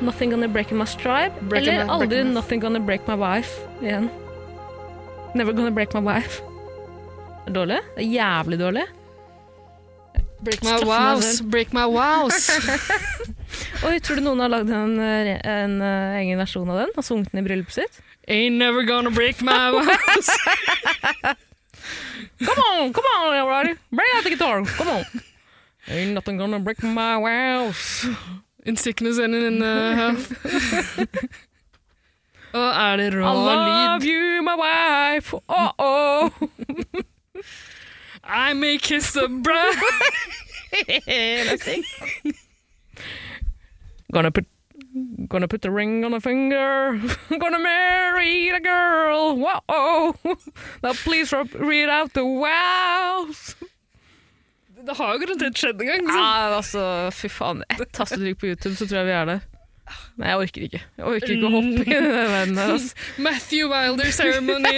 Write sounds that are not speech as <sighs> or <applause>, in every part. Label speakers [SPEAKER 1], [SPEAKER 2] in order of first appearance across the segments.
[SPEAKER 1] Nothing Gonna Break My Stripe.
[SPEAKER 2] Break
[SPEAKER 1] eller
[SPEAKER 2] my-
[SPEAKER 1] aldri
[SPEAKER 2] break my-
[SPEAKER 1] Nothing Gonna Break My Wife igjen. Never Gonna Break My Wife. Det er Dårlig? Det er jævlig dårlig.
[SPEAKER 2] Break
[SPEAKER 1] Straff meg
[SPEAKER 2] my wows,
[SPEAKER 1] selv.
[SPEAKER 2] break my wows.
[SPEAKER 1] Oi, tror du noen har lagd en, eh, en eh, egen versjon av den og sunget den i bryllupet sitt?
[SPEAKER 2] <laughs> Ain't never gonna break <laughs> my wows.
[SPEAKER 1] Come on, come on, everybody. Bring out the guitar. Come on. Ain't nothing gonna break my wows.
[SPEAKER 2] In sickness and in uh, health. <laughs> Og er det
[SPEAKER 1] I
[SPEAKER 2] rå
[SPEAKER 1] love
[SPEAKER 2] lyd?
[SPEAKER 1] you, my wife. Oh, Uh-oh.
[SPEAKER 2] I may kiss the bride.
[SPEAKER 1] Gonna put Gonna put the ring on a finger. <laughs> Gonna marry the girl. Wow. <laughs> Now please re- read out the <laughs> wows.
[SPEAKER 2] <laughs> Det har jo garantert skjedd en gang. liksom.
[SPEAKER 1] Ja,
[SPEAKER 2] Så.
[SPEAKER 1] altså, fy faen. Ett tastetrykk på YouTube, så tror jeg vi er der. Men jeg orker ikke. Jeg orker ikke å hoppe i den verden der. Altså.
[SPEAKER 2] Ah, Matthew Wilder ceremony.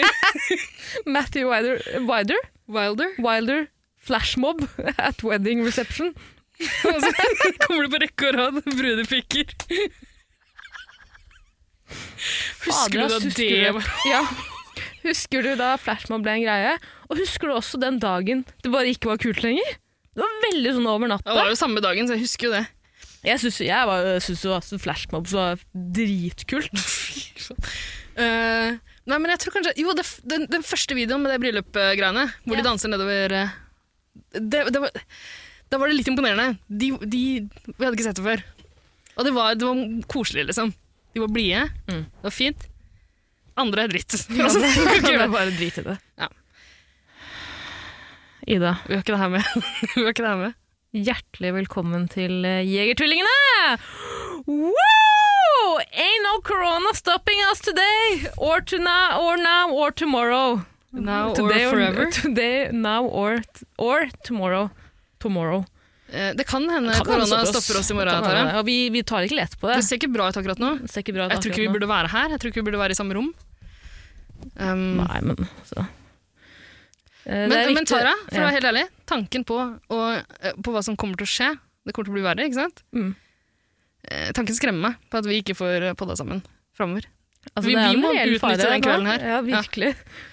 [SPEAKER 1] <laughs> Matthew Wider, Wider,
[SPEAKER 2] <laughs> Wilder?
[SPEAKER 1] Wilder flashmob <laughs> at wedding reception.
[SPEAKER 2] Og så <laughs> kommer du på rekke og rad brudepikker. Husker du
[SPEAKER 1] Fader,
[SPEAKER 2] da det
[SPEAKER 1] husker du- <laughs> Ja. Husker du da flashmob ble en greie? Og husker du også den dagen det bare ikke var kult lenger? Det var veldig sånn over
[SPEAKER 2] Det
[SPEAKER 1] natta.
[SPEAKER 2] var jo samme dagen, så jeg husker jo det.
[SPEAKER 1] Jeg syns jeg var- syns jo at flashmob var
[SPEAKER 2] <laughs>
[SPEAKER 1] dritkult.
[SPEAKER 2] Eh, nei, men jeg tror kanskje Jo, det, f- den, den første videoen med det bryllupgreiene, hvor
[SPEAKER 1] Ja.
[SPEAKER 2] de danser nedover eh, det, det var, Da var det litt imponerende. De, de, vi hadde ikke sett det før. Og det var, det var koselig, liksom. De var blide.
[SPEAKER 1] Mm.
[SPEAKER 2] Det var fint. Andre er dritt.
[SPEAKER 1] Altså,
[SPEAKER 2] <laughs> Altså, vi, har
[SPEAKER 1] det er
[SPEAKER 2] ikke,
[SPEAKER 1] bare drit i det.
[SPEAKER 2] Ja.
[SPEAKER 1] Ida,
[SPEAKER 2] vi har ikke det her med. <laughs> vi har ikke det her med.
[SPEAKER 1] hjertelig velkommen til eh, Jegertvillingene! Woo! Ain't no corona stopping us today! Or, to now, or now or tomorrow.
[SPEAKER 2] Now
[SPEAKER 1] Today
[SPEAKER 2] or forever.
[SPEAKER 1] Today, now or, t or tomorrow. Tomorrow.
[SPEAKER 2] Eh, det kan hende
[SPEAKER 1] Kan
[SPEAKER 2] korona
[SPEAKER 1] hende
[SPEAKER 2] stopper
[SPEAKER 1] stopper
[SPEAKER 2] oss, i morgen.
[SPEAKER 1] Kan
[SPEAKER 2] Tara.
[SPEAKER 1] hende. Ja, vi, vi tar ikke lett på det.
[SPEAKER 2] Det ser ikke bra ut akkurat nå.
[SPEAKER 1] Det ser ikke bra ut
[SPEAKER 2] Jeg tror ikke vi
[SPEAKER 1] akkurat nå.
[SPEAKER 2] burde være her. Jeg tror ikke vi burde være i samme rom. Um,
[SPEAKER 1] Nei, men altså Eh, det er
[SPEAKER 2] Men, men
[SPEAKER 1] viktig-
[SPEAKER 2] Tara, for å
[SPEAKER 1] ja.
[SPEAKER 2] være helt ærlig, tanken på, å- eh, på hva som kommer til å skje, det kommer til å bli verre, ikke sant?
[SPEAKER 1] Mm.
[SPEAKER 2] Eh, Tanken skremmer meg på at vi ikke får eh, podda sammen framover.
[SPEAKER 1] Altså,
[SPEAKER 2] Vi-
[SPEAKER 1] det er
[SPEAKER 2] vi
[SPEAKER 1] en
[SPEAKER 2] må
[SPEAKER 1] reell fare
[SPEAKER 2] utnytte den
[SPEAKER 1] nå.
[SPEAKER 2] kvelden her.
[SPEAKER 1] Ja, virkelig.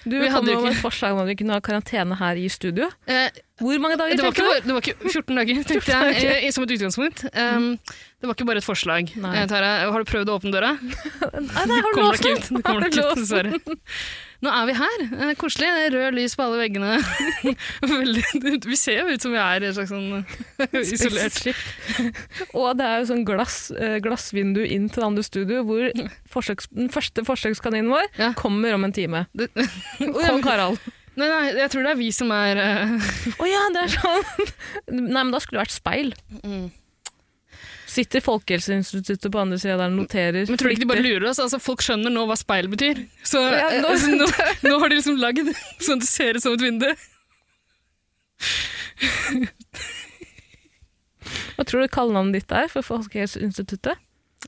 [SPEAKER 1] Du
[SPEAKER 2] Vi
[SPEAKER 1] kom
[SPEAKER 2] hadde jo
[SPEAKER 1] med
[SPEAKER 2] ikke-
[SPEAKER 1] et forslag om at vi kunne ha karantene her i studio.
[SPEAKER 2] Eh,
[SPEAKER 1] Hvor mange dager
[SPEAKER 2] det,
[SPEAKER 1] tenker
[SPEAKER 2] var ikke,
[SPEAKER 1] du?
[SPEAKER 2] bare- det var ikke 14
[SPEAKER 1] <laughs>
[SPEAKER 2] dager, tenkte jeg, eh, i- som et utgangspunkt. Um, det var ikke bare et forslag.
[SPEAKER 1] Mm. Nei.
[SPEAKER 2] Eh, Tara, har du prøvd å åpne døra?
[SPEAKER 1] Nei, nei, har du
[SPEAKER 2] Kommer
[SPEAKER 1] låst
[SPEAKER 2] nok
[SPEAKER 1] den?
[SPEAKER 2] ut, det kommer
[SPEAKER 1] <laughs> Har
[SPEAKER 2] nok ut,
[SPEAKER 1] du låst
[SPEAKER 2] dessverre. Nå er vi her. eh, Koselig. det er Rød lys på alle
[SPEAKER 1] <laughs>
[SPEAKER 2] veggene. Veldig, vi ser jo ut som vi er i et slags sånn isolert
[SPEAKER 1] Spaceship. <laughs> Og det er jo sånn glass, eh, glassvindu inn til det andre studio, hvor forsøks, den første forsøkskaninen vår
[SPEAKER 2] Ja.
[SPEAKER 1] kommer om en
[SPEAKER 2] <laughs>
[SPEAKER 1] time.
[SPEAKER 2] Det-
[SPEAKER 1] Kong Harald.
[SPEAKER 2] Nei, nei, jeg tror det er vi som er eh,
[SPEAKER 1] Å ja, det er sånn! <laughs> Nei, men da skulle det vært speil. Mm. Sitter Folkehelseinstituttet på andre sida der og noterer.
[SPEAKER 2] Men tror du ikke de bare
[SPEAKER 1] flittig.
[SPEAKER 2] lurer oss? Altså, folk skjønner nå hva speil betyr. Så
[SPEAKER 1] Ja,
[SPEAKER 2] eh,
[SPEAKER 1] nå-
[SPEAKER 2] altså, nå, nå har de liksom lagd <laughs> sånn at det ser ut som et vindu.
[SPEAKER 1] Hva tror du kallenavnet ditt er for Folkehelseinstituttet?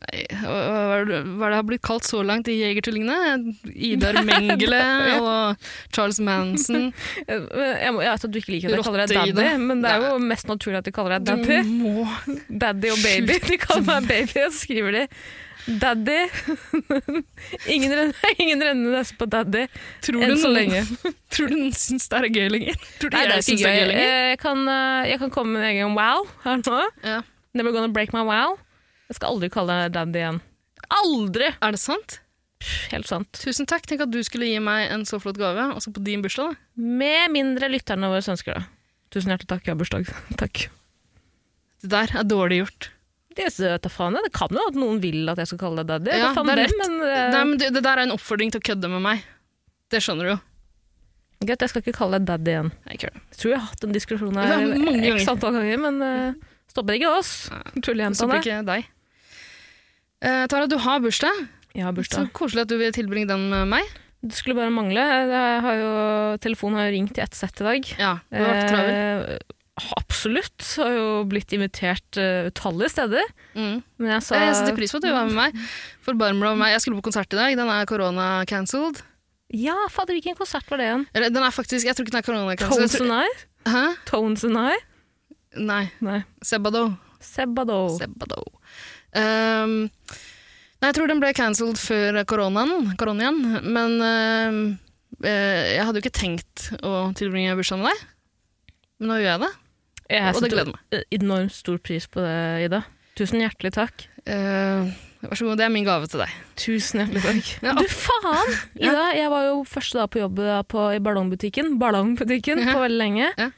[SPEAKER 2] Nei, Hva hva er det hva er det har blitt kalt så langt i Jegertvillingene? <laughs> Idar Mengele og Charles Manson.
[SPEAKER 1] Eh, Jeg, må, jeg vet at du ikke liker at jeg kaller deg
[SPEAKER 2] Rotte-Ida.
[SPEAKER 1] daddy, men det er jo mest naturlig at de kaller deg
[SPEAKER 2] <laughs> Du
[SPEAKER 1] daddy.
[SPEAKER 2] må
[SPEAKER 1] Daddy og baby. De kaller meg baby, og så skriver de Daddy. ingen renner, <laughs> ingen renner nese på daddy
[SPEAKER 2] Tror du
[SPEAKER 1] enn så
[SPEAKER 2] noen-
[SPEAKER 1] lenge.
[SPEAKER 2] <laughs> Tror du noen syns det er gøy lenger? Tror du
[SPEAKER 1] Nei, det
[SPEAKER 2] jeg
[SPEAKER 1] er
[SPEAKER 2] syns
[SPEAKER 1] ikke
[SPEAKER 2] det er gøy
[SPEAKER 1] gøy.
[SPEAKER 2] lenger?
[SPEAKER 1] Eh, Jeg kan, eh, jeg kan komme med en egen wow her nå.
[SPEAKER 2] Ja.
[SPEAKER 1] Never gonna break my wow. Jeg skal aldri kalle deg daddy igjen. Aldri!
[SPEAKER 2] Er det sant?
[SPEAKER 1] Helt sant.
[SPEAKER 2] Tusen takk. Tenk at du skulle gi meg en så flott gave, også på din bursdag. da.
[SPEAKER 1] Med mindre lytterne våre ønsker det. Tusen hjertelig takk, jeg har bursdag. <laughs> Takk.
[SPEAKER 2] Det der er dårlig gjort.
[SPEAKER 1] Det, er søt, da faen, ja. det kan jo at noen vil at jeg skal kalle deg daddy.
[SPEAKER 2] Ja,
[SPEAKER 1] Ja, faen
[SPEAKER 2] det er
[SPEAKER 1] dem, men, eh,
[SPEAKER 2] Nei, men det, det der er en oppfordring til å kødde med meg. Det skjønner du jo.
[SPEAKER 1] Greit, jeg skal ikke kalle deg daddy igjen.
[SPEAKER 2] Nei, ikke det.
[SPEAKER 1] Jeg tror jeg har hatt en diskusjon
[SPEAKER 2] Ja,
[SPEAKER 1] her
[SPEAKER 2] mange ganger.
[SPEAKER 1] x antall ganger, men eh, stopper ikke oss.
[SPEAKER 2] Så blir
[SPEAKER 1] Tullejentene.
[SPEAKER 2] ikke deg. Eh, Tara, du har bursdag.
[SPEAKER 1] Jeg har
[SPEAKER 2] Så
[SPEAKER 1] bursdag.
[SPEAKER 2] koselig at du vil tilbringe den med meg.
[SPEAKER 1] Det skulle bare mangle. Jeg har jo, telefonen har jo ringt i ett sett i dag.
[SPEAKER 2] Ja, du har vært travel.
[SPEAKER 1] Eh, absolutt. Har jo blitt invitert eh, utallige steder.
[SPEAKER 2] Mm.
[SPEAKER 1] Men jeg sa
[SPEAKER 2] Jeg setter pris på at du var med meg. Forbarmer deg over meg. Jeg skulle på konsert i dag. Den er korona-cancelled.
[SPEAKER 1] Ja, fader, hvilken konsert var det igjen?
[SPEAKER 2] Eller, den er faktisk Jeg tror ikke den er
[SPEAKER 1] Tones
[SPEAKER 2] korona-cancelled.
[SPEAKER 1] and I?
[SPEAKER 2] Jeg tror- Hæ?
[SPEAKER 1] Tones and I?
[SPEAKER 2] Nei.
[SPEAKER 1] Nei.
[SPEAKER 2] Sebado.
[SPEAKER 1] Sebado.
[SPEAKER 2] Sebado. Ehm, nei, jeg tror den ble cancelled før koronaen, koronaen men ehm, eh, jeg hadde jo ikke tenkt å tilbringe bursdagen med deg. Men nå gjør jeg det,
[SPEAKER 1] Jeg
[SPEAKER 2] og det
[SPEAKER 1] setter
[SPEAKER 2] gleder meg.
[SPEAKER 1] enormt stor pris på det, Ida. Tusen hjertelig takk.
[SPEAKER 2] Eh, vær så god, det er min gave til deg.
[SPEAKER 1] Tusen hjertelig takk.
[SPEAKER 2] Ja.
[SPEAKER 1] Du faen! Ida, jeg var jo første dag på jobb da på, i ballongbutikken, ballongbutikken
[SPEAKER 2] Ja.
[SPEAKER 1] på veldig lenge.
[SPEAKER 2] Ja.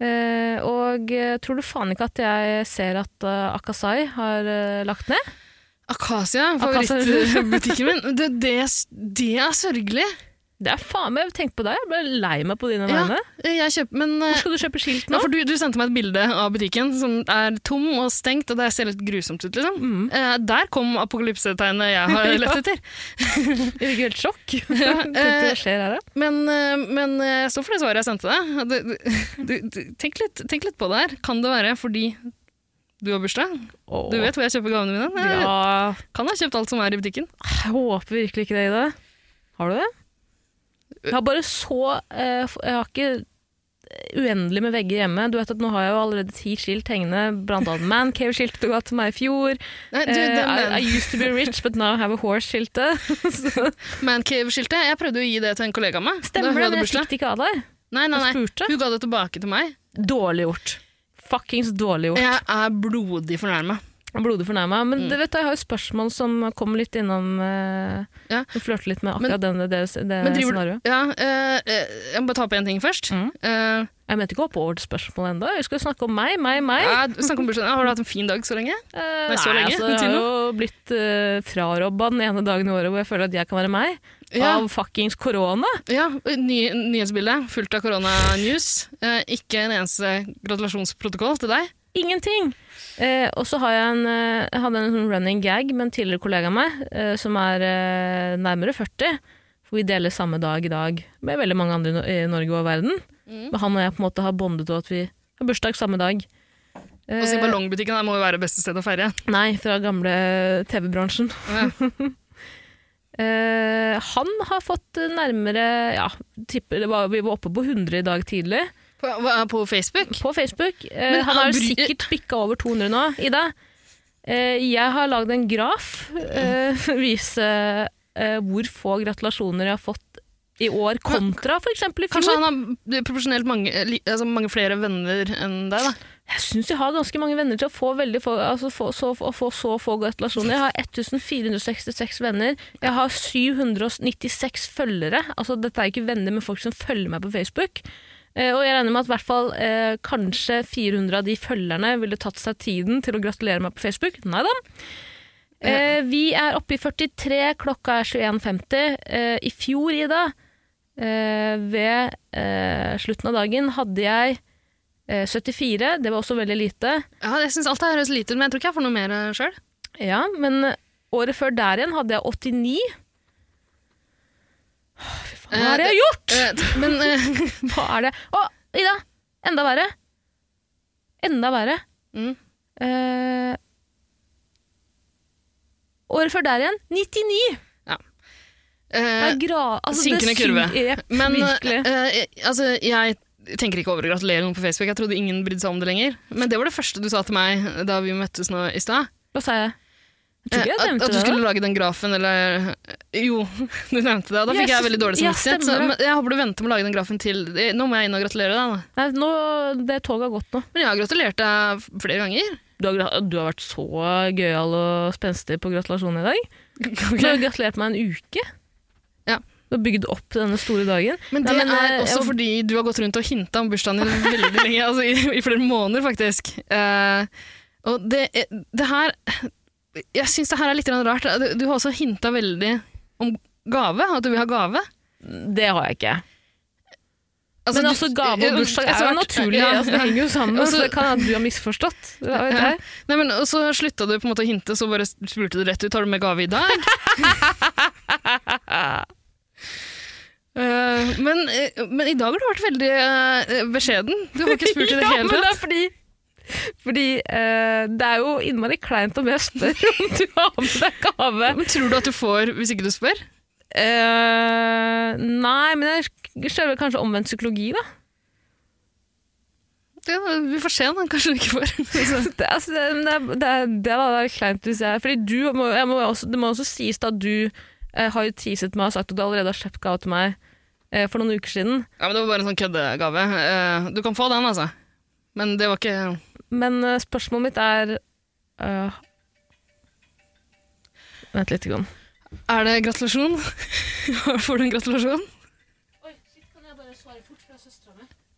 [SPEAKER 1] Eh, og eh, tror du faen ikke at jeg ser at eh, Akasai har eh, lagt ned?
[SPEAKER 2] Akasia,
[SPEAKER 1] Akasia.
[SPEAKER 2] favorittbutikken min. Det, det, det er sørgelig.
[SPEAKER 1] Det er faen meg, tenk på deg, jeg ble lei meg på dine
[SPEAKER 2] Ja.
[SPEAKER 1] vegne.
[SPEAKER 2] Jeg kjøper, men eh,
[SPEAKER 1] Hvor skal du kjøpe skilt
[SPEAKER 2] Ja,
[SPEAKER 1] nå?
[SPEAKER 2] for du, du sendte meg et bilde av butikken som er tom og stengt, og det ser litt grusomt ut, liksom.
[SPEAKER 1] Mm.
[SPEAKER 2] Eh, der kom apokalypsetegnet jeg <laughs> har lett etter.
[SPEAKER 1] Jeg fikk helt sjokk. <laughs> Tenkte
[SPEAKER 2] eh,
[SPEAKER 1] hva skjer her da?
[SPEAKER 2] Men, eh, men eh, jeg står for det svaret jeg sendte deg. At det- det- Du, du, tenk, litt, tenk litt på det her. Kan det være fordi du har bursdag?
[SPEAKER 1] Åh.
[SPEAKER 2] Du vet eh, hvor jeg kjøper gavene mine? Jeg
[SPEAKER 1] Ja,
[SPEAKER 2] kan ha kjøpt alt som er i butikken.
[SPEAKER 1] Jeg håper virkelig ikke det, Ida. Har du det? Jeg har bare så eh, f- Jeg har ikke eh, uendelig med vegger hjemme. Du vet at Nå har jeg jo allerede ti skilt hengende. Blant annet Mancave-skiltet du ga til meg i fjor.
[SPEAKER 2] Nei, du,
[SPEAKER 1] Eh,
[SPEAKER 2] det
[SPEAKER 1] I, I
[SPEAKER 2] man,
[SPEAKER 1] used to be rich, but now I have a horse-skiltet. <laughs> Så-
[SPEAKER 2] Mancave-skiltet, jeg prøvde å gi det til en kollega av meg. da
[SPEAKER 1] Stemmer
[SPEAKER 2] hun
[SPEAKER 1] det,
[SPEAKER 2] hadde
[SPEAKER 1] men jeg
[SPEAKER 2] bursdag.
[SPEAKER 1] fikk det ikke av deg.
[SPEAKER 2] Nei, nei,
[SPEAKER 1] Jeg
[SPEAKER 2] nei.
[SPEAKER 1] spurte.
[SPEAKER 2] Hun ga det tilbake til meg.
[SPEAKER 1] Dårlig gjort. Fuckings dårlig gjort.
[SPEAKER 2] Jeg er blodig fornærma.
[SPEAKER 1] Blodig fornærma.
[SPEAKER 2] Mm.
[SPEAKER 1] Men det vet du, jeg har jo spørsmål som kommer litt innom eh,
[SPEAKER 2] Ja.
[SPEAKER 1] Som flørter litt med
[SPEAKER 2] Men-
[SPEAKER 1] akkurat den, det, det,
[SPEAKER 2] Men driver-
[SPEAKER 1] scenarioet.
[SPEAKER 2] Ja, eh, eh, jeg må bare ta opp én ting først.
[SPEAKER 1] Mm.
[SPEAKER 2] Eh,
[SPEAKER 1] Jeg mente ikke å hoppe over til spørsmålet ennå. Vi skal jo snakke om meg, meg, meg.
[SPEAKER 2] Ja, du snakker om bursdagen. Ja, Har du hatt en fin dag så lenge?
[SPEAKER 1] Eh,
[SPEAKER 2] Nei, så lenge.
[SPEAKER 1] Altså, jeg har
[SPEAKER 2] Til nå.
[SPEAKER 1] jo blitt uh, frarobba den ene dagen i året hvor jeg føler at jeg kan være meg,
[SPEAKER 2] Ja,
[SPEAKER 1] av fuckings korona.
[SPEAKER 2] ja ny, Nyhetsbildet fullt av koronanews. Eh, ikke en eneste gratulasjonsprotokoll til deg.
[SPEAKER 1] Ingenting! Eh, og så har jeg en, eh, jeg hadde en sånn running gag med en tidligere kollega av meg, eh, som er eh, nærmere 40. For vi deler samme dag i dag med veldig mange andre i Nor- i Norge og verden.
[SPEAKER 2] Mm.
[SPEAKER 1] Men han og jeg på en måte har bondet over at vi har bursdag samme dag.
[SPEAKER 2] Og si
[SPEAKER 1] Eh,
[SPEAKER 2] ballongbutikken der må jo være beste sted å feire.
[SPEAKER 1] nei, fra gamle TV-bransjen.
[SPEAKER 2] Ja.
[SPEAKER 1] <laughs> Eh, han har fått nærmere ja, tipper, det var, Vi var oppe på 100 i dag tidlig
[SPEAKER 2] På, hva- på Facebook?
[SPEAKER 1] på Facebook. Eh,
[SPEAKER 2] Men
[SPEAKER 1] han har
[SPEAKER 2] han bry-
[SPEAKER 1] sikkert bikka over 200 nå, Ida. Eh, jeg har lagd en graf eh, for å vise eh, hvor få gratulasjoner jeg har fått i år, kontra f.eks. i
[SPEAKER 2] Kanskje
[SPEAKER 1] fjor.
[SPEAKER 2] han har proporsjonelt mange, eh, li- altså mange flere venner enn deg, da.
[SPEAKER 1] Jeg syns jeg har ganske mange venner til å få, veldig få, altså få, så, å få så få gratulasjoner. Jeg har 1466 venner. Jeg har 796 følgere. Altså, dette er ikke venner, men folk som følger meg på Facebook. Eh, og jeg regner med at i hvert fall eh, kanskje 400 av de følgerne ville tatt seg tiden til å gratulere meg på Facebook. Nei da. Eh, vi er oppe i 43, klokka er 21.50. Eh, I fjor, Ida, eh, ved eh, slutten av dagen hadde jeg eh, 74. Det var også veldig lite.
[SPEAKER 2] Ja, jeg syns alt det her høres lite ut, men jeg tror ikke jeg får noe mer eh, sjøl.
[SPEAKER 1] Ja, men året før der igjen hadde jeg 89. Fy faen, hva
[SPEAKER 2] Eh,
[SPEAKER 1] har
[SPEAKER 2] det-
[SPEAKER 1] jeg gjort?! <laughs>
[SPEAKER 2] men eh,
[SPEAKER 1] Hva er det? Å, Ida! Enda verre. Enda verre.
[SPEAKER 2] mm.
[SPEAKER 1] Eh, året før der igjen 99! Det
[SPEAKER 2] Eh,
[SPEAKER 1] er gra altså, det
[SPEAKER 2] synkende
[SPEAKER 1] syn-
[SPEAKER 2] kurve.
[SPEAKER 1] Jepp,
[SPEAKER 2] Men
[SPEAKER 1] virkelig.
[SPEAKER 2] eh, eh, altså, jeg tenker ikke over å gratulere noen på Facebook. Jeg trodde ingen brydde seg om det lenger. Men det var det første du sa til meg da vi møttes nå i stad.
[SPEAKER 1] Hva sa jeg? Jeg tror
[SPEAKER 2] Eh,
[SPEAKER 1] ikke jeg
[SPEAKER 2] at,
[SPEAKER 1] nevnte
[SPEAKER 2] at du
[SPEAKER 1] det. da.
[SPEAKER 2] skulle lage den grafen, eller eh, Jo, <laughs> du nevnte det, og da
[SPEAKER 1] Ja,
[SPEAKER 2] fikk jeg
[SPEAKER 1] så-
[SPEAKER 2] veldig dårlig
[SPEAKER 1] ja,
[SPEAKER 2] samvittighet. så,
[SPEAKER 1] stemmer det.
[SPEAKER 2] men jeg håper du venter med å lage den grafen til eh, Nå må jeg inn og gratulere deg, da.
[SPEAKER 1] Nei, nå, det toget har gått nå.
[SPEAKER 2] Men jeg har gratulert deg f- flere ganger.
[SPEAKER 1] Du har, gra- du har vært så gøyal og spenstig på gratulasjonen i <laughs> dag. Du har jo gratulert meg en uke.
[SPEAKER 2] Ja.
[SPEAKER 1] Du har bygd opp denne store dagen.
[SPEAKER 2] Men det
[SPEAKER 1] Nei, men,
[SPEAKER 2] er
[SPEAKER 1] eh,
[SPEAKER 2] også
[SPEAKER 1] jeg-
[SPEAKER 2] fordi du har gått rundt og hinta om bursdagen din veldig lenge, <laughs> altså i, i flere måneder faktisk. Eh, og det, er- det her Jeg syns det her er litt grann rart. Du, du har også hinta veldig om gave, at du vil ha gave.
[SPEAKER 1] Det har jeg ikke. men altså, gave og bursdag er jo naturlig. Altså, det
[SPEAKER 2] Ja.
[SPEAKER 1] henger jo sammen,
[SPEAKER 2] Og så-
[SPEAKER 1] så det kan hende du har <laughs> misforstått. Hva vet
[SPEAKER 2] Ja.
[SPEAKER 1] jeg?
[SPEAKER 2] Nei, men, og så slutta du på en måte å hinte,
[SPEAKER 1] <laughs>
[SPEAKER 2] så bare spurte du rett ut Har du med gave i dag. Men, eh, men i dag har du vært veldig eh, beskjeden. Du har ikke spurt i
[SPEAKER 1] <laughs>
[SPEAKER 2] det
[SPEAKER 1] ja,
[SPEAKER 2] hele
[SPEAKER 1] men det
[SPEAKER 2] tatt.
[SPEAKER 1] er fordi fordi eh, det er jo innmari kleint om jeg spør <laughs> om du har med deg gave.
[SPEAKER 2] <laughs> Men tror du at du får hvis ikke du spør?
[SPEAKER 1] Eh, nei, men jeg skjønner kanskje omvendt psykologi, da.
[SPEAKER 2] Ja, vi får se, da. Kanskje du ikke får. Altså,
[SPEAKER 1] Det, altså, det, men det, er- det, er- det er da det er kleint hvis jeg Fordi du må, jeg må jo også, Det må også sies da at du eh, har jo teaset meg og sagt at du allerede har kjøpt gave til meg eh, for noen uker siden.
[SPEAKER 2] ja, men det var bare en sånn køddegave. Eh, Du kan få den, altså. Men det var ikke
[SPEAKER 1] Men eh, spørsmålet mitt er eh, Vent litt. Grann.
[SPEAKER 2] Er det gratulasjon? <laughs> får du en gratulasjon?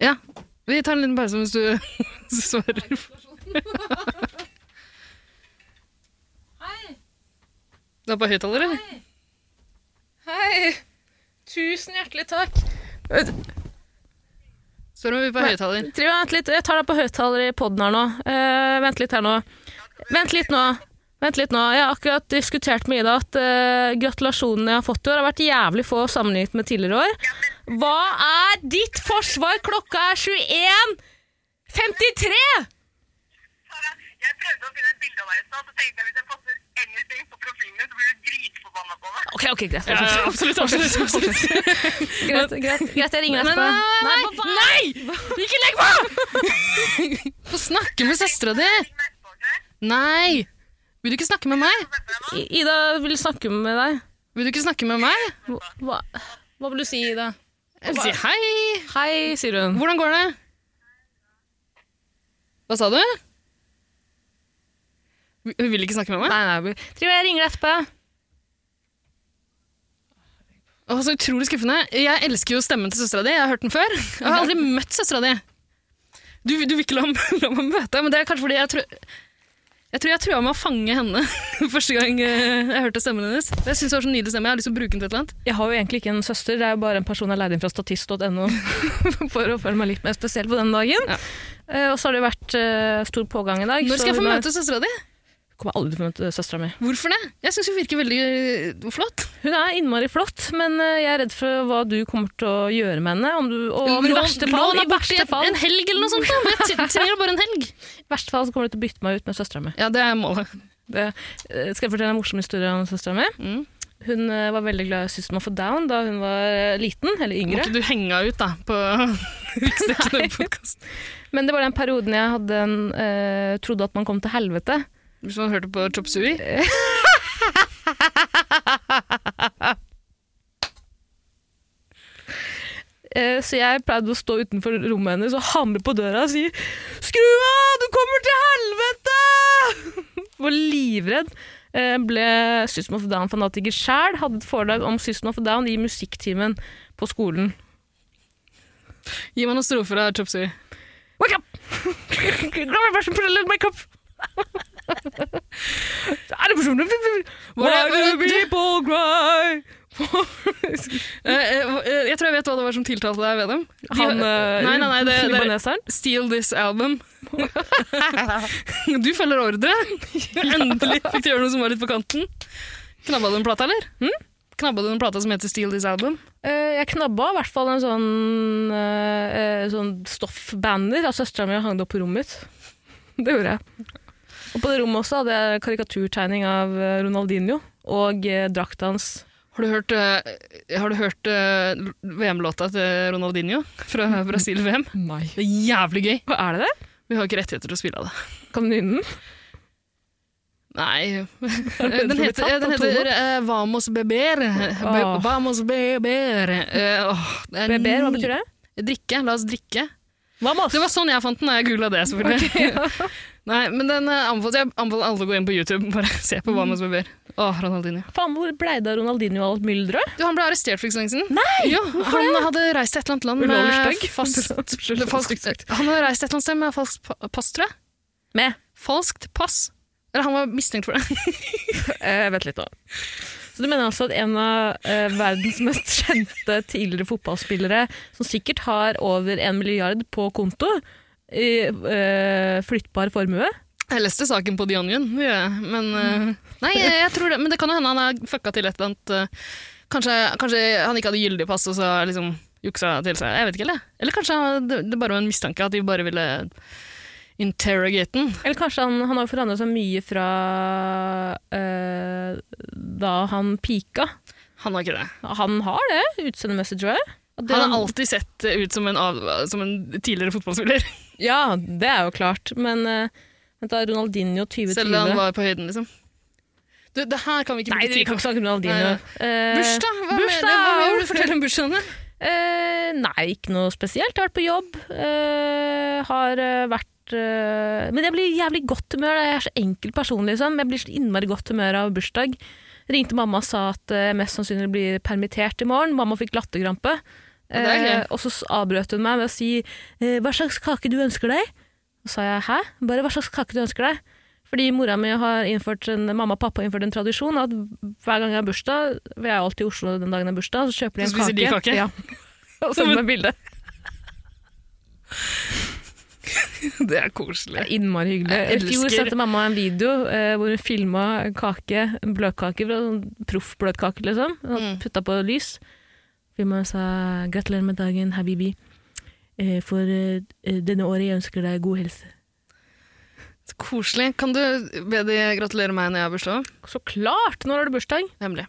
[SPEAKER 2] Ja. Vi tar en liten pause hvis du <laughs> hvis du svarer.
[SPEAKER 1] Hei!
[SPEAKER 2] Det er på høyttaler, eller?
[SPEAKER 1] Hei! Tusen hjertelig takk.
[SPEAKER 2] Spør om vi er på høyttaler.
[SPEAKER 1] Trine, Vent litt, jeg tar deg på høyttaler i poden her nå. Eh, vent litt her nå. Vent litt nå. Vent litt nå. Jeg har akkurat diskutert med Ida at eh, gratulasjonene jeg har fått i år, har vært jævlig få sammenlignet med tidligere år. Hva er ditt forsvar? Klokka er 21.53!
[SPEAKER 3] Sara, jeg prøvde å finne et bilde av deg i stad, så tenkte jeg hvis jeg poster anything på profilen din, så blir du dritforbanna på meg.
[SPEAKER 1] OK, ok, greit.
[SPEAKER 2] absolutt, <laughs> absolutt. absolutt.
[SPEAKER 1] Greit, greit, greit jeg ringer
[SPEAKER 2] Nei,
[SPEAKER 1] etterpå.
[SPEAKER 2] nei,
[SPEAKER 1] Nei, hva- hva- Ikke legg på!
[SPEAKER 2] Få snakke med søstera di!
[SPEAKER 3] Legg merke til det, ok?
[SPEAKER 2] Nei! Vil du ikke snakke med meg?
[SPEAKER 3] Vet du hva jeg mener?
[SPEAKER 1] I- Ida vil snakke med deg.
[SPEAKER 2] Vil du ikke snakke med meg?
[SPEAKER 1] Hva, hva- hva vil du si, Ida?
[SPEAKER 2] Jeg vil si hei!
[SPEAKER 1] Hei, sier hun.
[SPEAKER 2] Hvordan går det? Hva sa du? Hun vil ikke snakke med meg?
[SPEAKER 1] Nei, nei, vi- Trine, jeg ringer deg etterpå.
[SPEAKER 2] Å, så utrolig skuffende. Jeg elsker jo stemmen til søstera di. Jeg har hørt den før. Jeg har aldri møtt søstera di. Du, du vil ikke la, la meg møte deg, men det er kanskje fordi jeg tror jeg tror jeg trua med å fange henne <laughs> første gang eh, jeg hørte stemmen hennes. Jeg synes det var så nydelig stemme. Jeg har lyst til å bruke den til et eller annet.
[SPEAKER 1] Jeg har jo egentlig ikke en søster, det er jo bare en person jeg leide inn fra statist.no <laughs> for å føle meg litt mer spesiell på den dagen.
[SPEAKER 2] Ja.
[SPEAKER 1] Eh, og så har det jo vært eh, stor pågang i dag.
[SPEAKER 2] Når
[SPEAKER 1] så
[SPEAKER 2] skal jeg få
[SPEAKER 1] hun er-
[SPEAKER 2] møte søstera di?
[SPEAKER 1] Kommer aldri til å få møte søstera mi.
[SPEAKER 2] Hvorfor det? Jeg syns hun virker veldig eh, flott.
[SPEAKER 1] Hun er innmari flott, men eh, jeg er redd for hva du kommer til å gjøre med henne. Om du, og i
[SPEAKER 2] Lån-
[SPEAKER 1] verste fall,
[SPEAKER 2] lån
[SPEAKER 1] i
[SPEAKER 2] henne bort i
[SPEAKER 1] verste
[SPEAKER 2] en-
[SPEAKER 1] fall,
[SPEAKER 2] En helg eller noe sånt. Da. men Jeg tre- trenger bare en helg.
[SPEAKER 1] i verste fall så kommer du til å bytte meg ut med søstera mi.
[SPEAKER 2] Ja, det er målet.
[SPEAKER 1] Det, eh, skal jeg fortelle en morsom historie om søstera mi?
[SPEAKER 2] Mm.
[SPEAKER 1] Hun eh, var veldig glad i System of a Down da hun var eh, liten, eller
[SPEAKER 2] Må
[SPEAKER 1] yngre.
[SPEAKER 2] ikke du henge henne ut da, på <laughs> Riksdekkende podkast?
[SPEAKER 1] Men det var den perioden jeg hadde en, eh, trodde at man kom til helvete.
[SPEAKER 2] Hvis man hørte på Chop Sui.
[SPEAKER 1] Eh, Så jeg pleide å stå utenfor rommet hennes og hamre på døra og si 'Skru av, du kommer til helvete!' <laughs> Var livredd. Eh, Ble System of a Down-fanatiker sjæl. Hadde et foredrag om System of a Down i musikktimen på skolen.
[SPEAKER 2] Gi meg noen strofer av Chop Eh, Sui.
[SPEAKER 1] Wake up! <laughs> Glem meg versen for å make up! <laughs> Er det personlig? Why do people cry?
[SPEAKER 2] Eh, eh, eh, jeg tror jeg vet hva det var som tiltalte deg, Vedum. De-
[SPEAKER 1] Han eh,
[SPEAKER 2] Nei, nei, nei, det, det er
[SPEAKER 1] libaneseren?
[SPEAKER 2] Steal This Album. <laughs> du følger
[SPEAKER 1] <laughs>
[SPEAKER 2] ordre. Endelig fikk du gjøre noe som var litt på kanten. Knabba du en plate, eller? Hm? Knabba du en plate som heter Steal This Album?
[SPEAKER 1] Eh, jeg knabba i hvert fall en sånn, eh, eh, sånn stoffbanner av søstera mi og hang det opp på rommet mitt. <laughs> Det gjorde jeg. Og på det rommet også hadde jeg karikaturtegning av eh, Ronaldinho og eh, drakta hans.
[SPEAKER 2] Har du hørt, eh, har du hørt eh, VM-låta til Ronaldinho fra Brasil-VM?
[SPEAKER 1] Nei.
[SPEAKER 2] Det er jævlig gøy.
[SPEAKER 1] Hva er det det?
[SPEAKER 2] Vi har ikke rettigheter til å spille av det.
[SPEAKER 1] Kan du nynne den? <laughs>
[SPEAKER 2] Nei.
[SPEAKER 1] det
[SPEAKER 2] Den
[SPEAKER 1] blir
[SPEAKER 2] heter,
[SPEAKER 1] tatt
[SPEAKER 2] eh, den
[SPEAKER 1] av
[SPEAKER 2] heter eh, Vamos beber. Be
[SPEAKER 1] Åh.
[SPEAKER 2] Vamos beber. Eh, åh, det er
[SPEAKER 1] Beber, hva betyr det?
[SPEAKER 2] Drikke. La oss drikke.
[SPEAKER 1] Vamos!
[SPEAKER 2] Det var sånn jeg fant den da jeg googla det, selvfølgelig. <laughs> Nei, men den eh, anbefales, Jeg anbefaler alle å gå inn på YouTube bare se på Vamos beber. Åh, Ronaldinho.
[SPEAKER 1] Faen, hvor blei det av Ronaldinho og alt mylderet?
[SPEAKER 2] Du, han ble arrestert for ikke så lenge siden. Nei, ja, han hadde reist til et eller annet
[SPEAKER 1] <laughs>
[SPEAKER 2] land
[SPEAKER 1] Ulovlig
[SPEAKER 2] med
[SPEAKER 1] stygg.
[SPEAKER 2] fast
[SPEAKER 1] Unnskyld,
[SPEAKER 2] falskt,
[SPEAKER 1] stygt sagt.
[SPEAKER 2] han hadde reist et eller annet sted med falskt pa- pass, tror jeg.
[SPEAKER 1] Med.
[SPEAKER 2] Falskt pass. Eller han var mistenkt for det.
[SPEAKER 1] Eh, vent litt nå. Så du mener altså at en av eh, verdens mest kjente tidligere fotballspillere, som sikkert har over en milliard på konto i eh, flyttbar formue
[SPEAKER 2] Jeg leste saken på The Onion, ja, men
[SPEAKER 1] Mm.
[SPEAKER 2] eh, Nei, jeg, jeg tror det, men det kan jo hende han har fucka til et eller annet eh, Kanskje, kanskje han ikke hadde gyldig pass, og så liksom juksa til seg. Jeg vet ikke, eller? Eller kanskje han- det, det bare var en mistanke at de bare ville interrogate den.
[SPEAKER 1] Eller kanskje han, han har forandra seg mye fra eh, da han pika.
[SPEAKER 2] Han har ikke det.
[SPEAKER 1] Han har det, utseendemessig, tror jeg. At det-
[SPEAKER 2] Han har alltid sett ut som en, av, som en tidligere
[SPEAKER 1] <laughs>
[SPEAKER 2] fotballspiller.
[SPEAKER 1] Ja, det er jo klart, men eh, Vent da, Ronaldinho 2020
[SPEAKER 2] Selv da han var på høyden, liksom. Du, det her kan vi ikke
[SPEAKER 1] Nei, vi kan ikke snakke om Ronaldinho.
[SPEAKER 2] Nei,
[SPEAKER 1] Eh,
[SPEAKER 2] Bursdag? Hva,
[SPEAKER 1] Bursdag!
[SPEAKER 2] mener- hva vil du fortelle om bursdagen din?
[SPEAKER 1] Eh, nei, ikke noe spesielt. Har vært på jobb. eh, har eh, vært eh, Men jeg blir i jævlig godt humør. da. Jeg er så enkel person, liksom. Jeg blir så innmari godt humør av bursdag. Ringte mamma og sa at eh, jeg mest sannsynlig blir permittert i morgen. Mamma fikk latterkrampe.
[SPEAKER 2] det er gøy.
[SPEAKER 1] Eh, og så s- avbrøt hun meg med å si eh, 'hva slags kake du ønsker deg?' Og sa jeg 'hæ?' Bare 'hva slags kake du ønsker deg?' Fordi mora mi har innført en, mamma og pappa har innført en tradisjon at hver gang jeg har bursdag, vi er jo alltid i Oslo den dagen jeg har bursdag, så kjøper de en
[SPEAKER 2] Så spiser de kake? <laughs>
[SPEAKER 1] Ja. Og sender meg bilde.
[SPEAKER 2] Det er
[SPEAKER 1] Det
[SPEAKER 2] koselig.
[SPEAKER 1] er innmari hyggelig.
[SPEAKER 2] Jeg
[SPEAKER 1] I fjor
[SPEAKER 2] elsker-
[SPEAKER 1] sendte mamma en video eh, hvor hun filma en kake, en bløtkake, fra sånn proffbløtkake, liksom.
[SPEAKER 2] Mm.
[SPEAKER 1] Mm. Putta på lys. Filma og sa 'gratulerer med dagen, habibi'. Eh, for eh, denne året jeg ønsker deg god helse.
[SPEAKER 2] Så koselig. Kan du be de gratulere meg når jeg har bursdag?
[SPEAKER 1] Så klart! Når har du bursdag?
[SPEAKER 2] Hemmelig.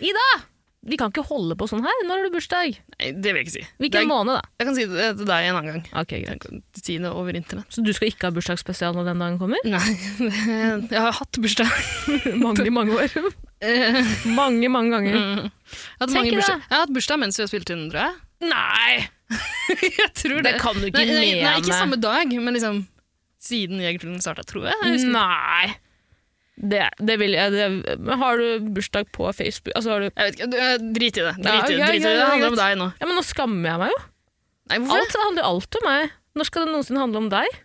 [SPEAKER 1] Ida! Vi kan ikke holde på sånn her. Når har du bursdag?
[SPEAKER 2] Nei, det vil jeg ikke si.
[SPEAKER 1] Hvilken
[SPEAKER 2] Det er-
[SPEAKER 1] måned, da?
[SPEAKER 2] Jeg kan si det til deg en annen gang.
[SPEAKER 1] Ok, greit.
[SPEAKER 2] Jeg kan Si det over internett.
[SPEAKER 1] Så du skal ikke ha bursdagsspesial når den dagen kommer?
[SPEAKER 2] Nei, <laughs> jeg har hatt bursdag.
[SPEAKER 1] <laughs>
[SPEAKER 2] <laughs>
[SPEAKER 1] mange, mange år.
[SPEAKER 2] Eh,
[SPEAKER 1] <laughs> mange, mange ganger.
[SPEAKER 2] mm. Jeg har hatt,
[SPEAKER 1] Tenk
[SPEAKER 2] mange
[SPEAKER 1] i
[SPEAKER 2] bursdag.
[SPEAKER 1] det.
[SPEAKER 2] jeg har hatt bursdag mens vi har spilt inn, tror jeg.
[SPEAKER 1] Nei!
[SPEAKER 2] <laughs> jeg tror
[SPEAKER 1] Det kan du ikke
[SPEAKER 2] Nei, nei, nei, ikke
[SPEAKER 1] mene.
[SPEAKER 2] samme dag, men liksom siden Jegerturen starta, tror jeg. jeg husker.
[SPEAKER 1] Nei. Det, det vil jeg det, men Har du bursdag på Facebook? Altså, har du,
[SPEAKER 2] Jeg vet ikke, du, eh, Drit i det. Drit i det.
[SPEAKER 1] Ja, ok, ok,
[SPEAKER 2] Drit i det. det handler
[SPEAKER 1] greit.
[SPEAKER 2] om deg nå.
[SPEAKER 1] ja, men nå skammer jeg meg jo.
[SPEAKER 2] Nei, hvorfor det?
[SPEAKER 1] Alt det handler jo alt om meg. Når skal det noensinne handle om deg?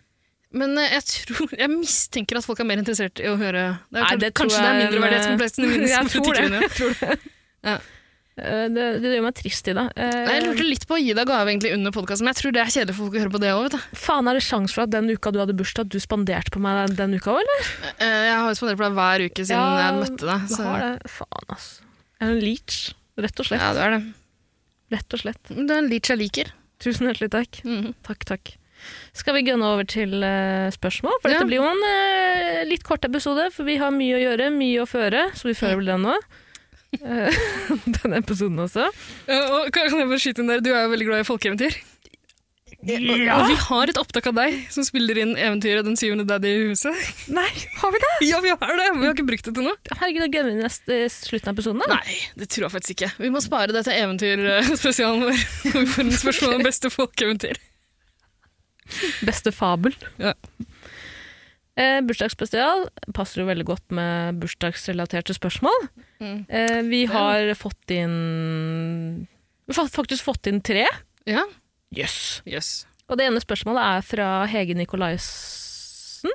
[SPEAKER 2] Men eh, jeg tror Jeg mistenker at folk er mer interessert i å høre det er,
[SPEAKER 1] Nei,
[SPEAKER 2] kan-
[SPEAKER 1] det tror
[SPEAKER 2] Kanskje det er
[SPEAKER 1] jeg- <laughs>
[SPEAKER 2] mindre verdighetskompleksen i mine
[SPEAKER 1] Jeg
[SPEAKER 2] som
[SPEAKER 1] tror
[SPEAKER 2] tikker
[SPEAKER 1] det.
[SPEAKER 2] inn
[SPEAKER 1] Eh,
[SPEAKER 2] igjen.
[SPEAKER 1] Det, det gjør meg trist Eh, i det.
[SPEAKER 2] Nei, Jeg lurte litt på å gi deg gave egentlig under podkasten, men jeg tror det er kjedelig for folk å høre på det òg.
[SPEAKER 1] faen, er det sjans for at den uka du hadde bursdag, at du spanderte på meg den, den uka òg, eller?
[SPEAKER 2] Eh, Jeg har jo spandert på deg hver uke siden
[SPEAKER 1] Ja,
[SPEAKER 2] jeg møtte deg.
[SPEAKER 1] Du
[SPEAKER 2] Så.
[SPEAKER 1] har det. Faen, altså. Jeg er en leech. Rett og slett.
[SPEAKER 2] Ja, du er det.
[SPEAKER 1] Rett og slett.
[SPEAKER 2] Men Du er en leech jeg liker.
[SPEAKER 1] Tusen hjertelig takk.
[SPEAKER 2] Mhm.
[SPEAKER 1] Takk, takk. Skal vi gønne over til eh, spørsmål? For
[SPEAKER 2] Ja.
[SPEAKER 1] dette blir jo en eh, litt kort episode, for vi har mye å gjøre, mye å føre, så vi fører vel den nå. Eh, <laughs> Denne episoden også.
[SPEAKER 2] og kan jeg bare skyte inn der, Du er jo veldig glad i folkeeventyr. Og vi har et opptak av deg som spiller inn eventyret 'Den syvende daddy i huset'. <laughs>
[SPEAKER 1] Nei, har vi det?
[SPEAKER 2] Ja, vi har det! men Vi har ikke brukt det til noe.
[SPEAKER 1] Herregud, da gønner vi neste, slutten av episoden, da.
[SPEAKER 2] Nei, det tror jeg faktisk ikke. Vi må spare dette <laughs> eventyrspesialen vår. Når vi får en spørsmål <laughs> om beste folkeeventyr.
[SPEAKER 1] Beste fabel.
[SPEAKER 2] Ja.
[SPEAKER 1] Eh, bursdagsspesial passer jo veldig godt med bursdagsrelaterte spørsmål.
[SPEAKER 2] Mm.
[SPEAKER 1] Eh, vi har fått inn Vi har faktisk fått inn tre.
[SPEAKER 2] Ja,
[SPEAKER 1] Jøss.
[SPEAKER 2] jøss.
[SPEAKER 1] Og det ene spørsmålet er fra Hege Nikolaisen.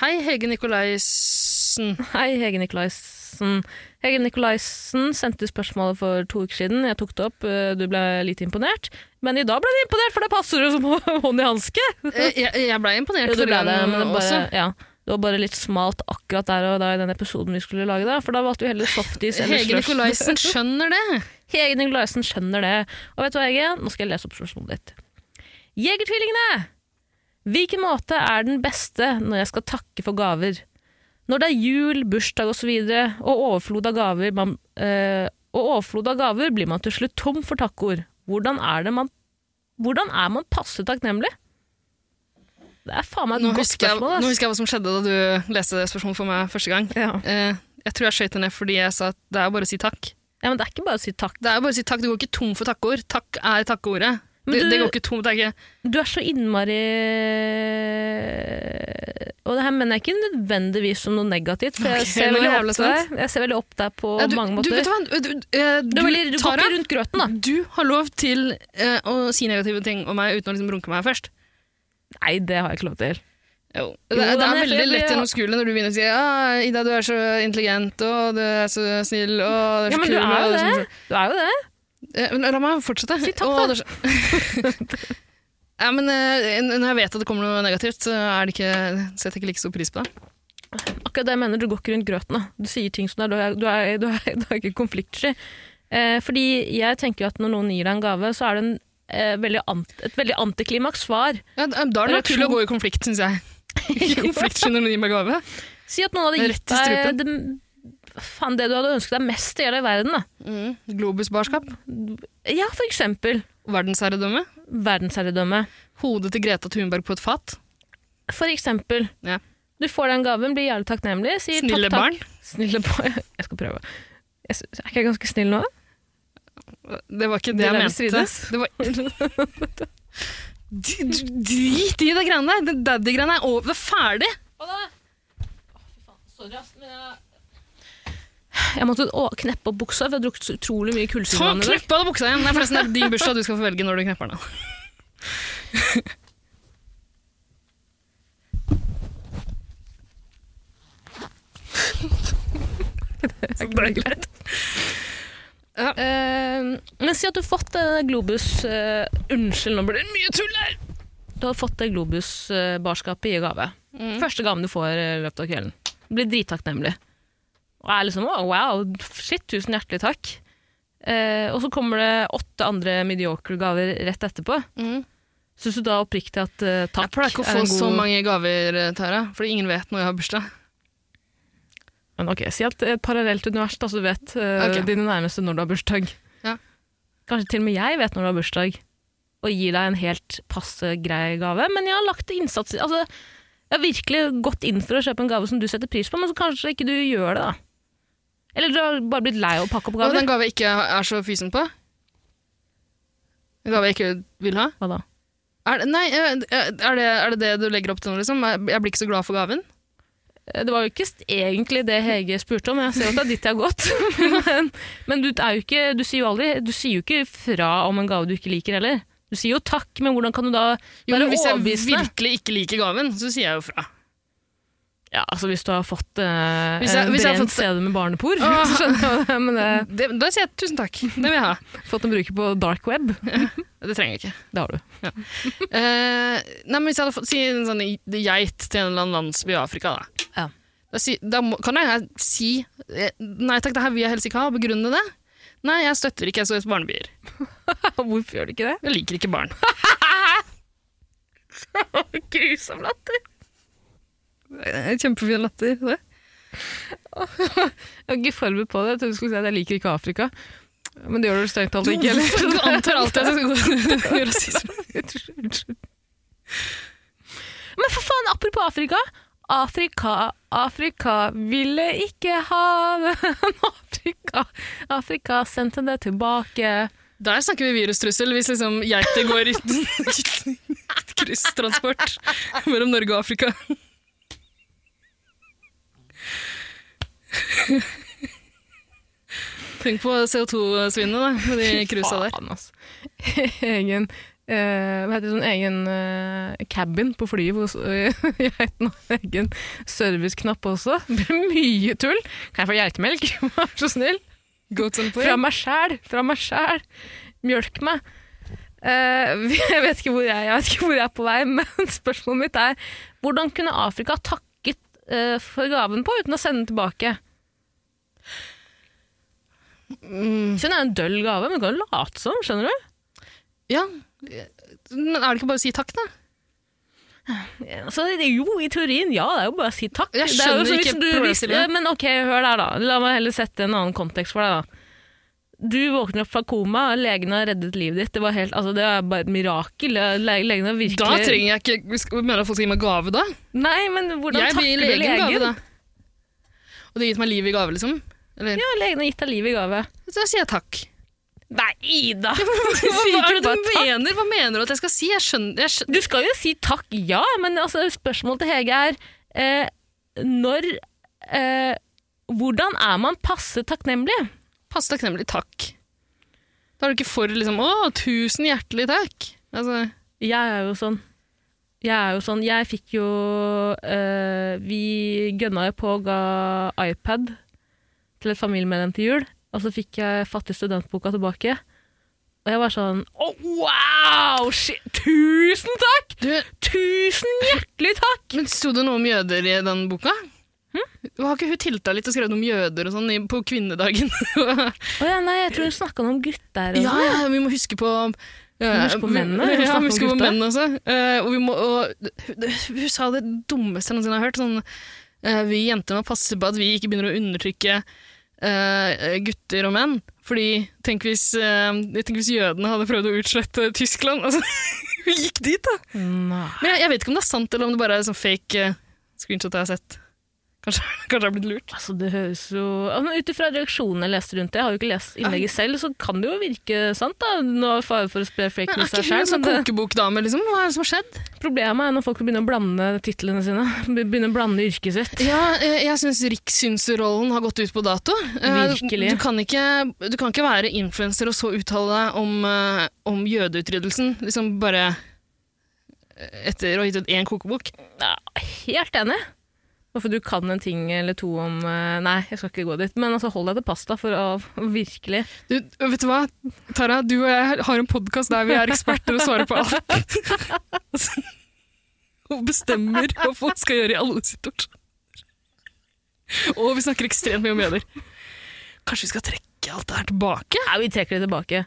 [SPEAKER 2] Hei, Hege Nikolaisen.
[SPEAKER 1] Hei, Hege Nikolaisen. Hege Nikolaisen sendte spørsmålet for to uker siden. Jeg tok det opp, eh, du ble litt imponert. Men i dag ble du imponert, for det passer jo som <laughs> hånd i hanske.
[SPEAKER 2] Eh, Jeg, jeg ble imponert
[SPEAKER 1] Jo, du ble
[SPEAKER 2] forrige
[SPEAKER 1] det,
[SPEAKER 2] gang
[SPEAKER 1] men det,
[SPEAKER 2] også.
[SPEAKER 1] bare, ja, det var bare litt smalt akkurat der og da i den episoden vi skulle lage. Da, for da valgte vi heller softis eller
[SPEAKER 2] Hege
[SPEAKER 1] slush. <laughs>
[SPEAKER 2] Nikolaisen skjønner det.
[SPEAKER 1] Hege Nikolaisen skjønner det. Og vet du hva, Hege? Nå skal jeg lese opp spørsmålet ditt. Jegertvillingene! Hvilken måte er den beste når jeg skal takke for gaver? Når det er jul, bursdag osv., og, så videre, og overflod av gaver man, eh, Og overflod av gaver blir man til slutt tom for takkord. Hvordan er, det man, hvordan er man passe takknemlig? Det er faen meg et
[SPEAKER 2] Nå
[SPEAKER 1] godt
[SPEAKER 2] husker, jeg,
[SPEAKER 1] spørsmål.
[SPEAKER 2] nå
[SPEAKER 1] ass.
[SPEAKER 2] husker jeg hva som skjedde da du leste det spørsmålet for meg første gang.
[SPEAKER 1] Ja.
[SPEAKER 2] Eh, Jeg tror jeg skjøt det ned fordi jeg sa at det er jo bare å si takk.
[SPEAKER 1] ja, men Det er ikke bare å si takk.
[SPEAKER 2] Det er jo bare å si takk, Du går ikke tom for takkeord. Takk er takkeordet.
[SPEAKER 1] Men
[SPEAKER 2] Det,
[SPEAKER 1] du-
[SPEAKER 2] det går ikke tom, det er ikke
[SPEAKER 1] Du er så innmari Og det her mener jeg ikke nødvendigvis som noe negativt, for jeg
[SPEAKER 2] Ok,
[SPEAKER 1] ser
[SPEAKER 2] nå
[SPEAKER 1] veldig
[SPEAKER 2] er jeg
[SPEAKER 1] opp
[SPEAKER 2] jævlig
[SPEAKER 1] til deg. Jeg ser veldig opp til deg på
[SPEAKER 2] Ja, du,
[SPEAKER 1] mange
[SPEAKER 2] du,
[SPEAKER 1] måter.
[SPEAKER 2] vet du hva? Du, eh,
[SPEAKER 1] Du er veldig-
[SPEAKER 2] du,
[SPEAKER 1] du går
[SPEAKER 2] Tara,
[SPEAKER 1] ikke rundt grøten, da.
[SPEAKER 2] Du har lov til eh, å si negative ting om meg uten å liksom runke meg først.
[SPEAKER 1] Nei, det har jeg ikke lov til.
[SPEAKER 2] Jo.
[SPEAKER 1] Jo,
[SPEAKER 2] Det, er- det
[SPEAKER 1] men
[SPEAKER 2] er
[SPEAKER 1] jeg-
[SPEAKER 2] veldig
[SPEAKER 1] jeg-
[SPEAKER 2] lett gjennomskuelig når du begynner å si ah, 'Ida, du er så intelligent, og du er så snill, og du er så
[SPEAKER 1] Ja, men
[SPEAKER 2] kul'
[SPEAKER 1] du er jo
[SPEAKER 2] og sånn,
[SPEAKER 1] det. Du er jo det.
[SPEAKER 2] sånn. Eh, Men la meg fortsette.
[SPEAKER 1] Si takk,
[SPEAKER 2] Og
[SPEAKER 1] da.
[SPEAKER 2] det er så- <laughs> ja, men eh, når jeg vet at det kommer noe negativt, så er det ikke, setter jeg ikke like stor pris på det.
[SPEAKER 1] Akkurat det jeg mener, du går ikke rundt grøten. Da. Du sier ting som det er. Du er, du er, du er, du er ikke konfliktsky. Eh, fordi jeg tenker jo at når noen gir deg en gave, så er det en, eh, veldig ant, et veldig antiklimaks svar.
[SPEAKER 2] Ja, da er det naturlig å gå i konflikt, syns <laughs> jeg. Ikke konflikt når man gir meg gave.
[SPEAKER 1] Si at noen hadde gitt
[SPEAKER 2] Rett i strupen.
[SPEAKER 1] deg det, faen, det du hadde ønsket deg mest i hele verden. Da.
[SPEAKER 2] Globusbarskap.
[SPEAKER 1] Ja, for eksempel
[SPEAKER 2] Verdensherredømme.
[SPEAKER 1] verdensherredømme.
[SPEAKER 2] Hodet til Greta Thunberg på et fat.
[SPEAKER 1] For eksempel.
[SPEAKER 2] Ja.
[SPEAKER 1] Du får den gaven, blir jævlig takknemlig. Sier
[SPEAKER 2] Snille
[SPEAKER 1] takk,
[SPEAKER 2] barn.
[SPEAKER 1] takk. Snille barn. <laughs> Jeg skal prøve. Jeg sy- er ikke jeg ganske snill nå?
[SPEAKER 2] Det var ikke det,
[SPEAKER 1] Det
[SPEAKER 2] jeg
[SPEAKER 1] der
[SPEAKER 2] mente. <laughs>
[SPEAKER 1] strides.
[SPEAKER 2] Det var... D- d- Drit i det greiene der! Den daddy-greiene er over. Det er ferdig!
[SPEAKER 1] Jeg måtte å, kneppe opp buksa, for jeg har drukket så utrolig mye
[SPEAKER 2] Ta
[SPEAKER 1] kullsyre. i dag.
[SPEAKER 2] Knepp av deg buksa igjen! Det er forresten det er din bursdag, du skal få velge når du
[SPEAKER 1] <laughs>
[SPEAKER 2] knepper den.
[SPEAKER 1] Det er greit.
[SPEAKER 2] Ja.
[SPEAKER 1] Eh, men si at du har fått eh, Globus eh, Unnskyld, nå blir det mye tull her! Du har fått det Globus-barskapet i gave.
[SPEAKER 2] Mm.
[SPEAKER 1] Første gaven du får eh, i løpet av kvelden. Du blir drittakknemlig. Og er liksom «Å, wow, shit, tusen hjertelig takk. Eh, og så kommer det åtte andre mediocre gaver rett etterpå.
[SPEAKER 2] Mm.
[SPEAKER 1] Syns du da oppriktig at eh, takk
[SPEAKER 2] Jeg pleier ikke å
[SPEAKER 1] er
[SPEAKER 2] få
[SPEAKER 1] en god
[SPEAKER 2] så mange gaver, Tara, fordi ingen vet når jeg har bursdag.
[SPEAKER 1] Men ok, Si at et parallelt univers, da, så du vet eh,
[SPEAKER 2] Ok.
[SPEAKER 1] dine nærmeste når du har bursdag.
[SPEAKER 2] Ja.
[SPEAKER 1] Kanskje til og med jeg vet når du har bursdag, og gir deg en helt passe grei gave. Men jeg har lagt innsats i altså, Jeg har virkelig gått inn for å kjøpe en gave som du setter pris på, men så kanskje ikke du gjør det, da. Eller du har bare blitt lei av å pakke opp
[SPEAKER 2] Og
[SPEAKER 1] gaver.
[SPEAKER 2] den gave jeg ikke er så fysen på. En gave jeg ikke vil ha.
[SPEAKER 1] Hva da?
[SPEAKER 2] Er det, nei, eh, er det, er det det du legger opp til nå, liksom? Jeg blir ikke så glad for gaven?
[SPEAKER 1] Eh, Det var jo ikke st- egentlig det Hege spurte om, jeg ser jo at det er dit jeg har gått. <laughs> men men du, er jo ikke, du sier jo aldri Du sier jo ikke fra om en gave du ikke liker heller. Du sier jo takk, men hvordan kan du da
[SPEAKER 2] Jo,
[SPEAKER 1] være
[SPEAKER 2] men hvis jeg
[SPEAKER 1] overbevisende?
[SPEAKER 2] virkelig ikke liker gaven, så sier jeg jo fra.
[SPEAKER 1] Ja, altså hvis du har fått eh,
[SPEAKER 2] Hvis jeg-
[SPEAKER 1] en
[SPEAKER 2] hvis jeg har
[SPEAKER 1] brent
[SPEAKER 2] fått-
[SPEAKER 1] CD med barnepor, <laughs>
[SPEAKER 2] Ah.
[SPEAKER 1] så skjønner jeg det, men det
[SPEAKER 2] Det, da sier jeg tusen takk. Det vil jeg ha.
[SPEAKER 1] fått en bruker på dark
[SPEAKER 2] <laughs>
[SPEAKER 1] web,
[SPEAKER 2] Det trenger jeg ikke.
[SPEAKER 1] det har du.
[SPEAKER 2] Eh, nei, men Hvis jeg hadde fått si en sånn geit til en eller annen landsby i Afrika, da,
[SPEAKER 1] Ja.
[SPEAKER 2] da, si, da må, kan jeg her si eh, Nei takk, det her vil jeg helst ikke ha, og begrunne det. Nei, jeg støtter ikke SOS Barnebyer.
[SPEAKER 1] <laughs> Hvorfor gjør du ikke det?
[SPEAKER 2] Jeg liker ikke barn.
[SPEAKER 1] Grusom latter.
[SPEAKER 2] Eh, Kjempefin latter. det.
[SPEAKER 1] Jeg var ikke forberedt på det. Jeg trodde du skulle si at jeg liker ikke Afrika. Men det gjør du strengt talt
[SPEAKER 2] Du, <laughs>
[SPEAKER 1] ikke heller.
[SPEAKER 2] du antar alltid at <laughs> jeg skal gjøre rasisme.
[SPEAKER 1] Unnskyld. Men for faen, apropos Afrika. Afrika, Afrika ville ikke ha <laughs> den. Afrika, Afrika sendte det tilbake.
[SPEAKER 2] Der snakker vi virustrussel, hvis liksom geiter går i <laughs> krysstransport mellom Norge og Afrika. Tenk på CO2-svinnet da, med de cruisa der.
[SPEAKER 1] Faen, altså. <laughs> Egen eh, Hva heter det sånn egen eh, cabin på flyet hvor eh, <laughs> geiten har egen serviceknapp også. <laughs> Det blir mye tull. Kan jeg få geitemelk? <laughs> Vær så snill.
[SPEAKER 2] Goats and
[SPEAKER 1] Fra
[SPEAKER 2] play.
[SPEAKER 1] meg sjæl! Fra meg sjæl! Mjølk meg. Eh, <laughs> vi- jeg, vet ikke hvor jeg, jeg vet ikke hvor jeg er på vei, <laughs> men spørsmålet mitt er hvordan kunne Afrika takket eh, for gaven på uten å sende den tilbake?
[SPEAKER 2] Mm,
[SPEAKER 1] Skjønner jeg er en døll gave, men du kan jo late som, skjønner du?
[SPEAKER 2] ja, men er det ikke bare å si takk da?
[SPEAKER 1] Så det- jo, i teorien, ja, det er jo bare å si takk.
[SPEAKER 2] Jeg
[SPEAKER 1] Det er jo
[SPEAKER 2] skjønner
[SPEAKER 1] som
[SPEAKER 2] ikke
[SPEAKER 1] hvis du- hvis-
[SPEAKER 2] problemstillingen.
[SPEAKER 1] Men ok, hør der da. La meg heller sette en annen kontekst for deg da. Du våkner opp fra koma, legen har reddet livet ditt. Det, var helt, altså, det er bare et mirakel. Le- Legen har virkelig...
[SPEAKER 2] Da trenger jeg ikke, mener du at folk skal gi meg gave da?
[SPEAKER 1] Nei, men hvordan
[SPEAKER 2] Jeg vil
[SPEAKER 1] takker
[SPEAKER 2] gi
[SPEAKER 1] du
[SPEAKER 2] legen
[SPEAKER 1] legen?
[SPEAKER 2] gave da. Og det har gitt meg liv i gave liksom? Eller?
[SPEAKER 1] Ja, legen har gitt deg liv i gave.
[SPEAKER 2] Så da sier jeg takk.
[SPEAKER 1] Nei, Ida!
[SPEAKER 2] Hva, hva
[SPEAKER 1] sier
[SPEAKER 2] er
[SPEAKER 1] ikke
[SPEAKER 2] det
[SPEAKER 1] bare
[SPEAKER 2] du
[SPEAKER 1] takk.
[SPEAKER 2] mener? Hva mener du at jeg skal si? Jeg skjønner, jeg
[SPEAKER 1] <laughs>
[SPEAKER 2] skjønner.
[SPEAKER 1] Du skal jo si takk, ja, men altså, spørsmålet til Hege er eh, når eh, Hvordan er man passe takknemlig?
[SPEAKER 2] Pass takknemlig takk. Da er du ikke for liksom Å, tusen hjertelig takk. Altså,
[SPEAKER 1] Jeg er jo sånn. Jeg er jo sånn. Jeg fikk jo eh, Vi gønna jo på og ga iPad til et familiemedlem til jul, og så fikk jeg Fattig studentboka tilbake. Og jeg var sånn Å, wow! Shit, tusen takk!
[SPEAKER 2] du,
[SPEAKER 1] Tusen hjertelig takk!
[SPEAKER 2] men sto det noe om jøder i den boka?
[SPEAKER 1] Hm?
[SPEAKER 2] Har ikke hun tilta litt og skrevet om jøder og sånn i- på kvinnedagen? <laughs>
[SPEAKER 1] Å ja, nei, jeg tror hun snakka noe om gutter. og
[SPEAKER 2] ja,
[SPEAKER 1] sånn.
[SPEAKER 2] ja, vi må huske på eh,
[SPEAKER 1] huske på mennene, vi må
[SPEAKER 2] Ja,
[SPEAKER 1] snakke
[SPEAKER 2] vi
[SPEAKER 1] om
[SPEAKER 2] husker på
[SPEAKER 1] gutta.
[SPEAKER 2] mennene også. Eh, og vi må, og, hun, hun sa det dummeste jeg noensinne har hørt. Sånn, eh, vi jenter må passe på at vi ikke begynner å undertrykke eh, gutter og menn. Fordi tenk hvis, eh, tenk hvis jødene hadde prøvd å utslette Tyskland. <laughs> Altså, hun gikk dit, da!
[SPEAKER 1] sånn.
[SPEAKER 2] Men jeg, jeg vet ikke om det er sant, eller om det bare er sånn fake eh, screenshot jeg har sett. Kanskje, <laughs> kanskje jeg har blitt lurt.
[SPEAKER 1] Altså, det høres jo altså, Ut ifra reaksjonene jeg leste rundt det, jeg har jo ikke lest innlegget selv, så kan det jo virke sant, da. Nå er fare for å spre fake
[SPEAKER 2] Men er
[SPEAKER 1] news
[SPEAKER 2] ikke
[SPEAKER 1] her
[SPEAKER 2] hun en
[SPEAKER 1] selv,
[SPEAKER 2] sånn
[SPEAKER 1] men det-
[SPEAKER 2] kokebokdame, liksom? Hva er det som har skjedd?
[SPEAKER 1] Problemet er når folk begynner å blande titlene sine. <laughs> Be- Begynner å blande yrket sitt.
[SPEAKER 2] Ja, eh, jeg syns rikssynserrollen har gått ut på dato. Eh,
[SPEAKER 1] Virkelig.
[SPEAKER 2] Du kan ikke, du kan ikke være influenser og så uttale deg om, eh, om jødeutryddelsen liksom bare eh, etter å ha gitt ut én kokebok.
[SPEAKER 1] Ja, helt enig. Hvorfor du kan en ting eller to om eh, Nei, jeg skal ikke gå dit. Men altså, hold deg til pasta, for å <laughs> virkelig
[SPEAKER 2] Du, vet du hva, Tara? Du og jeg har en podkast der vi er eksperter og svarer på alt. <laughs> og bestemmer hva folk skal gjøre i alle situasjoner. Og vi snakker ekstremt mye om jøder. Kanskje vi skal trekke alt det her tilbake?
[SPEAKER 1] Nei, vi trekker det tilbake.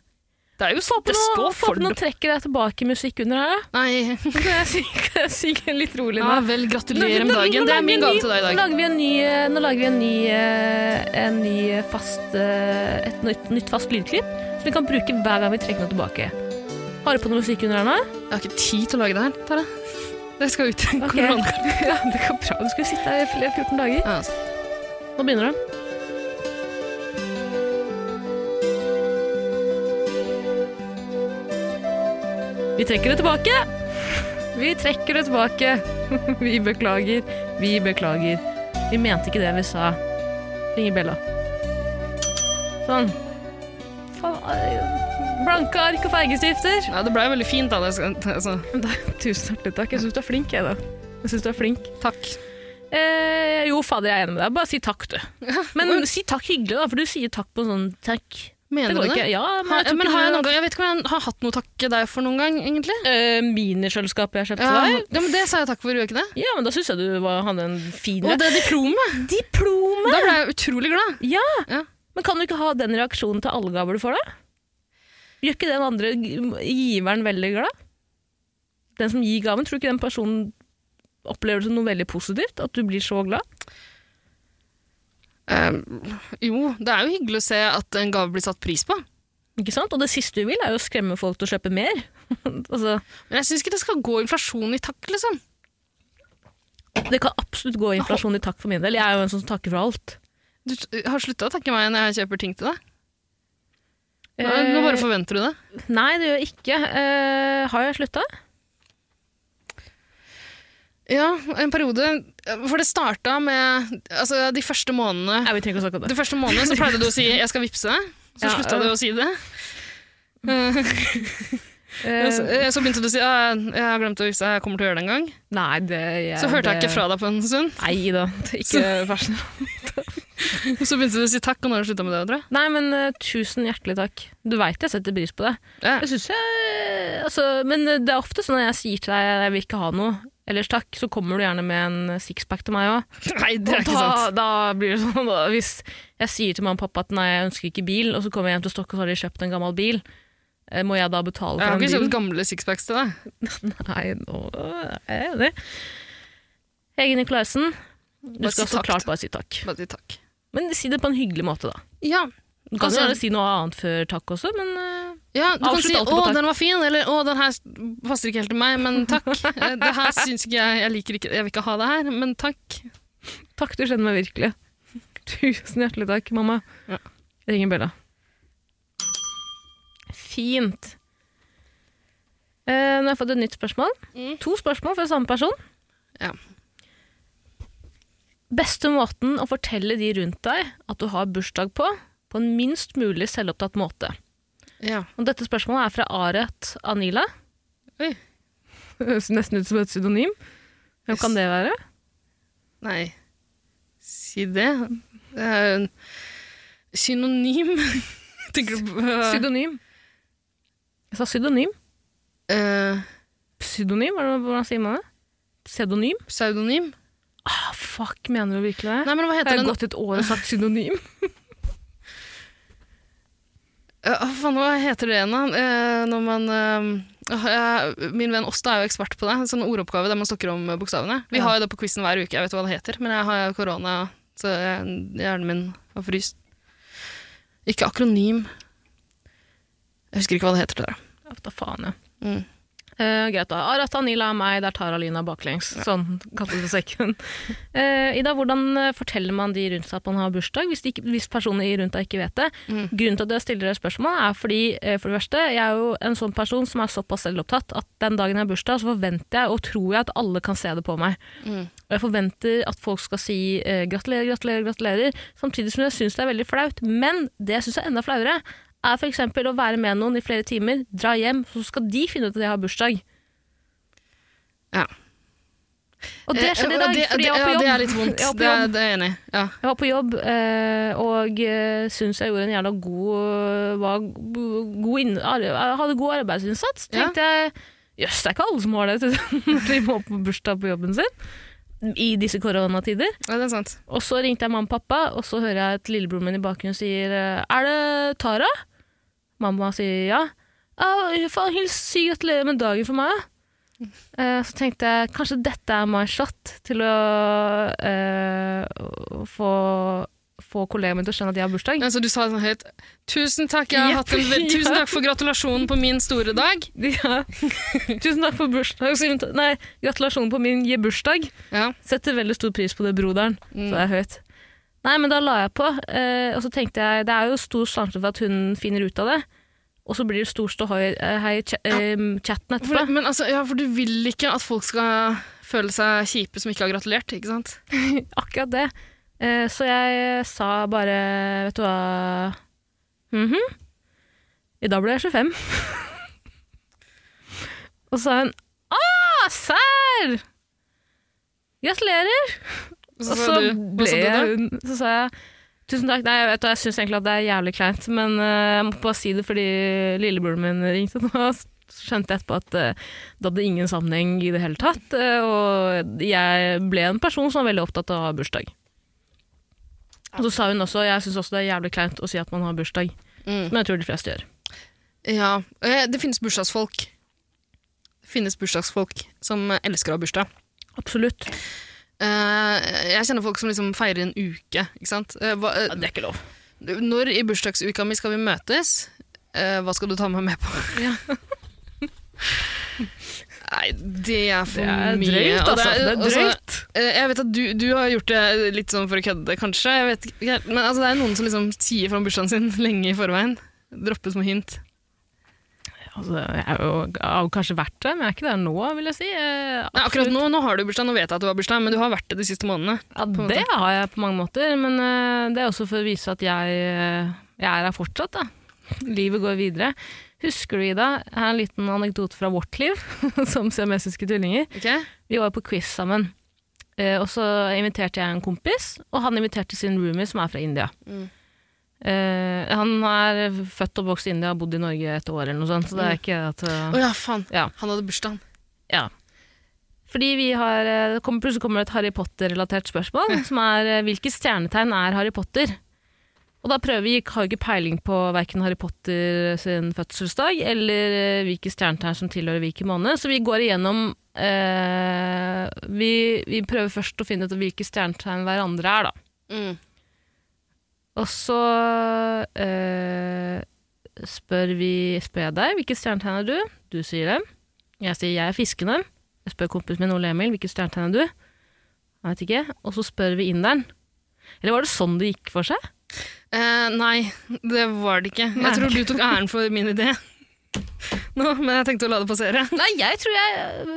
[SPEAKER 2] Det er jo
[SPEAKER 1] Få på
[SPEAKER 2] det
[SPEAKER 1] noe,
[SPEAKER 2] står
[SPEAKER 1] få
[SPEAKER 2] for
[SPEAKER 1] på noe trekker deg tilbake-musikk under her, da. <laughs>
[SPEAKER 2] Nei. Ah.
[SPEAKER 1] Så kan jeg synge- kan jeg synge litt rolig nå.
[SPEAKER 2] Ja vel, gratulerer med
[SPEAKER 1] Nå- nå- nå
[SPEAKER 2] dagen. Det
[SPEAKER 1] lager vi
[SPEAKER 2] er
[SPEAKER 1] en
[SPEAKER 2] min
[SPEAKER 1] ny-
[SPEAKER 2] gave til deg i
[SPEAKER 1] Nå
[SPEAKER 2] dag.
[SPEAKER 1] lager vi en ny, eh, nå lager vi en ny, eh, en ny eh, fast, eh, et nytt, nytt fast lydklipp som vi kan bruke hver gang vi trekker noe tilbake. Har du på noe musikk under her nå?
[SPEAKER 2] Jeg har ikke tid til å lage det her, Tara. Det skal ut i
[SPEAKER 1] Ok.
[SPEAKER 2] korona.
[SPEAKER 1] <laughs> ja, det går bra. Du skulle sitte her i flere- 14 dager.
[SPEAKER 2] Ja, altså.
[SPEAKER 1] Nå begynner den. Vi trekker det tilbake! Vi trekker det tilbake. <laughs> Vi beklager. Vi beklager. Vi mente ikke det vi sa. Ringer Bella. Sånn. Faen, eh, Blanke ark og fargestifter.
[SPEAKER 2] Ja, det ble veldig fint, da. Det skal, altså.
[SPEAKER 1] Tusen hjertelig takk. Jeg syns du er flink, jeg, da. Jeg synes du er flink.
[SPEAKER 2] Takk.
[SPEAKER 1] Eh, jo, fader, jeg er enig med deg. Bare si takk,
[SPEAKER 2] <laughs>
[SPEAKER 1] du. Men si takk hyggelig, da, for du sier takk på en sånn takk. Det
[SPEAKER 2] Mener
[SPEAKER 1] går
[SPEAKER 2] du
[SPEAKER 1] ikke.
[SPEAKER 2] det?
[SPEAKER 1] Ja, men
[SPEAKER 2] Har,
[SPEAKER 1] jeg tror
[SPEAKER 2] men
[SPEAKER 1] ikke
[SPEAKER 2] har jeg
[SPEAKER 1] du-
[SPEAKER 2] noen gang, jeg vet ikke om jeg har hatt noe å takke deg for noen gang, egentlig.
[SPEAKER 1] Eh, Miniskjølskapet jeg kjøpte
[SPEAKER 2] Ja,
[SPEAKER 1] til
[SPEAKER 2] ja,
[SPEAKER 1] deg?
[SPEAKER 2] men det sa jeg takk for, gjorde jeg ikke det?
[SPEAKER 1] Ja, men da syns jeg du var, hadde en fin
[SPEAKER 2] Og
[SPEAKER 1] reaksjon.
[SPEAKER 2] det diplomet!
[SPEAKER 1] Diplomet!
[SPEAKER 2] Da ble jeg utrolig glad.
[SPEAKER 1] Men kan du ikke ha den reaksjonen til alle gaver du får, da? Gjør ikke den andre g- giveren veldig glad? Den som gir gaven, tror du ikke den personen opplever det som noe veldig positivt? At du blir så glad?
[SPEAKER 2] Eh, jo, det er jo hyggelig å se at en gave blir satt pris på.
[SPEAKER 1] Ikke sant? Og det siste du vil, er jo å skremme folk til å kjøpe mer. <laughs> altså,
[SPEAKER 2] Men jeg syns ikke det skal gå inflasjon i takk, liksom.
[SPEAKER 1] Det kan absolutt gå inflasjon i takk for min del. Jeg er jo en sånn som takker for alt.
[SPEAKER 2] Du t- har slutta å takke meg når jeg kjøper ting til deg. Nå, nå bare forventer du det.
[SPEAKER 1] Eh, Nei, det gjør jeg ikke. Eh, har jeg slutta?
[SPEAKER 2] Ja, en periode. For det starta med altså, de første månedene
[SPEAKER 1] Nei, vi trenger ikke å snakke om det.
[SPEAKER 2] De første månedene så pleide du å si 'jeg skal vippse', så
[SPEAKER 1] Ja,
[SPEAKER 2] slutta
[SPEAKER 1] øh.
[SPEAKER 2] du å si
[SPEAKER 1] <laughs>
[SPEAKER 2] det. Eh,
[SPEAKER 1] Eh,
[SPEAKER 2] så, eh, så begynte du å si «Ah, 'jeg har glemt å vippse, jeg kommer til å gjøre det en gang'.
[SPEAKER 1] nei, det jeg,
[SPEAKER 2] Så hørte jeg
[SPEAKER 1] det-
[SPEAKER 2] ikke fra deg på en stund.
[SPEAKER 1] Nei da. det er Ikke <laughs> vær så snill.
[SPEAKER 2] <laughs> Så begynte du å si takk, og nå har du slutta med det, tror jeg.
[SPEAKER 1] Nei, men eh, tusen hjertelig takk. Du veit jeg setter pris på det.
[SPEAKER 2] Ja.
[SPEAKER 1] Jeg synes jeg altså, Men det er ofte sånn når jeg sier til deg jeg vil ikke ha noe, ellers takk, så kommer du gjerne med en sixpack til meg òg.
[SPEAKER 2] Nei, det
[SPEAKER 1] Og
[SPEAKER 2] er ikke
[SPEAKER 1] da,
[SPEAKER 2] sant.
[SPEAKER 1] Da blir det sånn, da, hvis jeg sier til mamma og pappa at nei, jeg ønsker ikke bil, og så kommer jeg hjem til Stokke og så har de kjøpt en gammel bil, eh, må jeg da betale
[SPEAKER 2] Jeg har
[SPEAKER 1] for
[SPEAKER 2] ikke
[SPEAKER 1] den
[SPEAKER 2] kjøpt
[SPEAKER 1] bilen? <laughs>
[SPEAKER 2] gamle sixpacks til deg.
[SPEAKER 1] Nei, nå er jeg enig. Hege Nikolaisen, du
[SPEAKER 2] Bare
[SPEAKER 1] skal
[SPEAKER 2] si
[SPEAKER 1] så
[SPEAKER 2] takk,
[SPEAKER 1] klart
[SPEAKER 2] da.
[SPEAKER 1] bare si takk.
[SPEAKER 2] Bare si takk.
[SPEAKER 1] Men si det på en hyggelig måte, da.
[SPEAKER 2] Ja,
[SPEAKER 1] Du kan
[SPEAKER 2] Altså-
[SPEAKER 1] jo gjerne si noe annet før takk også, men eh,
[SPEAKER 2] Ja, du kan
[SPEAKER 1] Avslutt
[SPEAKER 2] si
[SPEAKER 1] alltid med
[SPEAKER 2] 'å,
[SPEAKER 1] takk.
[SPEAKER 2] den var fin', eller 'å, den her passer ikke helt til meg', men
[SPEAKER 1] <laughs>
[SPEAKER 2] takk. Eh, det her syns ikke jeg Jeg liker ikke Jeg vil ikke ha det her, men takk.
[SPEAKER 1] takk, du kjenner meg virkelig. Tusen hjertelig takk, mamma.
[SPEAKER 2] Ja.
[SPEAKER 1] Ringer Bella. Fint. Eh, nå har jeg fått et nytt spørsmål.
[SPEAKER 2] Mm.
[SPEAKER 1] To spørsmål fra samme person.
[SPEAKER 2] Ja.
[SPEAKER 1] Beste måten å fortelle de rundt deg at du har bursdag på, på en minst mulig selvopptatt måte.
[SPEAKER 2] Ja.
[SPEAKER 1] Og dette spørsmålet er fra Aret Anila.
[SPEAKER 2] Oi.
[SPEAKER 1] Det Høres <laughs> nesten ut som et pseudonym. Hvem kan det være?
[SPEAKER 2] Nei, si det. Det er jo en synonym. <laughs> Tenker du på uh,
[SPEAKER 1] Pseudonym. Jeg sa pseudonym.
[SPEAKER 2] uh, eh,
[SPEAKER 1] Pseudonym, hva er det- hvordan sier man det? Pseudonym?
[SPEAKER 2] Pseudonym?
[SPEAKER 1] Ah, fuck, mener du virkelig det?
[SPEAKER 2] Nei, men hva
[SPEAKER 1] Har
[SPEAKER 2] heter
[SPEAKER 1] jeg
[SPEAKER 2] den?
[SPEAKER 1] gått et år og sagt synonym?
[SPEAKER 2] Ja, Eh, ah, faen, hva heter det igjen, da? Eh, Når man eh, åh, jeg- Min venn Åsta er jo ekspert på det. En sånn ordoppgave der man snakker om eh, bokstavene. Vi
[SPEAKER 1] Ja.
[SPEAKER 2] har jo det på quizen hver uke, jeg vet hva det heter, men jeg har jo korona, så jeg- hjernen min har fryst. Ikke akronym. Jeg husker ikke hva det heter. Dere.
[SPEAKER 1] Ja, Da faen, ja.
[SPEAKER 2] Mm.
[SPEAKER 1] Eh, greit, da. Arata Nila er meg, der tar Alina baklengs. Sånn, kaster på sekken. Eh, Ida, hvordan eh, forteller man de rundt seg at man har bursdag, hvis, de ikke, hvis personene i rundt deg ikke vet det? Grunnen til at jeg stiller deg spørsmål, er fordi eh, for det verste, jeg er jo en sånn person som er såpass selvopptatt at den dagen jeg har bursdag, så forventer jeg og tror jeg at alle kan se det på meg. Og jeg forventer at folk skal si eh, gratulerer, gratulerer, gratulerer, samtidig som jeg syns det er veldig flaut. Men det jeg syns er enda flauere, er f.eks. å være med noen i flere timer, dra hjem, så skal de finne ut at jeg har bursdag.
[SPEAKER 2] Ja.
[SPEAKER 1] Og det skjedde i dag,
[SPEAKER 2] Eh, det-
[SPEAKER 1] fordi jeg
[SPEAKER 2] det-
[SPEAKER 1] var på
[SPEAKER 2] Ja,
[SPEAKER 1] jobb.
[SPEAKER 2] det er litt vondt.
[SPEAKER 1] Jeg var på
[SPEAKER 2] Det, er,
[SPEAKER 1] jobb.
[SPEAKER 2] det er jeg enig i. Ja.
[SPEAKER 1] Jeg var på jobb, eh, og eh, syns jeg gjorde en jævla god, eh, var god inn, ar- Hadde god arbeidsinnsats.
[SPEAKER 2] Ja.
[SPEAKER 1] Tenkte jeg jøss, det er ikke alle som har det <laughs> til at de må på bursdag på jobben sin. I disse koronatider.
[SPEAKER 2] ja, det er sant.
[SPEAKER 1] Og så ringte jeg mamma og pappa, og så hører jeg at lillebroren min i bakgrunnen sier eh, Er det Tara? Mamma sier ja. «Ja, faen, hils, si gratulerer med dagen for meg. Eh, Så tenkte jeg kanskje dette er my shot til å eh, få, få kollegaen min til å skjønne at jeg har bursdag. <laughs>
[SPEAKER 2] Ja, så du sa sånn høyt 'Tusen takk, jeg har
[SPEAKER 1] Mm. Jepp.
[SPEAKER 2] hatt en, ve- tusen takk for gratulasjonen på min store dag'.
[SPEAKER 1] Ja. Tusen takk for bursdag. sier hun til- Nei, gratulasjonen på min bursdag.
[SPEAKER 2] Ja.
[SPEAKER 1] Setter veldig stor pris på det, broderen.
[SPEAKER 2] Mm.
[SPEAKER 1] Så det er høyt. Nei, men da la jeg på, eh, og så tenkte jeg det er jo stor sjanse for at hun finner ut av det. Og så blir det stor ståhei eh, hei i cha- eh, chatten
[SPEAKER 2] For,
[SPEAKER 1] etterpå.
[SPEAKER 2] men altså, ja, for du vil ikke at folk skal føle seg kjipe som ikke har gratulert, ikke sant?
[SPEAKER 1] Akkurat det. Eh, så jeg sa bare Vet du hva Mhm. I dag ble jeg 25. <laughs> og så sa hun Ah, serr! Gratulerer!
[SPEAKER 2] Og
[SPEAKER 1] Og
[SPEAKER 2] sa
[SPEAKER 1] så
[SPEAKER 2] du- hva
[SPEAKER 1] ble
[SPEAKER 2] sa du da?
[SPEAKER 1] jeg hun, så sa jeg tusen takk. Nei, jeg vet hva, jeg syns egentlig at det er jævlig kleint, men eh, jeg måtte bare si det fordi lillebroren min ringte <laughs> nå. og Så skjønte jeg etterpå at eh, det hadde ingen sammenheng i det hele tatt. eh, og jeg ble en person som var veldig opptatt av å ha bursdag. Og så sa hun også jeg syns også det er jævlig kleint å si at man har bursdag.
[SPEAKER 2] Mm.
[SPEAKER 1] Men jeg tror de fleste gjør.
[SPEAKER 2] Ja, eh, det finnes bursdagsfolk. Det finnes bursdagsfolk som elsker å ha bursdag.
[SPEAKER 1] Absolutt.
[SPEAKER 2] Eh, jeg kjenner folk som liksom feirer en uke, ikke sant? Eh, hva, eh,
[SPEAKER 1] Ja, det er ikke lov.
[SPEAKER 2] når i bursdagsuka mi skal vi møtes? Eh, hva skal du ta meg med på?
[SPEAKER 1] <laughs>
[SPEAKER 2] Nei, det er for
[SPEAKER 1] Det er
[SPEAKER 2] mye.
[SPEAKER 1] drøyt,
[SPEAKER 2] og
[SPEAKER 1] altså. Det er
[SPEAKER 2] og så-
[SPEAKER 1] drøyt.
[SPEAKER 2] Eh, Jeg vet at du, du har gjort det litt sånn for å kødde, kanskje. Jeg vet ikke, helt, men altså, det er noen som liksom sier fra om bursdagen sin <laughs> lenge i forveien. Dropper små hint.
[SPEAKER 1] Altså, jeg er jo, har jo kanskje vært det, men jeg er ikke der nå, vil jeg si. Eh,
[SPEAKER 2] Nei, akkurat nå, nå har du bursdag, nå vet jeg at du har bursdag, men du har vært det de siste månedene.
[SPEAKER 1] Ja,
[SPEAKER 2] en
[SPEAKER 1] det har jeg på mange måter, men eh, det er også for å vise at jeg, eh, jeg er her fortsatt. Da. Livet går videre. Husker du, Ida, her er en liten anekdote fra vårt liv <laughs> som siamesiske tvillinger.
[SPEAKER 2] Ok?
[SPEAKER 1] Vi var jo på quiz sammen, eh, og så inviterte jeg en kompis, og han inviterte sin roomie som er fra India.
[SPEAKER 2] Mm.
[SPEAKER 1] Eh, han er født og vokst i India og har bodd i Norge et år eller noe sånt, så det
[SPEAKER 2] Mm.
[SPEAKER 1] er ikke at eh,
[SPEAKER 2] Å ja, faen.
[SPEAKER 1] Ja.
[SPEAKER 2] Han hadde bursdag.
[SPEAKER 1] ja. Fordi vi har, eh, det kommer, plutselig kommer det et Harry Potter-relatert spørsmål, som er eh, hvilke stjernetegn er Harry Potter? Og da prøver vi, har jo ikke peiling på verken Harry Potter eh, sin fødselsdag, eller eh, hvilke stjernetegn som tilhører hvilken måned, så vi går igjennom eh, vi, vi prøver først å finne ut hvilke stjernetegn hverandre er, da.
[SPEAKER 2] Mm.
[SPEAKER 1] Og så eh, spør, vi, spør jeg deg hvilket stjernetegn er du? Du sier dem. Jeg sier jeg er fiskene. Jeg spør kompisen min Ole Emil hvilket stjernetegn er du? Jeg vet ikke. Og så spør vi inderen. Eller var det sånn det gikk for seg?
[SPEAKER 2] Eh, nei, det var det ikke.
[SPEAKER 1] Nei.
[SPEAKER 2] Jeg tror du tok æren for min idé nå, men jeg tenkte å la det passere.
[SPEAKER 1] Nei, jeg tror jeg Så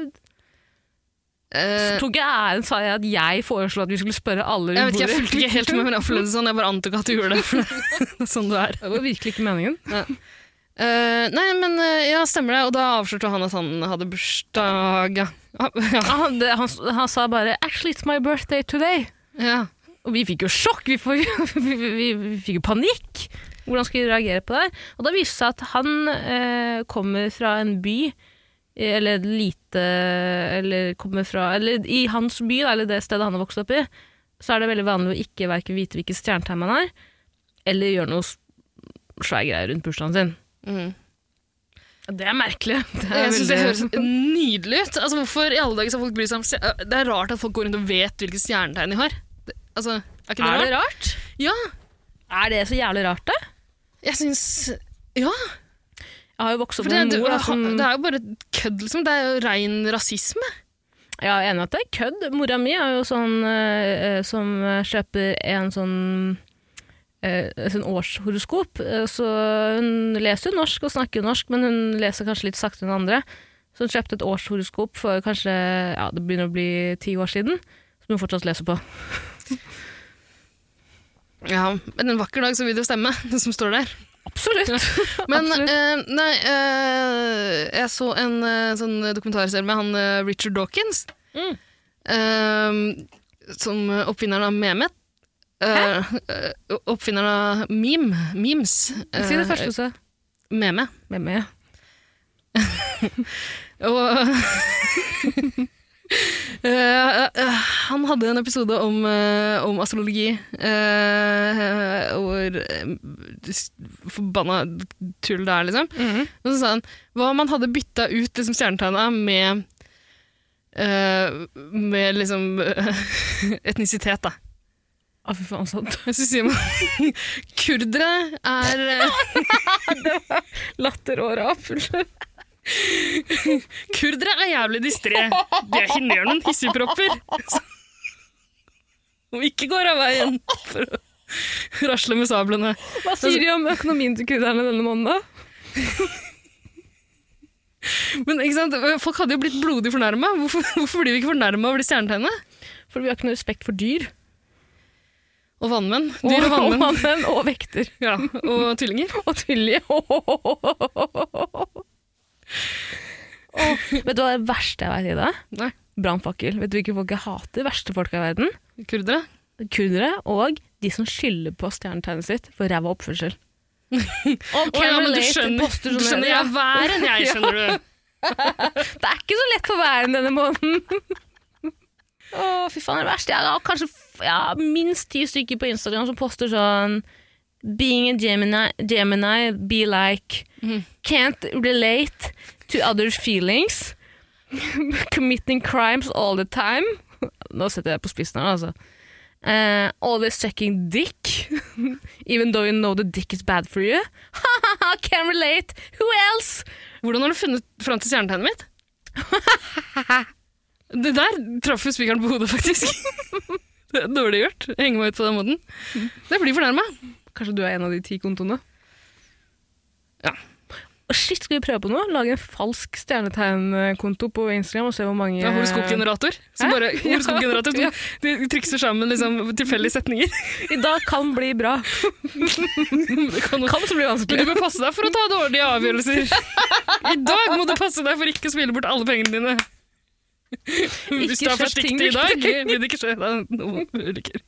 [SPEAKER 2] Eh,
[SPEAKER 1] tok jeg æren, sa jeg at jeg foreslo at vi skulle spørre alle
[SPEAKER 2] jeg vet
[SPEAKER 1] rundt
[SPEAKER 2] ikke, jeg
[SPEAKER 1] bordet.
[SPEAKER 2] fulgte ikke helt med, men jeg opplevde det sånn. Jeg bare antok at du gjorde det, for det er sånn du er.
[SPEAKER 1] Det var virkelig ikke meningen.
[SPEAKER 2] Eh, nei, men eh, ja, stemmer det. Og da avslørte han at han hadde bursdag. Ja. Ah, ja.
[SPEAKER 1] Han, det, han, han sa bare 'actually it's my birthday today'.
[SPEAKER 2] ja.
[SPEAKER 1] Og vi fikk jo sjokk, vi, får, <laughs> vi, vi, vi fikk jo panikk. Hvordan skal vi reagere på det? her? Og da viste det seg at han eh, kommer fra en by eller lite Eller kommer fra Eller i hans by, da, eller det stedet han har vokst opp i, så er det veldig vanlig å ikke hverken vite hvilket stjernetegn man er, eller gjøre noe s- svær greie rundt bursdagen sin.
[SPEAKER 2] Mm.
[SPEAKER 1] Det er merkelig. <laughs> Det er
[SPEAKER 2] Jeg synes det
[SPEAKER 1] veldig- <laughs>
[SPEAKER 2] høres nydelig ut. Altså, hvorfor i alle dager skal folk bry seg om stjer- Det er rart at folk går rundt og vet hvilke stjernetegn de har. Det, altså, er ikke det
[SPEAKER 1] Er
[SPEAKER 2] rart?
[SPEAKER 1] det rart?
[SPEAKER 2] Ja,
[SPEAKER 1] Er det så jævlig rart, da?
[SPEAKER 2] jeg syns Ja.
[SPEAKER 1] Jeg har jo vokst opp
[SPEAKER 2] For
[SPEAKER 1] med
[SPEAKER 2] det,
[SPEAKER 1] en
[SPEAKER 2] det,
[SPEAKER 1] mor da, som
[SPEAKER 2] det er jo bare kødd, liksom. Det er jo rein rasisme.
[SPEAKER 1] Ja, jeg er enig i at det er kødd. Mora mi er jo sånn eh, eh, som eh, kjøper en sånn eh, sånn årshoroskop. eh, Så hun leser jo norsk og snakker jo norsk, men hun leser kanskje litt saktere enn andre. Så hun kjøpte et årshoroskop for kanskje ja, det begynner å bli ti år siden, som hun fortsatt leser på.
[SPEAKER 2] Ja, men en vakker dag så vil det jo stemme, <laughs> det som står der.
[SPEAKER 1] Absolutt! <laughs>
[SPEAKER 2] Men
[SPEAKER 1] Absolutt.
[SPEAKER 2] eh, nei, eh, jeg så en eh, sånn dokumentarserie med han eh, Richard Dawkins.
[SPEAKER 1] Mm.
[SPEAKER 2] eh, som oppfinneren av Mehmet. Eh, eh, oppfinneren av meme. Memes. Eh,
[SPEAKER 1] Si det første, så.
[SPEAKER 2] Meme.
[SPEAKER 1] Med meg.
[SPEAKER 2] Og <laughs> Eh, eh, han hadde en episode om, eh, om astrologi eh, hvor eh, s- Forbanna tull det er, liksom. Og så sa han hva om man hadde bytta ut liksom, stjernetegna med eh, Med liksom <laughs> eh, etnisitet, da.
[SPEAKER 1] Å, fy faen, sånn sant.
[SPEAKER 2] Så sier man <laughs> kurdere er eh,
[SPEAKER 1] <laughs> Latter og rap. <laughs>
[SPEAKER 2] Kurdere er jævlig distré. De er kinerer noen hissigpropper. Og ikke går av veien for å rasle med sablene.
[SPEAKER 1] Hva sier de om økonomien til kurderne denne måneden?
[SPEAKER 2] Men ikke sant? Folk hadde jo blitt blodig fornærma. Hvorfor, hvorfor blir vi ikke fornærma over de stjernetegnene?
[SPEAKER 1] For vi har ikke noe respekt for dyr.
[SPEAKER 2] Og vannmenn. Dyr og vannmenn.
[SPEAKER 1] vannmenn og vekter.
[SPEAKER 2] Ja, og tvillinger.
[SPEAKER 1] Og <laughs> tvillinger. vet du hva det verste jeg vet, Ida?
[SPEAKER 2] Nei,
[SPEAKER 1] Brannfakkel. Vet du hvilke folk jeg hater? Verste folk i verden?
[SPEAKER 2] kurdere.
[SPEAKER 1] Kurdere og de som skylder på stjernetegnet sitt for ræva
[SPEAKER 2] <laughs>
[SPEAKER 1] oppførsel. Og
[SPEAKER 2] Å,
[SPEAKER 1] can
[SPEAKER 2] ja, men du
[SPEAKER 1] relate til
[SPEAKER 2] skjønner,
[SPEAKER 1] poster
[SPEAKER 2] du
[SPEAKER 1] som
[SPEAKER 2] skjønner
[SPEAKER 1] det.
[SPEAKER 2] jeg er verre enn jeg, skjønner du.
[SPEAKER 1] Det er ikke så lett for verden denne måneden. <laughs> Å, fy faen, det er verst. Jeg har kanskje f- ja, minst ti stykker på Instagram som poster sånn Being a Gemini, Gemini be like Can't relate to others' feelings. <laughs> Committing crimes all the time. Nå setter jeg det på spissen her, altså. Eh, always sucking dick. <laughs> Even though you know the dick is bad for you. <laughs> Ha-ha-ha, can't relate. Who else?
[SPEAKER 2] Hvordan har du funnet fram til stjernetegnet mitt? <laughs> Det der traff jo spikeren på hodet, faktisk. <laughs> Det er dårlig gjort. Jeg henger meg ut på den måten. Det blir fornærma.
[SPEAKER 1] Kanskje du er en av de ti kontoene?
[SPEAKER 2] Ja.
[SPEAKER 1] Å, Shit, skal vi prøve på noe? Lage en falsk stjernetegnkonto på Instagram og se hvor mange eh,
[SPEAKER 2] Ja, horoskopgenerator. Som
[SPEAKER 1] Hæ?
[SPEAKER 2] <laughs> bare, horoskopgenerator som de trikser sammen liksom, tilfeldige setninger. <laughs>
[SPEAKER 1] I dag kan bli bra.
[SPEAKER 2] Det kan jo-
[SPEAKER 1] Kan også bli
[SPEAKER 2] Men du
[SPEAKER 1] vanskelig.
[SPEAKER 2] bør passe deg for å ta dårlige avgjørelser. <laughs> I dag må du passe deg for ikke å spille bort alle pengene dine. Hvis
[SPEAKER 1] Ikke
[SPEAKER 2] du er
[SPEAKER 1] kjøp ting du
[SPEAKER 2] forsiktig i dag,
[SPEAKER 1] ikke-
[SPEAKER 2] vil det ikke skje deg noen ulykker.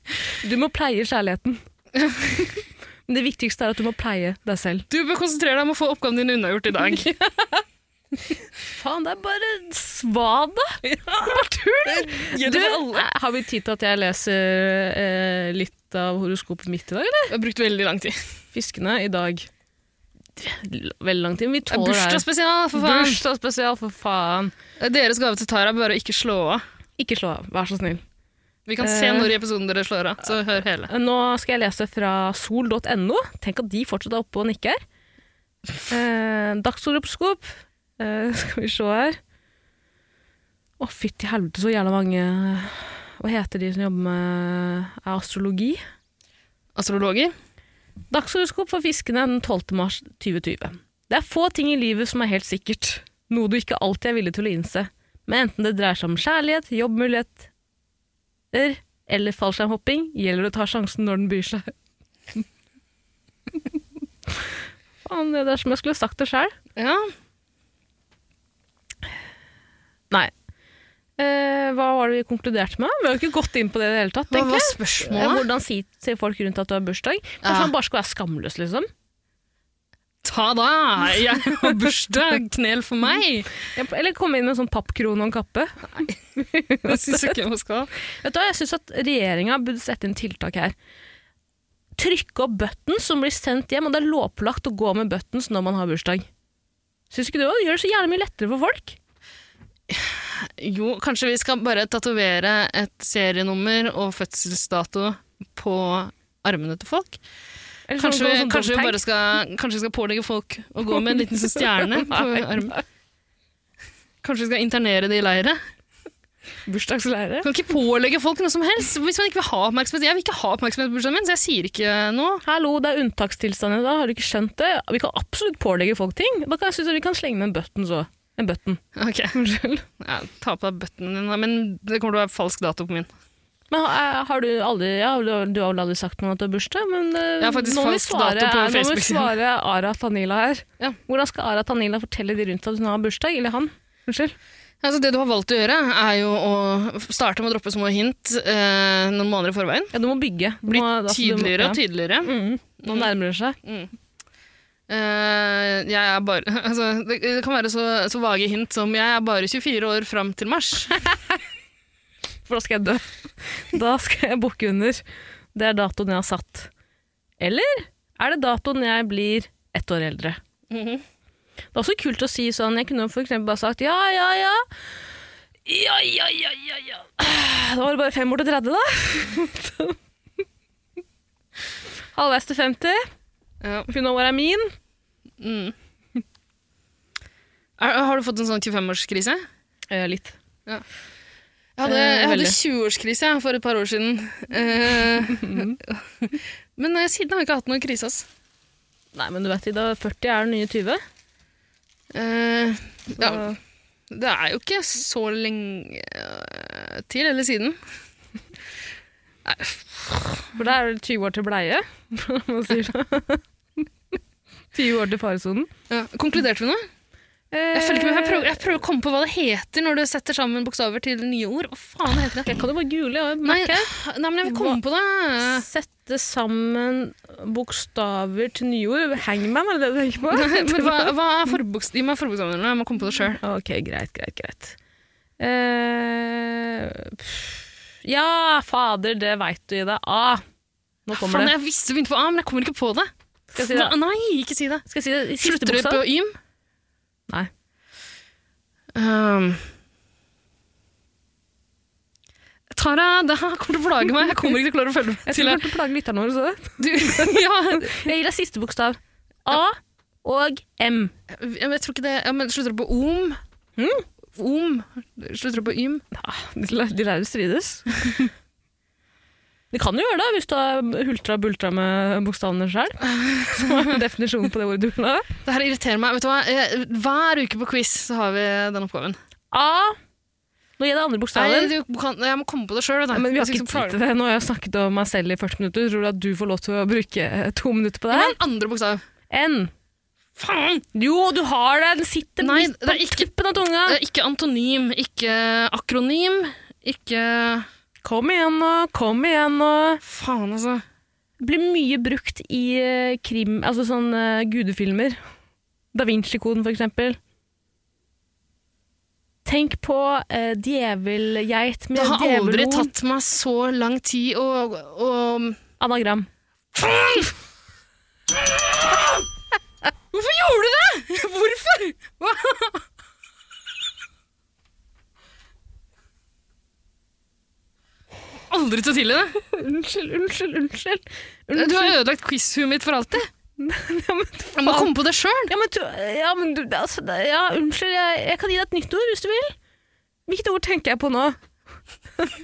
[SPEAKER 1] Du må pleie kjærligheten. Men det viktigste er at du må pleie deg selv.
[SPEAKER 2] Du bør konsentrere deg om å få oppgavene dine unnagjort i <laughs> dag.
[SPEAKER 1] Faen, det er bare svada! Det er Bare tull! Du, eh, har vi tid til at jeg leser eh, litt av horoskopet mitt i dag, eller?
[SPEAKER 2] Jeg har brukt veldig lang tid.
[SPEAKER 1] Fiskene i dag. Veldig lang tid, men vi
[SPEAKER 2] Det er
[SPEAKER 1] tåler det. her.
[SPEAKER 2] Bursdagsspesial, for faen!
[SPEAKER 1] Bursdagsspesial, for faen.
[SPEAKER 2] Deres gave til Tara bør ikke slå av.
[SPEAKER 1] Ikke slå av, vær så snill.
[SPEAKER 2] Vi kan se
[SPEAKER 1] Eh.
[SPEAKER 2] når i episoden dere slår av, så hør hele.
[SPEAKER 1] Nå skal jeg lese fra sol.no. Tenk at de fortsatt er oppe og nikker. Eh, Dagshoroskop. Eh, skal vi se her. Å, fytti helvete, så jævla mange eh, Hva heter de som jobber med astrologi?
[SPEAKER 2] Astrologer.
[SPEAKER 1] Dagshoroskop for fiskene den 12. mars 2020. Det er få ting i livet som er helt sikkert, noe du ikke alltid er villig til å innse. Men enten det dreier seg om kjærlighet, jobbmuligheter eller fallskjermhopping, gjelder det å ta sjansen når den byr seg. <laughs> Faen, det er som jeg skulle sagt det sjøl.
[SPEAKER 2] Ja.
[SPEAKER 1] Nei. Eh, hva var det vi konkluderte med? Vi har jo ikke gått inn på det i det hele tatt.
[SPEAKER 2] Hva
[SPEAKER 1] egentlig.
[SPEAKER 2] var
[SPEAKER 1] Eh,
[SPEAKER 2] spørsmålet?
[SPEAKER 1] Hvordan si til folk rundt at du har bursdag? Kanskje
[SPEAKER 2] Ja.
[SPEAKER 1] man bare skal være skamløs, liksom?
[SPEAKER 2] ta da! Jeg har bursdag, knel for <laughs> meg!
[SPEAKER 1] Ja, Eller komme inn med en sånn pappkrone og en kappe.
[SPEAKER 2] Det syns jeg ikke man skal.
[SPEAKER 1] Vet du hva, Jeg syns at regjeringa burde sette inn tiltak her. Trykke opp buttons som blir sendt hjem, og det er lovpålagt å gå med buttons når man har bursdag. Syns ikke du òg? Det gjør det så jævlig mye lettere for folk.
[SPEAKER 2] Jo, kanskje vi skal bare tatovere et serienummer og fødselsdato på armene til folk?
[SPEAKER 1] Eller sånn
[SPEAKER 2] Kanskje
[SPEAKER 1] gå
[SPEAKER 2] vi,
[SPEAKER 1] sånn
[SPEAKER 2] kanskje vi
[SPEAKER 1] dog tag.
[SPEAKER 2] bare skal, kanskje vi skal pålegge folk å gå med en liten sånn <laughs> stjerne på
[SPEAKER 1] Nei.
[SPEAKER 2] armen? Kanskje vi skal internere de i leire?
[SPEAKER 1] Bursdagsleire?
[SPEAKER 2] Vi kan ikke pålegge folk noe som helst hvis man ikke vil ha oppmerksomhet. Jeg vil ikke ha oppmerksomhet på bursdagen min, så jeg sier ikke noe.
[SPEAKER 1] Hallo, det er unntakstilstander da, har du ikke skjønt det? Vi kan absolutt pålegge folk ting. Da kan jeg synes at vi kan slenge med en buttons òg. En button.
[SPEAKER 2] Ok, <laughs> unnskyld. Ja, ta på deg bøtten din, da, men det kommer til å være falsk dato på min.
[SPEAKER 1] Men har, har du aldri ja, du, har- du har vel aldri sagt noe om at du har bursdag, men eh,
[SPEAKER 2] Jeg har faktisk
[SPEAKER 1] nå må vi
[SPEAKER 2] falsk
[SPEAKER 1] svare,
[SPEAKER 2] dato på
[SPEAKER 1] nå må vi
[SPEAKER 2] Facebook-siden.
[SPEAKER 1] svare Ara Tanila her.
[SPEAKER 2] Ja.
[SPEAKER 1] Hvordan skal Ara Tanila fortelle de rundt at hun har bursdag? Eller han? Unnskyld.
[SPEAKER 2] Altså, det du har valgt å gjøre, er jo å starte med å droppe små hint eh, noen måneder i forveien.
[SPEAKER 1] Ja, du må bygge. Du
[SPEAKER 2] Bli
[SPEAKER 1] må- altså, du må-
[SPEAKER 2] tydeligere og
[SPEAKER 1] ja.
[SPEAKER 2] tydeligere.
[SPEAKER 1] Mm, nå nærmer det seg.
[SPEAKER 2] Eh, jeg er bare, <laughs> altså, det, det kan være så, så vage hint som jeg er bare 24 år fram til mars. <laughs>
[SPEAKER 1] For da skal jeg dø. <laughs> Da skal jeg bukke under. Det er datoen jeg har satt. Eller er det datoen jeg blir ett år eldre?
[SPEAKER 2] Mhm.
[SPEAKER 1] Det er også kult å si sånn Jeg kunne for eksempel bare sagt ja, ja, ja. Ja, ja, ja, ja, ja. <sighs> Da var det bare fem år til 30, da. <laughs> Halvveis til 50.
[SPEAKER 2] Ja.
[SPEAKER 1] Finne år er min.
[SPEAKER 2] Mm. Er, har du fått en sånn 25-årskrise?
[SPEAKER 1] Eh, litt.
[SPEAKER 2] Jeg hadde,
[SPEAKER 1] Eh,
[SPEAKER 2] jeg hadde
[SPEAKER 1] veldig.
[SPEAKER 2] 20-årskrise jeg, for et par år siden. Eh, men eh, <laughs> siden har jeg ikke hatt noen krise. ass.
[SPEAKER 1] Nei, men du vet, Ida, 40 er den nye 20.
[SPEAKER 2] Eh, ja,
[SPEAKER 1] Så-
[SPEAKER 2] det er jo ikke så lenge eh, til eller siden.
[SPEAKER 1] For da er det 20 år til bleie, <laughs> hvordan man sier
[SPEAKER 2] <laughs>
[SPEAKER 1] det. sånn. 20 år til faresonen.
[SPEAKER 2] Ja. Konkluderte vi nå?
[SPEAKER 1] Eh,
[SPEAKER 2] Jeg, følger ikke med, jeg, prøver, jeg prøver å komme på hva det heter når du setter sammen bokstaver til nye ord. Hva faen heter det?
[SPEAKER 1] Jeg kan jo bare google. Jeg
[SPEAKER 2] Nei,
[SPEAKER 1] merker jeg.
[SPEAKER 2] nei, men jeg vil komme på
[SPEAKER 1] <laughs>
[SPEAKER 2] det.
[SPEAKER 1] Sette sammen bokstaver til nye ord. Hangman, er det det du <laughs> tenker på?
[SPEAKER 2] Men hva, hva er forbokst... Gi meg forbokstavene, jeg må komme på det sjøl.
[SPEAKER 1] Ok, greit, greit, greit. Eh, pff. ja, fader, det veit du, Ida. A. Nå kommer
[SPEAKER 2] Faen,
[SPEAKER 1] det.
[SPEAKER 2] jeg visste du begynte på A, men jeg kommer ikke på det.
[SPEAKER 1] Skal jeg si det?
[SPEAKER 2] Hva- Nei, ikke si det.
[SPEAKER 1] Skal jeg si det i siste
[SPEAKER 2] Slutter du på
[SPEAKER 1] bokstav?
[SPEAKER 2] Ym?
[SPEAKER 1] Nei.
[SPEAKER 2] Um. Tara, det her kommer til å plage meg. Jeg kommer ikke til å klare å følge med.
[SPEAKER 1] Jeg skulle prøve å plage lytterne våre. så det.
[SPEAKER 2] Du, ja,
[SPEAKER 1] <laughs> Jeg gir deg siste bokstav. A og M.
[SPEAKER 2] jeg tror ikke det ja, men Slutter du på Om? Hmm? Om? Slutter du på Ym?
[SPEAKER 1] Ja, de lær- de lærer å strides. Det kan du gjøre da, hvis du har hultra-bultra med bokstavene sjøl. <laughs> Som er definisjonen på det ordet du vil ha.
[SPEAKER 2] Det her irriterer meg. Vet du hva? Eh, Hver uke på quiz så har vi den oppgaven.
[SPEAKER 1] A. Nå gir jeg deg andre
[SPEAKER 2] Nei,
[SPEAKER 1] bokstaver.
[SPEAKER 2] du kan, jeg må komme på det sjøl.
[SPEAKER 1] Ja, men vi har ikke tid til det. Nå har jeg snakket om meg selv i 40 minutter. Tror du at du får lov til å bruke eh, to minutter på det her?
[SPEAKER 2] Men andre bokstav.
[SPEAKER 1] N.
[SPEAKER 2] Faen!
[SPEAKER 1] Jo, du har det! Den sitter
[SPEAKER 2] Nei,
[SPEAKER 1] midt
[SPEAKER 2] det
[SPEAKER 1] på
[SPEAKER 2] er ikke-
[SPEAKER 1] tuppen av tunga.
[SPEAKER 2] Eh, Ikke antonym, ikke akronym, ikke
[SPEAKER 1] Kom igjen nå, kom igjen nå.
[SPEAKER 2] Faen, altså.
[SPEAKER 1] Blir mye brukt i eh, krim, altså sånn eh, gudefilmer. Da Vinci-koden, for eksempel. Tenk på eh, djevelgeit med
[SPEAKER 2] Det har aldri
[SPEAKER 1] djevelhorn.
[SPEAKER 2] tatt meg så lang tid å, å
[SPEAKER 1] Anagram.
[SPEAKER 2] Hvorfor gjorde du det?! <laughs> Hvorfor?! Hva? Aldri til å tilgi det.
[SPEAKER 1] Unnskyld, unnskyld, unnskyld.
[SPEAKER 2] Du har
[SPEAKER 1] unnskyld.
[SPEAKER 2] ødelagt quiz-huet mitt for alltid.
[SPEAKER 1] <laughs> Ja, men,
[SPEAKER 2] Jeg må komme på det sjøl.
[SPEAKER 1] ja, men, du- ja, men du, altså, det- ja, unnskyld. Jeg, jeg kan gi deg et nytt ord hvis du vil. Hvilket ord tenker jeg på nå?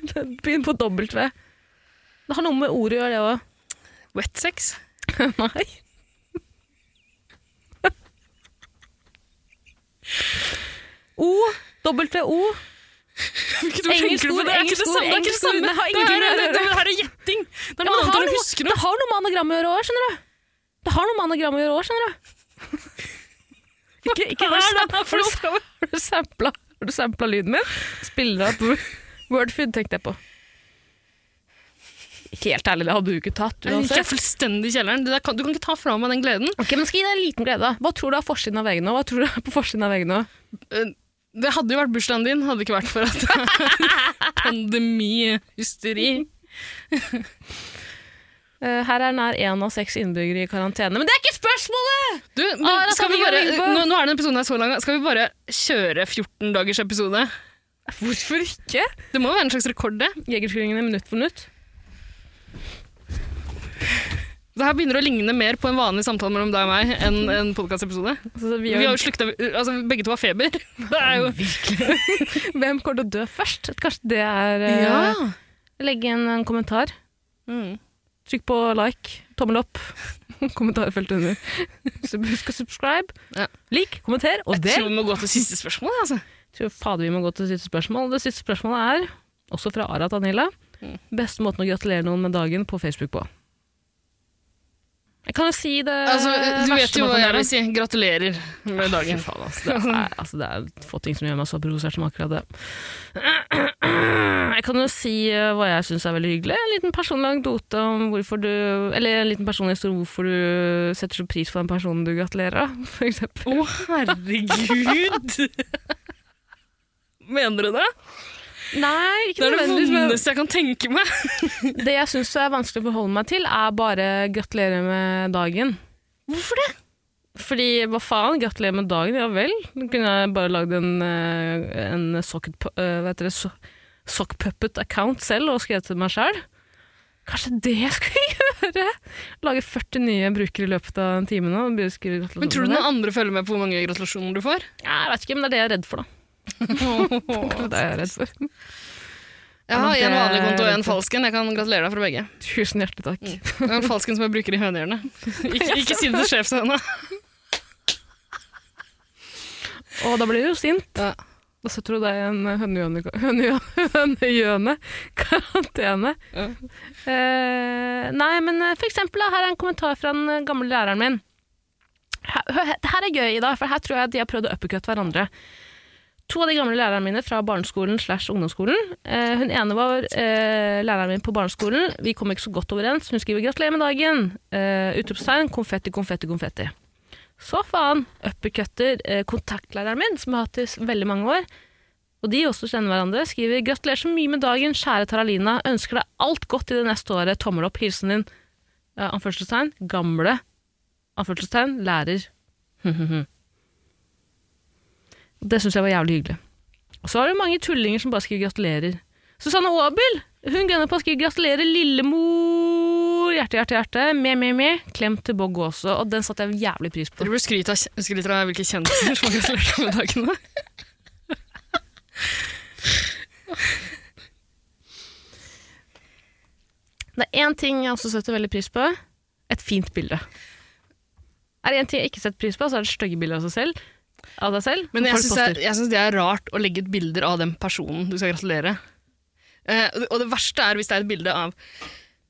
[SPEAKER 1] <laughs> Begynn på dobbelt V. Det har noe med ordet å gjøre, det òg.
[SPEAKER 2] Wet sex.
[SPEAKER 1] Nei. O, W-O.
[SPEAKER 2] Hvilket
[SPEAKER 1] Engelsk ord, engelsk ord, engelsk ord. Det har ingenting med det å gjøre.
[SPEAKER 2] Det her er gjetting. Det er
[SPEAKER 1] Ja, men
[SPEAKER 2] noe
[SPEAKER 1] det,
[SPEAKER 2] annet
[SPEAKER 1] har
[SPEAKER 2] enn å
[SPEAKER 1] noe,
[SPEAKER 2] huske
[SPEAKER 1] det
[SPEAKER 2] noe.
[SPEAKER 1] har noe med anagram å gjøre òg, skjønner du. Det har noe med anagram å gjøre òg, skjønner du. <laughs> Ikke, ikke
[SPEAKER 2] Hva er
[SPEAKER 1] vær
[SPEAKER 2] det her for
[SPEAKER 1] sånn. Har du sampla- Har du sampla lyden min? Spiller opp Wordfood, tenkte jeg på. Helt ærlig, det hadde du ikke tatt
[SPEAKER 2] Jeg gikk
[SPEAKER 1] uansett.
[SPEAKER 2] fullstendig i kjelleren. Det der kan, du kan ikke ta fra meg den gleden.
[SPEAKER 1] Ok, men Skal gi deg en liten glede. da. Hva tror du er forsiden av VG nå? Hva tror du er på forsiden av VG nå?
[SPEAKER 2] Eh, Det hadde jo vært bursdagen din, hadde det ikke vært for at det er <laughs> pandemihysteri.
[SPEAKER 1] Eh, her er nær én av seks innbyggere i karantene. Men det er ikke spørsmålet!
[SPEAKER 2] Du, nå,
[SPEAKER 1] Ah, da
[SPEAKER 2] skal
[SPEAKER 1] kan
[SPEAKER 2] vi
[SPEAKER 1] vi
[SPEAKER 2] bare,
[SPEAKER 1] gjøre det, Yngve.
[SPEAKER 2] nå, nå er den episoden her så lang, skal vi bare kjøre 14 dagers episode?
[SPEAKER 1] Hvorfor ikke?
[SPEAKER 2] Det må jo være en slags rekord, det.
[SPEAKER 1] Jegertvillingene minutt for minutt.
[SPEAKER 2] Det her begynner å ligne mer på en vanlig samtale mellom deg og meg enn en podkastepisode.
[SPEAKER 1] Altså,
[SPEAKER 2] Vi
[SPEAKER 1] vi
[SPEAKER 2] har
[SPEAKER 1] gjør-
[SPEAKER 2] jo slukta Altså, begge to har feber. Det er <laughs> jo
[SPEAKER 1] Hvem kommer til å dø først? Kanskje det er
[SPEAKER 2] <laughs>
[SPEAKER 1] eh, Legge igjen en kommentar.
[SPEAKER 2] Mm.
[SPEAKER 1] Trykk på like, tommel opp, <laughs> kommentarfelt
[SPEAKER 2] <laughs>
[SPEAKER 1] under. Så Husk å subscribe,
[SPEAKER 2] Ja.
[SPEAKER 1] lik, kommenter og
[SPEAKER 2] Jeg tror
[SPEAKER 1] del.
[SPEAKER 2] vi må gå til siste spørsmål, altså.
[SPEAKER 1] Tror fader vi må gå til siste spørsmål. Det siste spørsmålet er, også fra Ara Tanila,
[SPEAKER 2] Mm.
[SPEAKER 1] beste måten å gratulere noen med dagen på Facebook på. Jeg kan jo si Eh, det
[SPEAKER 2] altså du
[SPEAKER 1] verste
[SPEAKER 2] vet jo
[SPEAKER 1] man
[SPEAKER 2] hva
[SPEAKER 1] kan
[SPEAKER 2] jeg
[SPEAKER 1] gjøre.
[SPEAKER 2] vil si. Gratulerer med dagen.
[SPEAKER 1] Fy faen, altså. Det, <laughs> er, altså, det er få ting som gjør meg så provosert som akkurat det. <clears throat> Jeg kan jo si eh, hva jeg syns er veldig hyggelig. En liten personlig anekdote om hvorfor du Eller en liten personlig historie om hvorfor du setter så pris på den personen du gratulerer av, for eksempel.
[SPEAKER 2] Å, herregud! <laughs> Mener du det?
[SPEAKER 1] Nei,
[SPEAKER 2] Det
[SPEAKER 1] ikke
[SPEAKER 2] er det
[SPEAKER 1] nødvendigvis. Men
[SPEAKER 2] vondeste jeg kan tenke meg.
[SPEAKER 1] det jeg syns er vanskelig å forholde meg til, er bare gratulerer med dagen.
[SPEAKER 2] Hvorfor det?
[SPEAKER 1] Fordi hva faen, gratulerer med dagen, ja vel. Da kunne jeg bare lagd en, eh, en socket, pu- eh, hva heter det, so sock puppet account selv og skrevet til meg sjøl. Kanskje det jeg skulle <laughs> gjøre? Lage 40 nye brukere i løpet av en time nå. og begynne å skrive gratulasjoner.
[SPEAKER 2] Men tror du noen andre følger med på hvor mange gratulasjoner du får?
[SPEAKER 1] Ja, Jeg vet ikke, men det er det jeg er redd for, da. <laughs>
[SPEAKER 2] <laughs>
[SPEAKER 1] Kanskje det er jeg er redd for.
[SPEAKER 2] Jeg har
[SPEAKER 1] Ja,
[SPEAKER 2] en
[SPEAKER 1] men
[SPEAKER 2] vanlig
[SPEAKER 1] det-
[SPEAKER 2] konto og en falsken. Jeg kan gratulere deg fra begge.
[SPEAKER 1] Tusen hjertelig takk.
[SPEAKER 2] Jeg har en falsken som jeg bruker i <laughs> hønehjørnet. Ikke, ikke si det til sjefen ennå.
[SPEAKER 1] Og da blir du jo sint.
[SPEAKER 2] Ja.
[SPEAKER 1] Og så tror du det er en hønehjøne hønehjø- hønehjøne- karantene.
[SPEAKER 2] Ja.
[SPEAKER 1] Eh, nei, men eh, for eksempel, da, her er en kommentar fra den eh, gamle læreren min. Her, hør, he- det her er gøy, Ida, for her tror jeg de har prøvd å uppercut hverandre. To av de gamle lærerne mine fra barneskolen slash ungdomsskolen. Eh, hun ene var eh, læreren min på barneskolen. Vi kom ikke så godt overens. Hun skriver 'gratulerer med dagen'. Eh, utropstegn, konfetti, konfetti, konfetti. Så faen, uppercutter eh, kontaktlæreren min, som jeg har hatt i veldig mange år, og de også kjenner hverandre, skriver 'Gratulerer så mye med dagen, kjære Taralina. Ønsker deg alt godt i det neste året. Tommel opp. Hilsen din eh, anførselstegn, gamle anførselstegn, lærer. <laughs> det syns jeg var jævlig hyggelig. Og så har du mange tullinger som bare skriver 'gratulerer'. Susanne Aabel hun gønner på å skrive 'gratulerer, lillemor'. Hjerte, hjerte, hjerte. Me, me, me. Klem til Bogg også. Og den satte jeg jævlig pris på.
[SPEAKER 2] Dere burde skryte av, skryter av hvilke kjendiser som har gratulert deg med dagen. da.
[SPEAKER 1] Det er én ting jeg også setter veldig pris på. Et fint bilde. Er det én ting jeg ikke setter pris på, så er det stygge bilder av seg selv. Av deg selv
[SPEAKER 2] Men
[SPEAKER 1] som
[SPEAKER 2] jeg
[SPEAKER 1] folk
[SPEAKER 2] syns
[SPEAKER 1] poster.
[SPEAKER 2] det, jeg synes det er rart å legge ut bilder av den personen du skal gratulere. Eh, og det- og det verste er hvis det er et bilde av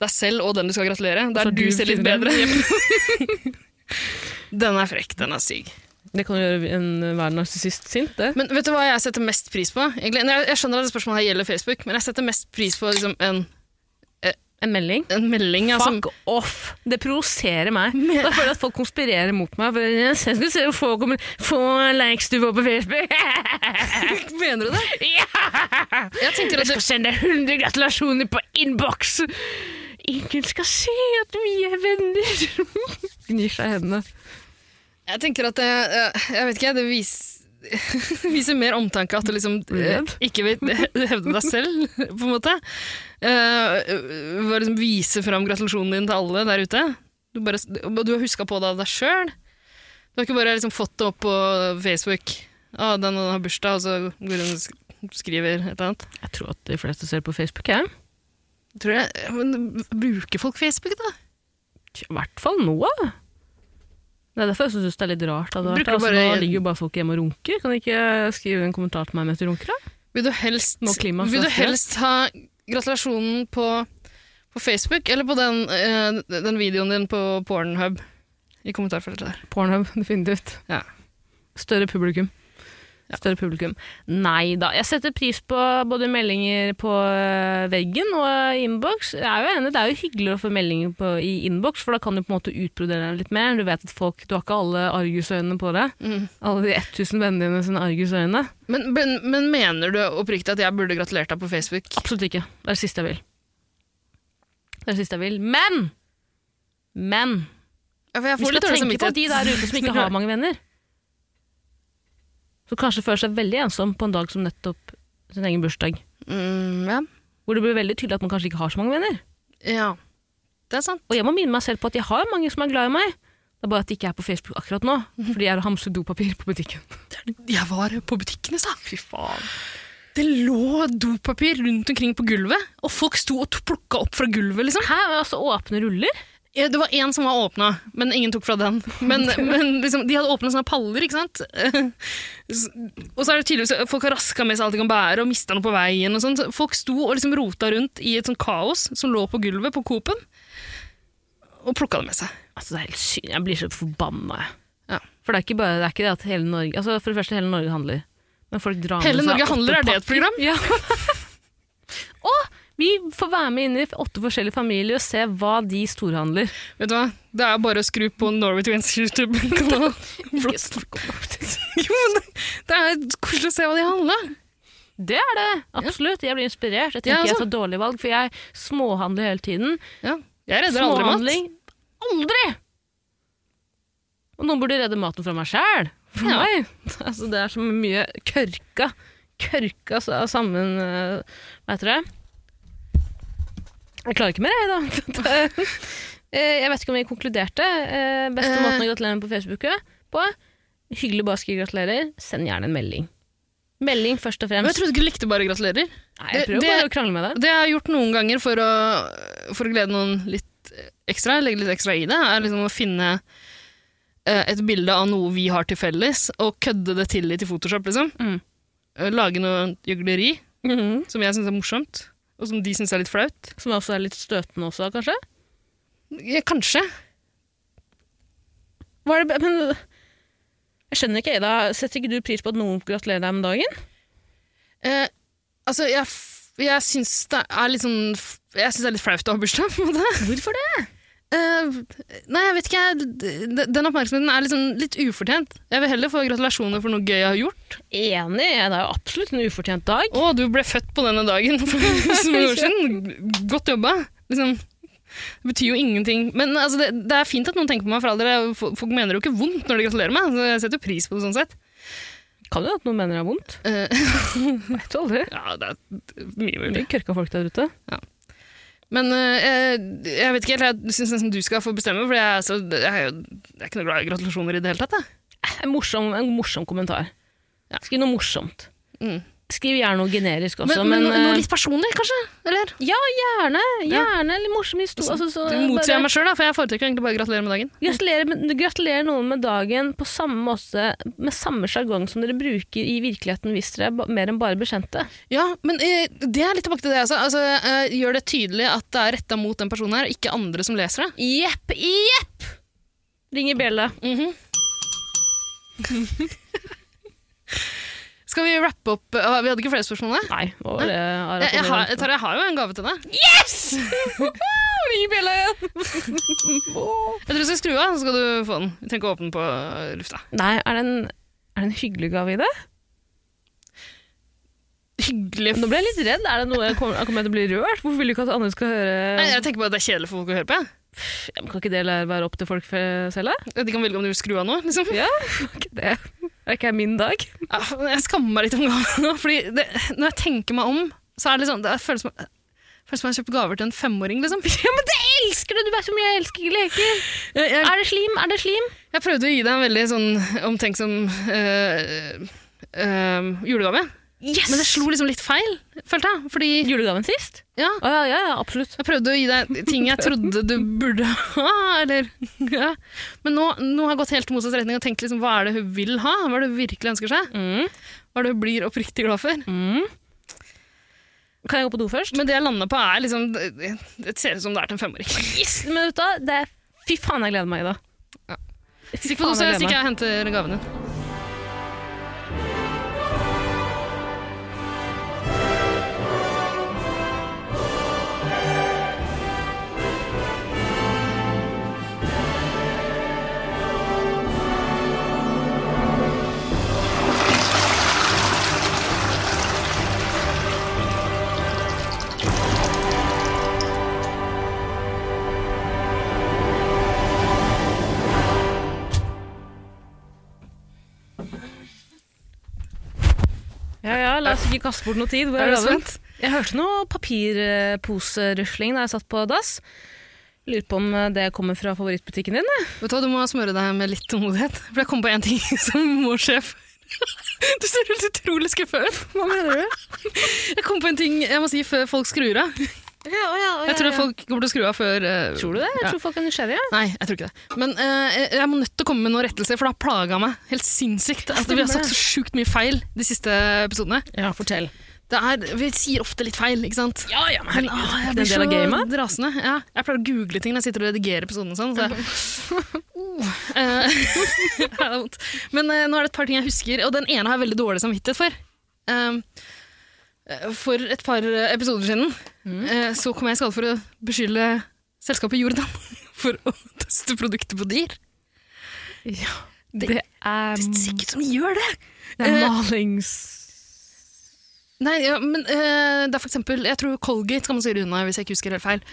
[SPEAKER 2] deg selv og den du skal gratulere. Der
[SPEAKER 1] Så
[SPEAKER 2] du
[SPEAKER 1] du
[SPEAKER 2] ser litt
[SPEAKER 1] finner
[SPEAKER 2] bedre. <laughs> den er frekk, den er syk.
[SPEAKER 1] det kan jo gjøre en hver narsissist sint, det.
[SPEAKER 2] Men vet du hva jeg setter mest pris på? Egentlig, Nei, jeg, jeg skjønner at det spørsmålet her gjelder Facebook, men jeg setter mest pris på liksom, en,
[SPEAKER 1] En melding.
[SPEAKER 2] en melding. Altså,
[SPEAKER 1] Fuck off! Det provoserer <laughs> meg. Da føler jeg at folk konspirerer mot meg. For jeg skal se hvor få, kommer- få likes du får på Facebook! <laughs>
[SPEAKER 2] mener du det? Jeg
[SPEAKER 1] Jeg
[SPEAKER 2] tenker at det,
[SPEAKER 1] skal sende deg 100 gratulasjoner på innboks! Ingen skal se at vi er venner! <laughs> Gnir seg i hendene.
[SPEAKER 2] Jeg tenker at det, eh, jeg vet ikke, det viser, <laughs> viser mer omtanke at du liksom eh,
[SPEAKER 1] Redd?
[SPEAKER 2] ikke vil <laughs> hevde deg selv, på en måte. Eh, Bare liksom vise fram gratulasjonen din til alle der ute. Du, bare, og du har huska på det av deg sjøl. Du har ikke bare liksom fått det opp på Facebook. Ah, den og den har bursdag, og så går hun og sk- skriver et eller annet.
[SPEAKER 1] Jeg tror at de fleste ser på Facebook, jeg.
[SPEAKER 2] Tror jeg, men Bruker folk Facebook, da?
[SPEAKER 1] I hvert fall nå. Det er derfor jeg syns det er litt rart. At det har vært,
[SPEAKER 2] Bruker
[SPEAKER 1] altså,
[SPEAKER 2] bare-
[SPEAKER 1] nå ligger jo bare folk hjemme og runker. Kan de ikke skrive en kommentar til meg mens de runker? da?
[SPEAKER 2] Vil du helst,
[SPEAKER 1] Må klimaet
[SPEAKER 2] vil du
[SPEAKER 1] straffes?
[SPEAKER 2] helst ha gratulasjonen på, på Facebook eller på den, eh, den videoen din på Pornhub? <laughs> I kommentarfeltet der.
[SPEAKER 1] Pornhub, definitivt.
[SPEAKER 2] Ja.
[SPEAKER 1] Større publikum. Større publikum. Nei da. Jeg setter pris på både meldinger på øh, veggen og øh, innboks. Jeg er jo enig, det er jo hyggeligere å få meldinger på, i innboks, for da kan du på en måte utbrodere deg litt mer. Du vet at folk Du har ikke alle argusøynene på deg.
[SPEAKER 2] Mm.
[SPEAKER 1] Alle de 1000 vennene dine sine argusøyne.
[SPEAKER 2] Men, men, men mener du oppriktig at jeg burde gratulert deg på Facebook?
[SPEAKER 1] Absolutt ikke. Det er det siste jeg vil. Det er det siste jeg vil. Men! Men!
[SPEAKER 2] Ja, for jeg
[SPEAKER 1] Vi
[SPEAKER 2] får
[SPEAKER 1] skal
[SPEAKER 2] litt dårlig
[SPEAKER 1] tenke på
[SPEAKER 2] samvittighet.
[SPEAKER 1] de der ute som ikke har mange venner. Som kanskje føler seg veldig ensom på en dag som nettopp sin egen bursdag.
[SPEAKER 2] Mm, ja.
[SPEAKER 1] Hvor det blir veldig tydelig at man kanskje ikke har så mange venner.
[SPEAKER 2] ja. Det er sant.
[SPEAKER 1] Og jeg må minne meg selv på at jeg har mange som er glad i meg. Det er bare at de ikke er på Facebook akkurat nå, fordi jeg har hamset dopapir på butikken.
[SPEAKER 2] Jeg var på butikken i stad. Fy faen. Det lå dopapir rundt omkring på gulvet, og folk sto og plukka opp fra gulvet. liksom.
[SPEAKER 1] Hæ? Men Altså åpne ruller?
[SPEAKER 2] Ja, Det var én som var åpna, men ingen tok fra den. Men, men liksom, De hadde åpna sånne paller, ikke sant. <laughs> S- Og så er det tydeligvis at folk har raska med seg alt de kan bære, og mista noe på veien. og sånt. Så Folk sto og liksom rota rundt i et sånt kaos som lå på gulvet på Coop-en, og plukka det med seg.
[SPEAKER 1] Altså det er helt synd. Jeg blir så forbanna. jeg.
[SPEAKER 2] Ja.
[SPEAKER 1] For det er ikke bare det er ikke det at hele Norge Altså for det første, hele Norge handler. Men folk drar
[SPEAKER 2] Hele
[SPEAKER 1] med seg
[SPEAKER 2] Norge
[SPEAKER 1] åtte
[SPEAKER 2] handler, er det et program?
[SPEAKER 1] Ja. <laughs> og vi får være med inn i åtte forskjellige familier og se hva de storhandler.
[SPEAKER 2] <laughs> Vet du hva? Det er bare å skru på Norway Twins YouTube-kanal. <laughs> Jo, men det, det er koselig å se hva de handla.
[SPEAKER 1] Det er det! Absolutt. Jeg blir inspirert. Jeg
[SPEAKER 2] Ja,
[SPEAKER 1] tenker jeg
[SPEAKER 2] altså.
[SPEAKER 1] tar dårlige valg, for jeg småhandler hele tiden.
[SPEAKER 2] Ja, jeg redder aldri mat.
[SPEAKER 1] Småhandling aldri! Og noen burde redde maten fra meg sjæl. For
[SPEAKER 2] Ja.
[SPEAKER 1] meg. <laughs> Altså, det er så mye kørka. Kørka sa- sammen eh, Hva heter det? Jeg klarer ikke mer, jeg, da. <laughs> Dette- Eh, jeg vet ikke om vi konkluderte. Eh, Beste
[SPEAKER 2] Eh.
[SPEAKER 1] måten å gratulere med på Facebook på. Hyggelig bare å skrive 'gratulerer'. Send gjerne en melding. Melding først og
[SPEAKER 2] Men jeg
[SPEAKER 1] fremst.
[SPEAKER 2] trodde ikke du likte bare gratulerer.
[SPEAKER 1] Nei, jeg
[SPEAKER 2] det-
[SPEAKER 1] prøver
[SPEAKER 2] det-
[SPEAKER 1] bare å krangle med deg.
[SPEAKER 2] Det jeg har gjort noen ganger for å, for å glede noen litt ekstra, legge litt ekstra i det, er liksom å finne eh, et bilde av noe vi har til felles, og kødde det til litt i Photoshop, liksom.
[SPEAKER 1] Mm.
[SPEAKER 2] Eh, Lage noe gjøgleri, som jeg syns er morsomt, og som de syns er litt flaut.
[SPEAKER 1] Mhm. Som også er litt støtende også, kanskje.
[SPEAKER 2] Ja, kanskje.
[SPEAKER 1] Hva er det, men jeg skjønner ikke, Ida. Setter ikke du pris på at noen gratulerer deg med dagen?
[SPEAKER 2] Eh, altså, jeg, f- jeg syns det er litt sånn f- Jeg syns det er litt flaut å ha bursdag, <laughs> på en måte.
[SPEAKER 1] Hvorfor det?
[SPEAKER 2] Eh, nei, jeg vet ikke. jeg- d- Den oppmerksomheten er liksom litt ufortjent. Jeg vil heller få gratulasjoner for noe gøy jeg har gjort.
[SPEAKER 1] Enig, det er jo absolutt en ufortjent dag.
[SPEAKER 2] Å, du ble født på denne dagen <laughs> for så mange år siden. Godt jobba. Liksom, det betyr jo ingenting. Men altså, det, det er fint at noen tenker på meg, for all del. Fo- Folk mener det jo ikke vondt når de gratulerer meg. Så jeg setter jo pris på det sånn sett.
[SPEAKER 1] Kan jo at noen mener det er vondt.
[SPEAKER 2] Eh,
[SPEAKER 1] Vet du aldri.
[SPEAKER 2] ja, det er mye
[SPEAKER 1] Det
[SPEAKER 2] mulig.
[SPEAKER 1] blir kørka folk der ute.
[SPEAKER 2] Men eh, jeg, jeg vet ikke helt. Jeg syns nesten du skal få bestemme, for jeg, er så, jeg, er jo- jeg er ikke noe glad i gratulasjoner i det hele tatt. Jeg.
[SPEAKER 1] En morsom, en morsom kommentar.
[SPEAKER 2] Ja.
[SPEAKER 1] Skriv noe morsomt.
[SPEAKER 2] Mm.
[SPEAKER 1] Skriv gjerne noe generisk
[SPEAKER 2] Men,
[SPEAKER 1] også,
[SPEAKER 2] men,
[SPEAKER 1] men,
[SPEAKER 2] noe, noe
[SPEAKER 1] eh,
[SPEAKER 2] litt personlig, kanskje? Eller?
[SPEAKER 1] gjerne, gjerne litt morsom historie. Altså, så,
[SPEAKER 2] Du motsier
[SPEAKER 1] bare-
[SPEAKER 2] meg sjøl, for jeg foretrekker egentlig bare å gratulere med dagen.
[SPEAKER 1] Gratulerer, med, gratulerer noen med dagen på samme måte, med samme sjargong som dere bruker i virkeligheten hvis dere er ba- mer enn bare bekjente.
[SPEAKER 2] Ja, men eh, det er litt tilbake til det jeg sa. Altså, eh, gjør det tydelig at det er retta mot den personen her, og ikke andre som leser det.
[SPEAKER 1] Jepp, jepp! Ringer bjella.
[SPEAKER 2] Mhm. <laughs> Skal vi rappe opp eh, Vi hadde ikke flere spørsmål, da?
[SPEAKER 1] Nei, hva var det? Ara
[SPEAKER 2] Jeg, jeg,
[SPEAKER 1] Tore
[SPEAKER 2] har,
[SPEAKER 1] vant på?
[SPEAKER 2] Tara, jeg har jo en gave til deg.
[SPEAKER 1] <laughs> Ringer bjella igjen!
[SPEAKER 2] Jeg tror jeg skal skru av, så skal du få den. Vi trenger ikke åpne den på eh, lufta.
[SPEAKER 1] Nei, er det, en, er det en hyggelig gave i det?
[SPEAKER 2] Hyggelig.
[SPEAKER 1] Nå ble jeg litt redd. Er det noe jeg kommer, kommer jeg til å bli rørt? Hvorfor vil du ikke at andre skal høre
[SPEAKER 2] Nei, jeg tenker bare at det er kjedelig for folk å høre på. jeg.
[SPEAKER 1] Ja, men Kan ikke det la være opp til folk for- selv, da?
[SPEAKER 2] De kan velge om de vil skru av nå. Liksom.
[SPEAKER 1] Ja, kan ikke det. Er det ikke min dag?
[SPEAKER 2] Ja, Jeg skammer meg litt om gaven nå, fordi det, når jeg tenker meg om, så er det liksom, det føles som føles som jeg har kjøpt gaver til en femåring, liksom. <laughs>
[SPEAKER 1] Ja, men det elsker du! Du vet hvor mye jeg elsker leker.
[SPEAKER 2] Jeg, jeg,
[SPEAKER 1] Er det slim? Er det slim?
[SPEAKER 2] jeg prøvde å gi deg en veldig sånn omtenksom eh, eh, julegave,
[SPEAKER 1] Yes!
[SPEAKER 2] men det slo liksom litt feil, følte jeg. Fordi
[SPEAKER 1] Julegaven sist?
[SPEAKER 2] ja,
[SPEAKER 1] Å ja, ja, ja, absolutt.
[SPEAKER 2] jeg prøvde å gi deg ting jeg trodde du burde <laughs> ha, eller ja. Men nå, nå har jeg gått helt i motsatt retning og tenkt liksom, hva er det hun vil ha? Hva er det hun virkelig ønsker seg?
[SPEAKER 1] Mm.
[SPEAKER 2] Hva er det hun blir oppriktig glad for?
[SPEAKER 1] Mm. Kan jeg gå på do først?
[SPEAKER 2] Men det jeg lander på, er liksom Det, det ser ut som det er til en femåring.
[SPEAKER 1] Yes! Men vet du, hva? det er, fy faen, jeg gleder meg i dag.
[SPEAKER 2] Ja.
[SPEAKER 1] Fy
[SPEAKER 2] Stikk på do,
[SPEAKER 1] faen,
[SPEAKER 2] så
[SPEAKER 1] jeg gleder
[SPEAKER 2] stikker
[SPEAKER 1] meg.
[SPEAKER 2] jeg og henter gaven din.
[SPEAKER 1] Ja, ja, la oss ikke kaste bort noe tid. Hvor
[SPEAKER 2] Er
[SPEAKER 1] er
[SPEAKER 2] du
[SPEAKER 1] radioen?
[SPEAKER 2] spent?
[SPEAKER 1] Jeg hørte noe papirposerusling da jeg satt på dass. Lurer på om eh, det kommer fra favorittbutikken din. jeg.
[SPEAKER 2] Vet du hva, du må smøre deg med litt tålmodighet. For jeg kom på en ting <laughs> som må skje før. Du ser helt utrolig skuffet ut.
[SPEAKER 1] Hva mener du?
[SPEAKER 2] Jeg kom på en ting jeg må si før folk skrur av.
[SPEAKER 1] <laughs> Ja, å ja, å ja,
[SPEAKER 2] Jeg tror
[SPEAKER 1] ja.
[SPEAKER 2] folk kommer til å skru av før eh,
[SPEAKER 1] Tror du det? Jeg
[SPEAKER 2] Ja.
[SPEAKER 1] tror folk er nysgjerrige.
[SPEAKER 2] Nei, jeg tror ikke det. Men eh, jeg- jeg må nødt til å komme med noen rettelser, for det har plaga meg helt sinnssykt at vi har sagt så sjukt mye feil de siste episodene.
[SPEAKER 1] Ja, fortell.
[SPEAKER 2] Det er, vi sier ofte litt feil, ikke sant?
[SPEAKER 1] Ja, ja, men
[SPEAKER 2] Men,
[SPEAKER 1] herregud.
[SPEAKER 2] ah,
[SPEAKER 1] er
[SPEAKER 2] jeg
[SPEAKER 1] ikke
[SPEAKER 2] blir
[SPEAKER 1] det en del av gamet?
[SPEAKER 2] så rasende. Ja, jeg pleier å google ting når jeg sitter og redigerer episoden og sånn.
[SPEAKER 1] <laughs>
[SPEAKER 2] Så jeg, <laughs> oh, eh, det er vondt. Men eh, nå er det et par ting jeg husker, og den ene har jeg veldig dårlig samvittighet for. Um, eh, for et par eh, episoder siden
[SPEAKER 1] Mm.
[SPEAKER 2] eh, så kom jeg i skade for å beskylde selskapet Jordan <laughs> for å teste produkter på dyr. Det-
[SPEAKER 1] Det er,
[SPEAKER 2] Det er sikkert som gjør det.
[SPEAKER 1] Eh, det er
[SPEAKER 2] eh,
[SPEAKER 1] malings...
[SPEAKER 2] Nei, ja, men eh, det er for eksempel, jeg tror Colgate kan man styre unna hvis jeg ikke husker helt feil.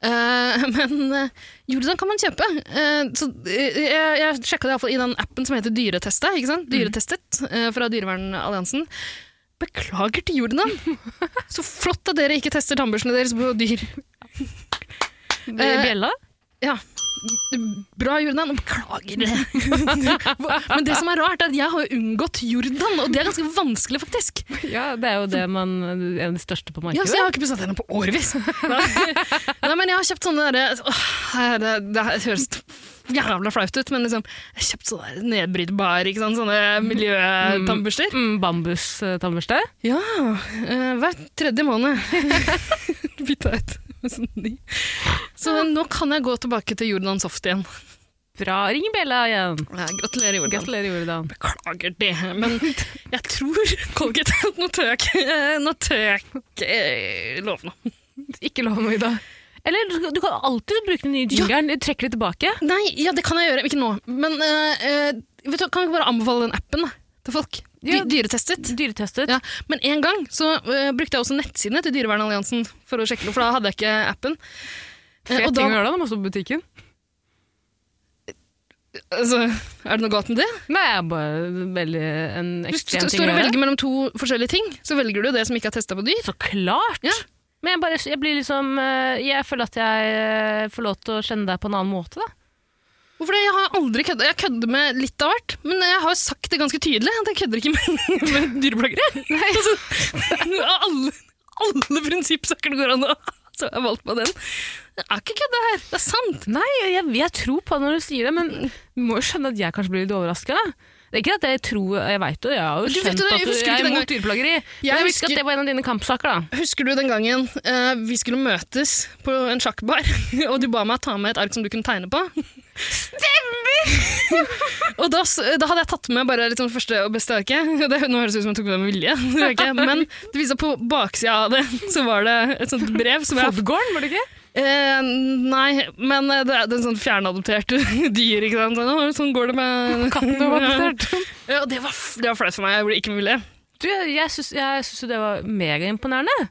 [SPEAKER 2] Eh, <laughs> men eh, Jordan kan man kjøpe. Eh, så eh, jeg, jeg sjekka det i hvert fall i den appen som heter Dyretestet, ikke sant? Dyretestet eh, fra Dyrevernalliansen. Beklager til Jordan! så flott at dere ikke tester tannbørstene deres på dyr. eh,
[SPEAKER 1] Bjella?
[SPEAKER 2] Ja. Bra, Jordan. og Beklager det. <laughs> Men det som er rart, er at jeg har jo unngått Jordan, og det er ganske vanskelig, faktisk.
[SPEAKER 1] <laughs> Ja, det er jo det man er en av de største på
[SPEAKER 2] Ja,
[SPEAKER 1] markedet.
[SPEAKER 2] så jeg har ikke pusset tennene på <laughs> årevis. Nei, men jeg har kjøpt sånne der, altså, åh, her- det, det her høres jævla flaut ut, men liksom, jeg har kjøpt sånne der nedbrytbare, ikke sant, sånne miljøtannbørster.
[SPEAKER 1] Mm, Bambustannbørste.
[SPEAKER 2] Ja, eh, hver tredje måned. <laughs> Bytta ut. med sånn ny. Så nå kan jeg gå tilbake til Jordan Soft igjen.
[SPEAKER 1] Bra. Ring Bjella igjen.
[SPEAKER 2] Ja, gratulerer, Jordan.
[SPEAKER 1] Gratulerer, Jordan.
[SPEAKER 2] Beklager det, men <laughs> jeg tror Colgate <laughs> Nå tør jeg ikke Nå tør jeg ikke eh, love noe.
[SPEAKER 1] Ikke lov noe i dag. Eller du, du kan alltid bruke den nye jingeren. Trekke det tilbake.
[SPEAKER 2] Nei, ja, det kan jeg gjøre. Ikke nå. Men eh, eh, vet du, hva, kan vi ikke bare anbefale den appen da, til folk? Dy
[SPEAKER 1] Ja.
[SPEAKER 2] Dyretestet.
[SPEAKER 1] Dyretestet.
[SPEAKER 2] Ja. Men en gang så eh, brukte jeg også nettsidene til Dyrevernalliansen for å sjekke noe, for da hadde jeg ikke appen. Eh,
[SPEAKER 1] Fet
[SPEAKER 2] og
[SPEAKER 1] ting å
[SPEAKER 2] da,
[SPEAKER 1] gjøre da, når man står på butikken.
[SPEAKER 2] altså, er det noe galt med det?
[SPEAKER 1] Nei, jeg er bare veldig en
[SPEAKER 2] Hvis du
[SPEAKER 1] ekstrem
[SPEAKER 2] st
[SPEAKER 1] ting
[SPEAKER 2] står
[SPEAKER 1] å
[SPEAKER 2] og
[SPEAKER 1] gjøre.
[SPEAKER 2] velger mellom to forskjellige ting, så velger du det som ikke er testa på dyr.
[SPEAKER 1] Så klart!
[SPEAKER 2] Ja.
[SPEAKER 1] Men jeg, bare, jeg blir liksom eh, Jeg føler at jeg eh, får lov til å kjenne deg på en annen måte, da.
[SPEAKER 2] Hvorfor det? Jeg har aldri kødda. Jeg kødder med litt av hvert, men jeg har sagt det ganske tydelig at jeg kødder ikke med, <laughs> med dyreplagere. Altså, av alle, alle prinsippsaker det går an å så har jeg valgt meg den. Det er ikke kødda her, det er sant.
[SPEAKER 1] Nei, jeg, jeg, jeg tror på det når du sier det, men du må jo skjønne at jeg kanskje blir litt overraska. Det er ikke at jeg tror Jeg veit jo, jeg har jo
[SPEAKER 2] Du vet
[SPEAKER 1] skjønt
[SPEAKER 2] jo det, jeg
[SPEAKER 1] at du jeg
[SPEAKER 2] husker ikke
[SPEAKER 1] er
[SPEAKER 2] den
[SPEAKER 1] imot dyreplageri. Men jeg husker
[SPEAKER 2] husker-
[SPEAKER 1] at det var en av dine kampsaker, da.
[SPEAKER 2] Husker du den gangen eh, vi skulle møtes på en sjakkbar, <laughs> og du ba meg ta med et ark som du kunne tegne på? Stemmer! <laughs> og da, s- da hadde jeg tatt med bare liksom første og beste arket. <laughs> Det, nå høres det ut som jeg tok med det med vilje, <laughs> det gjør jeg ikke. men det viste seg på baksida av det, <laughs> så var det et sånt brev som jeg
[SPEAKER 1] Foddgården, var det ikke?
[SPEAKER 2] Eh, nei, men eh, det er det er en sånn fjernadoptert <laughs> dyr, ikke sant? Sånn, «Å, Sånn går det med
[SPEAKER 1] Katten
[SPEAKER 2] <laughs>
[SPEAKER 1] <laughs> var adoptert.
[SPEAKER 2] Ja, og det var, f- det var flaut for meg, jeg ble ikke med vilje.
[SPEAKER 1] Du, jeg syns jeg syns jo det var megaimponerende.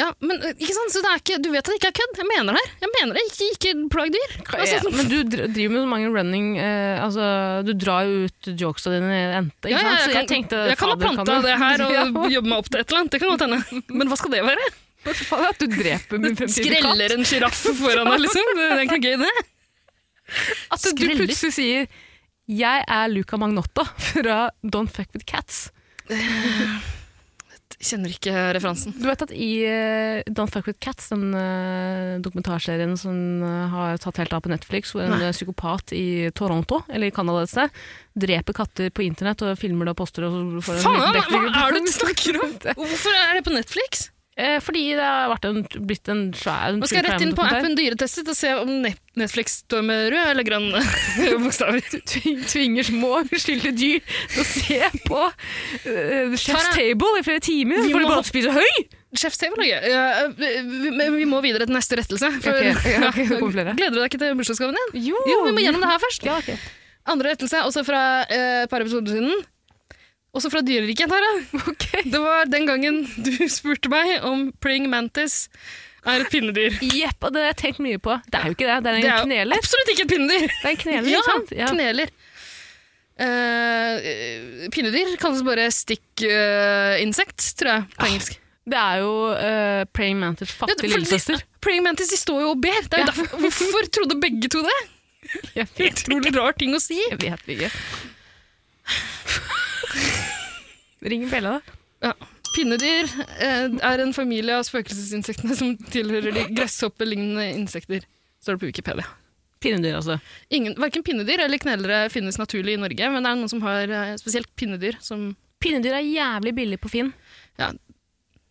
[SPEAKER 2] Ja, men eh, ikke sant, så det er ikke, du vet at det ikke er kødd. Jeg mener det her. Jeg mener det, ikke, ikke plag dyr. Altså,
[SPEAKER 1] Ja, men du dr- driver med så mange running eh, Altså, du drar jo ut jokesa dine i ente, ikke
[SPEAKER 2] ja, ja,
[SPEAKER 1] sant? Så jeg
[SPEAKER 2] kan-
[SPEAKER 1] tenkte
[SPEAKER 2] jeg kan ha
[SPEAKER 1] fader,
[SPEAKER 2] planta
[SPEAKER 1] du-
[SPEAKER 2] det
[SPEAKER 1] <laughs>
[SPEAKER 2] her og
[SPEAKER 1] Ja.
[SPEAKER 2] jobbe meg opp til et eller annet. Det kan
[SPEAKER 1] <laughs>
[SPEAKER 2] godt hende. Men hva skal det være?
[SPEAKER 1] Faen, at du dreper min fremtidige katt.
[SPEAKER 2] Skreller en sjiraff foran deg, liksom? Det det er ikke gøy, det.
[SPEAKER 1] At du
[SPEAKER 2] Skreller.
[SPEAKER 1] plutselig sier 'Jeg er Luca Magnotta <laughs> fra Don't Fuck With Cats'.
[SPEAKER 2] Kjenner ikke referansen.
[SPEAKER 1] Du vet at i eh, Don't Fuck With Cats, den eh, dokumentarserien som eh, har tatt helt av på Netflix, hvor en
[SPEAKER 2] Nei.
[SPEAKER 1] eh, psykopat i Toronto, eller i Canada et sted, dreper katter på internett og filmer det og poster det og så får en
[SPEAKER 2] Faen, hva
[SPEAKER 1] backlink-
[SPEAKER 2] er det du snakker
[SPEAKER 1] <laughs>
[SPEAKER 2] om? Hvorfor er det på Netflix?
[SPEAKER 1] Eh, Fordi det har vært en, blitt en svær
[SPEAKER 2] Nå skal jeg rett inn på appen Dyretestet og se om Ne- Netflix står med rød eller grønn <laughs> bokstaver.
[SPEAKER 1] Tvinger små uskyldige dyr til å se på eh, Chef's
[SPEAKER 2] Tara,
[SPEAKER 1] Table i flere timer,
[SPEAKER 2] vi
[SPEAKER 1] for
[SPEAKER 2] må
[SPEAKER 1] de
[SPEAKER 2] ha-
[SPEAKER 1] bare spiser høy!
[SPEAKER 2] Sjefstable er gøy. Ja, vi- vi- Vi må videre til neste rettelse. for-
[SPEAKER 1] Ok, ja, ok, det kommer flere.
[SPEAKER 2] <laughs> Gleder du deg ikke til bursdagsgaven din?
[SPEAKER 1] Jo,
[SPEAKER 2] Jo, vi må gjennom det her først.
[SPEAKER 1] Ja, <laughs> ok.
[SPEAKER 2] Andre rettelse, også fra eh, et par episoder siden. Også fra dyreriket, Tara. Det var den gangen du <laughs> spurte meg om praying mantis er et pinnedyr.
[SPEAKER 1] Jepp, og det har jeg tenkt mye på. Det er jo ikke det, det er en
[SPEAKER 2] Det er jo
[SPEAKER 1] kneler.
[SPEAKER 2] absolutt ikke et pinnedyr!
[SPEAKER 1] Det er en kneler,
[SPEAKER 2] ja,
[SPEAKER 1] ikke sant? Ja.
[SPEAKER 2] kneler. Eh, eh, Pinnedyr kalles bare stick eh, insect, tror jeg, på engelsk.
[SPEAKER 4] Det er jo uh, Praying Mantis'
[SPEAKER 2] Ja,
[SPEAKER 4] fattige
[SPEAKER 2] for
[SPEAKER 4] lillesøster. <laughs>
[SPEAKER 2] de- Praying mantis de står jo og ber. Det er jo
[SPEAKER 4] Ja.
[SPEAKER 2] derfor, hvorfor trodde begge to det?
[SPEAKER 4] Jeg vet,
[SPEAKER 2] Utrolig rar ting å si.
[SPEAKER 4] jeg vet
[SPEAKER 1] <laughs>
[SPEAKER 4] ikke. Ring bjella, da.
[SPEAKER 2] Pinnedyr eh, er en familie av spøkelsesinsektene som tilhører de gresshoppelignende insekter, står det på Wikipedia.
[SPEAKER 4] Pinnedyr, altså.
[SPEAKER 2] Ingen, verken pinnedyr eller knellere finnes naturlig i Norge, men det er noen som har eh, spesielt pinnedyr som
[SPEAKER 1] Pinnedyr er jævlig billig på Finn.
[SPEAKER 2] Ja.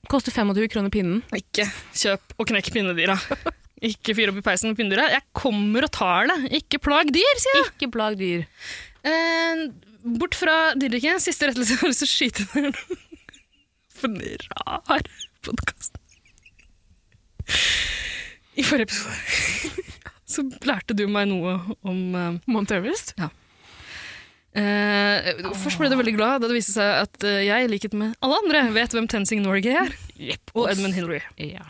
[SPEAKER 4] Koster 25 kroner pinnen.
[SPEAKER 2] Ikke kjøp og knekk pinnedyra. Ikke fyr opp i peisen med pinnedyra. Jeg kommer og tar det. Ikke plag dyr, sier jeg.
[SPEAKER 1] Ikke plag dyr.
[SPEAKER 2] Eh, bort fra dyreriket. Siste rettelse. Jeg har lyst til å skyte ned noe. <laughs> For en rar podkast. I forrige episode <laughs> så lærte du meg noe om eh,
[SPEAKER 4] Mount Everest?
[SPEAKER 2] Eh, først ble du veldig glad da det viste seg at eh, jeg, i likhet med alle andre, vet hvem Tenzing Norgay er,
[SPEAKER 4] Jepp.
[SPEAKER 2] og Edmund Hillary.
[SPEAKER 4] Ja.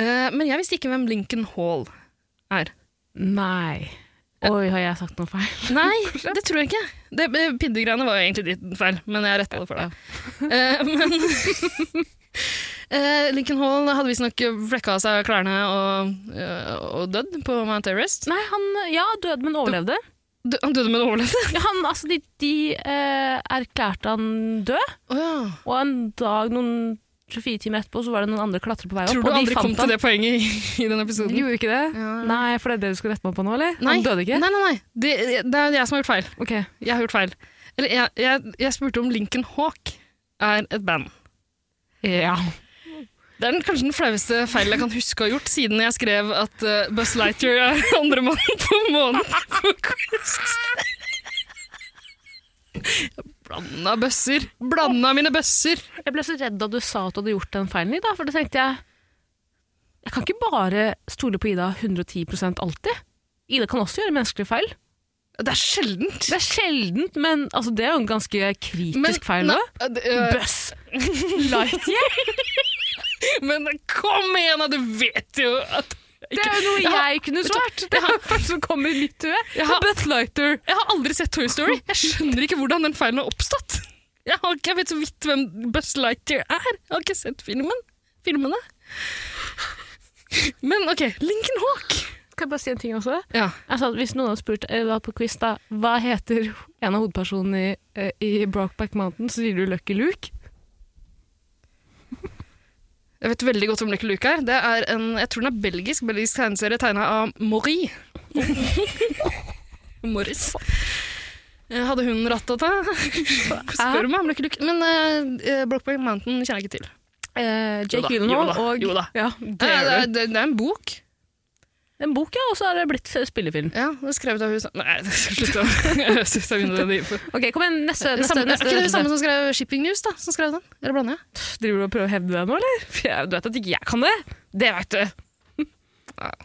[SPEAKER 2] Eh, men jeg visste ikke hvem Lincoln Hall er.
[SPEAKER 4] Nei. Oi, har jeg sagt noe feil? <laughs>
[SPEAKER 1] <laughs>
[SPEAKER 2] Nei, det tror jeg ikke. Det, eh, Pinnegreiene var jo egentlig ditt feil, men jeg retta det for deg. Eh, men <laughs> eh, Lincoln Hall hadde visstnok flekka av seg klærne og, eh, og dødd på Mount Everest.
[SPEAKER 1] Nei, han ja, døde, men overlevde.
[SPEAKER 2] Dø- Han døde, men overlevde.
[SPEAKER 1] Ja, Han, altså, de de eh, erklærte han død,
[SPEAKER 2] Oh, ja.
[SPEAKER 1] og en dag noen 24 timer etterpå så var det noen andre klatre på vei opp.
[SPEAKER 2] Tror du
[SPEAKER 1] og de
[SPEAKER 2] aldri kom
[SPEAKER 1] fant
[SPEAKER 2] til
[SPEAKER 1] han.
[SPEAKER 2] det poenget i, i den episoden?
[SPEAKER 4] Gjorde ikke det?
[SPEAKER 2] Ja.
[SPEAKER 4] Nei, for det er det du skal rette meg på nå, eller?
[SPEAKER 2] Nei.
[SPEAKER 4] Han døde ikke?
[SPEAKER 2] Nei, nei, nei. Det, det er jeg som har gjort feil.
[SPEAKER 4] Ok.
[SPEAKER 2] Jeg har gjort feil. Eller, jeg, jeg, jeg spurte om Lincoln Hawk er et band.
[SPEAKER 4] Ja.
[SPEAKER 2] Det er den, kanskje den flaueste feilen jeg kan huske å ha gjort, siden jeg skrev at eh, Buzz Lightyear er <laughs> andremann på månen på quiz. Blanda bøsser. Blanda mine bøsser.
[SPEAKER 1] Jeg ble så redd da du sa at du hadde gjort den feilen, Ida, for da tenkte jeg Jeg kan ikke bare stole på Ida 110 alltid. Ida kan også gjøre menneskelige feil.
[SPEAKER 2] Det er sjeldent.
[SPEAKER 1] Det er sjeldent, men altså, det er jo en ganske kritisk feil
[SPEAKER 2] nei,
[SPEAKER 1] nå.
[SPEAKER 2] eh, det, eh,
[SPEAKER 1] Bøss! Lightyear!
[SPEAKER 2] men kom igjen, da! Du vet jo at
[SPEAKER 1] Det er jo noe
[SPEAKER 2] Jeg har-
[SPEAKER 1] jeg kunne svart! Det er det første som kommer i mitt hue.
[SPEAKER 2] Jeg har-
[SPEAKER 1] Buzz Lighter.
[SPEAKER 2] Jeg har aldri sett Toy Story. Jeg skjønner ikke hvordan den feilen har oppstått. Jeg, har ikke, jeg vet så vidt hvem Buzz Lightyear er. Jeg har ikke sett filmen. filmene. Men OK, Lincoln Hawk.
[SPEAKER 1] Kan jeg bare si en ting også?
[SPEAKER 2] Ja.
[SPEAKER 1] Altså, hvis noen hadde spurt eh, da på quiz da, hva heter en av hovedpersonene i, eh, i Brokeback Mountain, så sier du Lucky
[SPEAKER 2] <laughs>
[SPEAKER 1] Luke.
[SPEAKER 2] Jeg vet veldig godt om Lucky Luke er. Det er en, jeg tror den er belgisk. Belgisk tegneserie tegna av <laughs> Maury. Morris. Eh, Hadde hun rattet <laughs> det? Spør meg om Lucky Luke. Men uh, Brokeback Mountain kjenner jeg ikke til.
[SPEAKER 1] Eh,
[SPEAKER 2] Jo da,
[SPEAKER 1] Jake
[SPEAKER 2] jo
[SPEAKER 1] Gyllenhaal
[SPEAKER 2] da,
[SPEAKER 1] og
[SPEAKER 2] jo da.
[SPEAKER 1] Ja,
[SPEAKER 2] Det
[SPEAKER 1] det er
[SPEAKER 2] er, det, er, det er en bok.
[SPEAKER 1] En bok, ja, og så er det blitt eh, spillefilm.
[SPEAKER 2] Ja, det er skrevet av hun som- Nei, <laughs> slutt da. Jeg synes <laughs> jeg begynner å drive på.
[SPEAKER 1] Ok, kom igjen, neste. neste,
[SPEAKER 2] Samme- Er
[SPEAKER 1] neste,
[SPEAKER 2] ikke det hun samme som skrev Shipping News, da? Som skrev den? Eller blander jeg?
[SPEAKER 1] Driver du og prøver å hevde deg nå, eller? For jeg- Du vet at ikke jeg kan det. Det vet du. <laughs>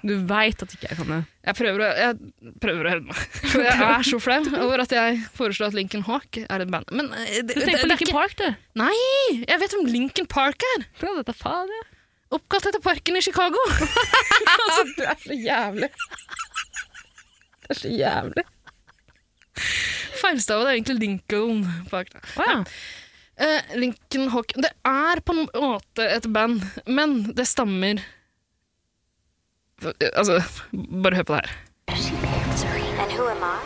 [SPEAKER 1] Du veit at ikke jeg kan det.
[SPEAKER 2] Jeg prøver å, jeg prøver å hevde meg. <laughs> For jeg er så flau over at jeg foreslår at Lincoln Hawk er et band. Men eh, det,
[SPEAKER 1] Du
[SPEAKER 2] det,
[SPEAKER 1] tenker på
[SPEAKER 2] det, er
[SPEAKER 1] Linkin
[SPEAKER 2] ikke
[SPEAKER 1] Park, du.
[SPEAKER 2] Jeg vet om Lincoln Park er!
[SPEAKER 1] Ja, dette er faen,
[SPEAKER 2] <laughs>
[SPEAKER 1] ja.
[SPEAKER 2] Oppkalt etter parken i Chicago. <laughs> altså, du er så
[SPEAKER 1] <laughs>
[SPEAKER 2] jævlig.
[SPEAKER 1] Det er så jævlig.
[SPEAKER 2] Feilstava det er egentlig Lincoln Park. Da.
[SPEAKER 1] Å ja.
[SPEAKER 2] Eh, Lincoln Hawk Det er på en måte et band, men det stammer Altså, bare hør på det her.
[SPEAKER 5] She answering. And who am I?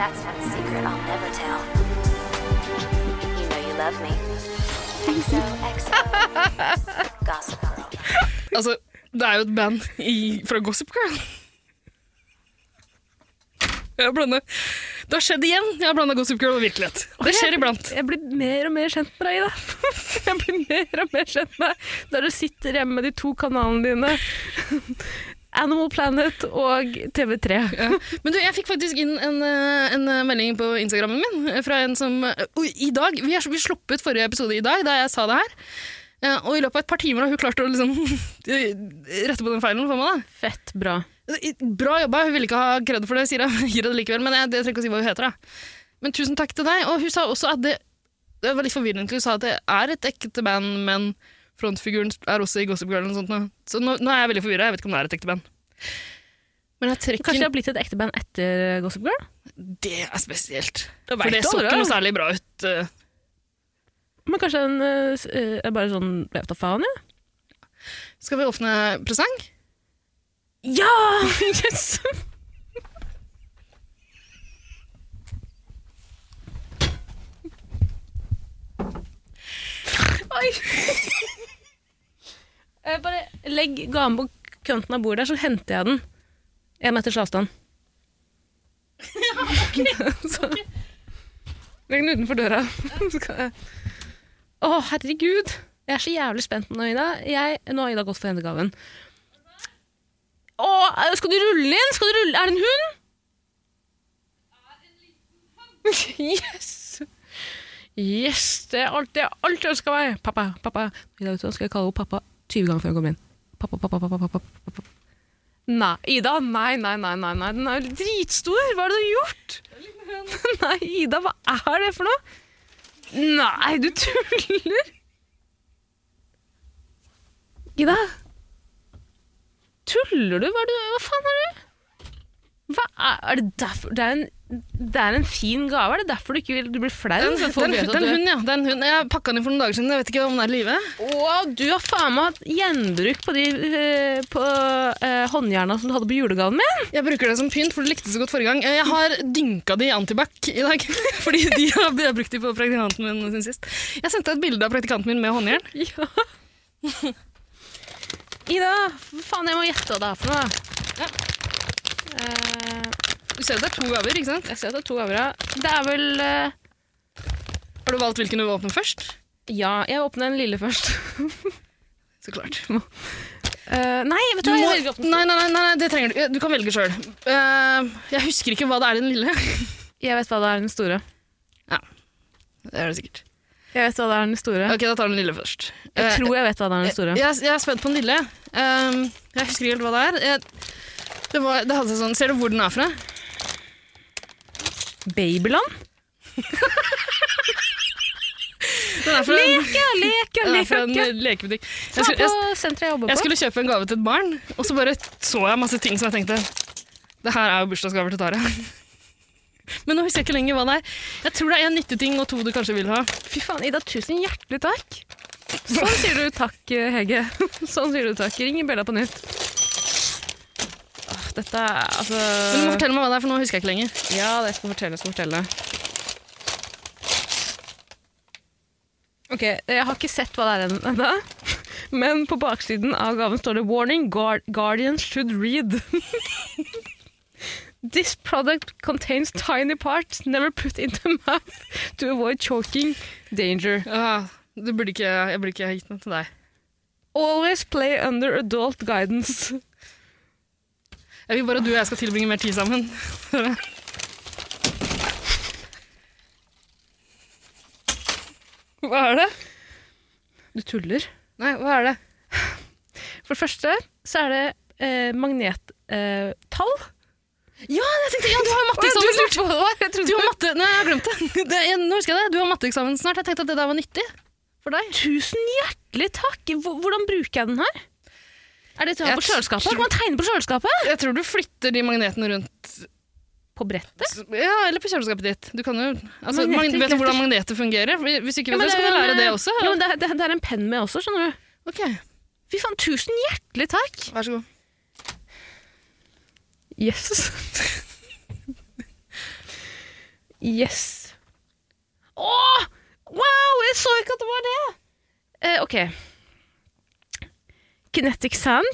[SPEAKER 5] That's not a secret I'll never tell. You know you love me. XO, XO. <laughs> Gossip Girl.
[SPEAKER 2] Altså, det er jo et band i, fra Gossip Girl. Jeg har blandet. Det har skjedd igjen. Jeg har blanda Gossip Girl og virkelighet. Det skjer iblant.
[SPEAKER 1] Jeg blir mer og mer kjent med deg, Ida. <laughs> Jeg blir mer og mer kjent med deg der du sitter hjemme med de to kanalene dine. <laughs> Animal Planet og TV3.
[SPEAKER 2] Men du, jeg fikk faktisk inn en, eh, en eh, melding på Instagrammen min eh, fra en som eh, Oi, I dag! Vi, er, så- vi slapp ut forrige episode i dag, da jeg sa det her. Eh, Og i løpet av et par timer har hun klart å liksom <laughs> rette på den feilen for meg. da.
[SPEAKER 1] Fett bra.
[SPEAKER 2] Bra jobba. Hun ville ikke ha kred for det, sier <laughs> jeg. Gir det likevel, men jeg, jeg trenger ikke å si hva hun heter. Da. Men tusen takk til deg. Og hun sa også at det, det var litt forvirrende til hun sa at det er et ekte band, men frontfiguren er også i Gossip Girl eller noe sånt. nå. Så nå, nå er jeg veldig forvirra. Jeg vet ikke om det er et ekte band. Men jeg trekker
[SPEAKER 1] Kanskje det har blitt et ekte band etter Gossip Girl?
[SPEAKER 2] Det er spesielt.
[SPEAKER 1] Da
[SPEAKER 2] For
[SPEAKER 1] vet
[SPEAKER 2] det
[SPEAKER 1] du
[SPEAKER 2] så
[SPEAKER 1] aldri,
[SPEAKER 2] ikke noe
[SPEAKER 1] da.
[SPEAKER 2] særlig bra ut. eh.
[SPEAKER 1] Men kanskje den eh, s- eh, er bare sånn Jeg vet da faen, jeg.
[SPEAKER 2] Skal vi åpne presang?
[SPEAKER 1] Ja! <laughs> Yes! Oi! <laughs> Eh, bare legg gaven på kanten av bordet, der, så henter jeg den. En meters <laughs> avstand. <laughs>
[SPEAKER 4] Legg den utenfor døra. Så kan jeg-
[SPEAKER 1] Å, herregud! Jeg er så jævlig spent nå, Ida. Jeg, nå har Ida gått for hendegaven. Å, eh, skal du rulle den inn? Skal du rulle? Er det en hund? <laughs> Yes! Yes, det er alt det jeg alltid ønska meg. Pappa, pappa. Ida, vet du hva, skal jeg kalle henne pappa 20 ganger før hun kommer inn. Pappa, pappa, pappa, pappa, pappa, pappa. Nei, Ida, nei, nei, nei, nei, nei. Den er jo dritstor. Hva har du gjort? <laughs> Nei, Ida, hva er det for noe? Nei, du tuller! Ida? Tuller du? Hva, er det, hva faen er det? Hva er, er det derfor det er, en, det er en fin gave. Er det derfor du ikke vil du blir flau?
[SPEAKER 2] Den,
[SPEAKER 1] for
[SPEAKER 2] den,
[SPEAKER 1] folk
[SPEAKER 2] den,
[SPEAKER 1] vet at du-
[SPEAKER 2] hunden, ja. Den hunden. Jeg pakka den inn for noen dager siden. Jeg vet ikke om den er i live.
[SPEAKER 1] Å, du har faen meg hatt gjenbruk på, de, eh, på eh, håndjerna som du hadde på julegaven min!
[SPEAKER 2] Jeg bruker det som pynt, for du likte det så godt forrige gang. Eh, Jeg har dynka de i antibac i dag, <laughs> fordi de har, jeg har brukt de på praktikanten min sin sist. Jeg sendte et bilde av praktikanten min med håndjern.
[SPEAKER 1] <laughs> Ja. Ida, hva faen, jeg må gjette hva det er for noe.
[SPEAKER 2] Ja.
[SPEAKER 1] Eh,
[SPEAKER 2] Du ser at det er to gaver, ikke sant?
[SPEAKER 1] jeg ser at det er to gaver. ja. Det er vel eh,
[SPEAKER 2] Har du valgt hvilken du vil åpne først?
[SPEAKER 1] Ja, jeg åpner den lille først.
[SPEAKER 2] Så klart.
[SPEAKER 1] <laughs> Eh, nei, vet du
[SPEAKER 2] Du
[SPEAKER 1] hva,
[SPEAKER 2] må,
[SPEAKER 1] jeg
[SPEAKER 2] nei,
[SPEAKER 1] velger åpne
[SPEAKER 2] nei, nei, nei, det trenger du. Du kan velge sjøl. jeg husker ikke hva det er i den lille. <laughs>
[SPEAKER 1] Jeg vet hva det er den store.
[SPEAKER 2] Det er det sikkert.
[SPEAKER 1] Jeg vet hva det er den store.
[SPEAKER 2] Ok, da tar den lille først.
[SPEAKER 1] Jeg
[SPEAKER 2] Eh,
[SPEAKER 1] tror jeg vet hva det er den store.
[SPEAKER 2] Jeg, jeg er spent på den lille. Ehm, jeg husker ikke helt hva det er. Jeg, det, var, det hadde seg sånn, Ser du hvor den er fra?
[SPEAKER 1] Babyland?
[SPEAKER 2] Den er fra,
[SPEAKER 1] Leke, leke,
[SPEAKER 2] den er fra
[SPEAKER 1] leke!
[SPEAKER 2] en
[SPEAKER 1] leke.
[SPEAKER 2] lekebutikk. Jeg
[SPEAKER 1] Ta
[SPEAKER 2] skulle,
[SPEAKER 1] på
[SPEAKER 2] jeg,
[SPEAKER 1] senteret eh, jeg jobber
[SPEAKER 2] jeg
[SPEAKER 1] på.
[SPEAKER 2] skulle kjøpe en gave til et barn, og så bare så jeg masse ting som jeg tenkte Det her er jo bursdagsgaver til Tara. <laughs> Men nå husker jeg ikke lenger hva det er. Jeg tror det er en nytteting og to du kanskje vil ha.
[SPEAKER 1] Fy faen, Ida, tusen hjertelig takk. Sånn sier du takk, Hege. <laughs> Sånn sier du takk. Ring Bella på nytt. Åh, Dette er altså
[SPEAKER 2] Men du må fortelle meg hva det er, for nå husker jeg ikke lenger.
[SPEAKER 1] Ja, det skal jeg fortelle, jeg skal fortelle. Ok, jeg har ikke sett hva det er ennå, <laughs> men på baksiden av gaven står det «Warning, guard Guardians should read». <laughs> This product contains tiny parts never put into mouth to avoid choking danger.
[SPEAKER 2] Ah, du burde ikke, jeg burde ikke ha gitt den til deg.
[SPEAKER 1] Always play under adult guidance.
[SPEAKER 2] Jeg vil bare at du og jeg skal tilbringe mer tid sammen. <laughs>
[SPEAKER 1] Hva er det? Du tuller.
[SPEAKER 2] Nei, hva er det?
[SPEAKER 1] For det første så er det eh, magnettall. Eh, tall.
[SPEAKER 2] Ja, jeg tenkte, ja, du har jo matteeksamen snart! <laughs> Du har matte... Nei, jeg har glemt det. det <laughs> jeg, nå husker jeg det. Du har matteeksamen snart. Jeg tenkte at det der var nyttig for deg.
[SPEAKER 1] Tusen hjertelig takk! Hvor- Hvordan bruker jeg den her? Er det til å ha
[SPEAKER 2] Jeg
[SPEAKER 1] på kjøleskapet?
[SPEAKER 2] tror-
[SPEAKER 1] Kan man tegne på kjøleskapet?
[SPEAKER 2] Jeg tror du flytter de magnetene rundt
[SPEAKER 1] På brettet?
[SPEAKER 2] Ja, eller på kjøleskapet ditt. Du kan jo altså,
[SPEAKER 1] Magneter,
[SPEAKER 2] magne- Vet du
[SPEAKER 1] magneter.
[SPEAKER 2] hvordan magneter fungerer? Hvis du ikke
[SPEAKER 1] Ja, men
[SPEAKER 2] vet det, så kan
[SPEAKER 1] er
[SPEAKER 2] du
[SPEAKER 1] jo
[SPEAKER 2] lære
[SPEAKER 1] en-
[SPEAKER 2] det også.
[SPEAKER 1] Ja, men det, er- det, er- det er en penn med også, skjønner du.
[SPEAKER 2] Ok,
[SPEAKER 1] Fy faen, tusen hjertelig takk!
[SPEAKER 2] vær så god.
[SPEAKER 1] Yes. <laughs> yes. Åh! Wow, jeg så ikke at det var det! Eh, ok. Kinetic sand.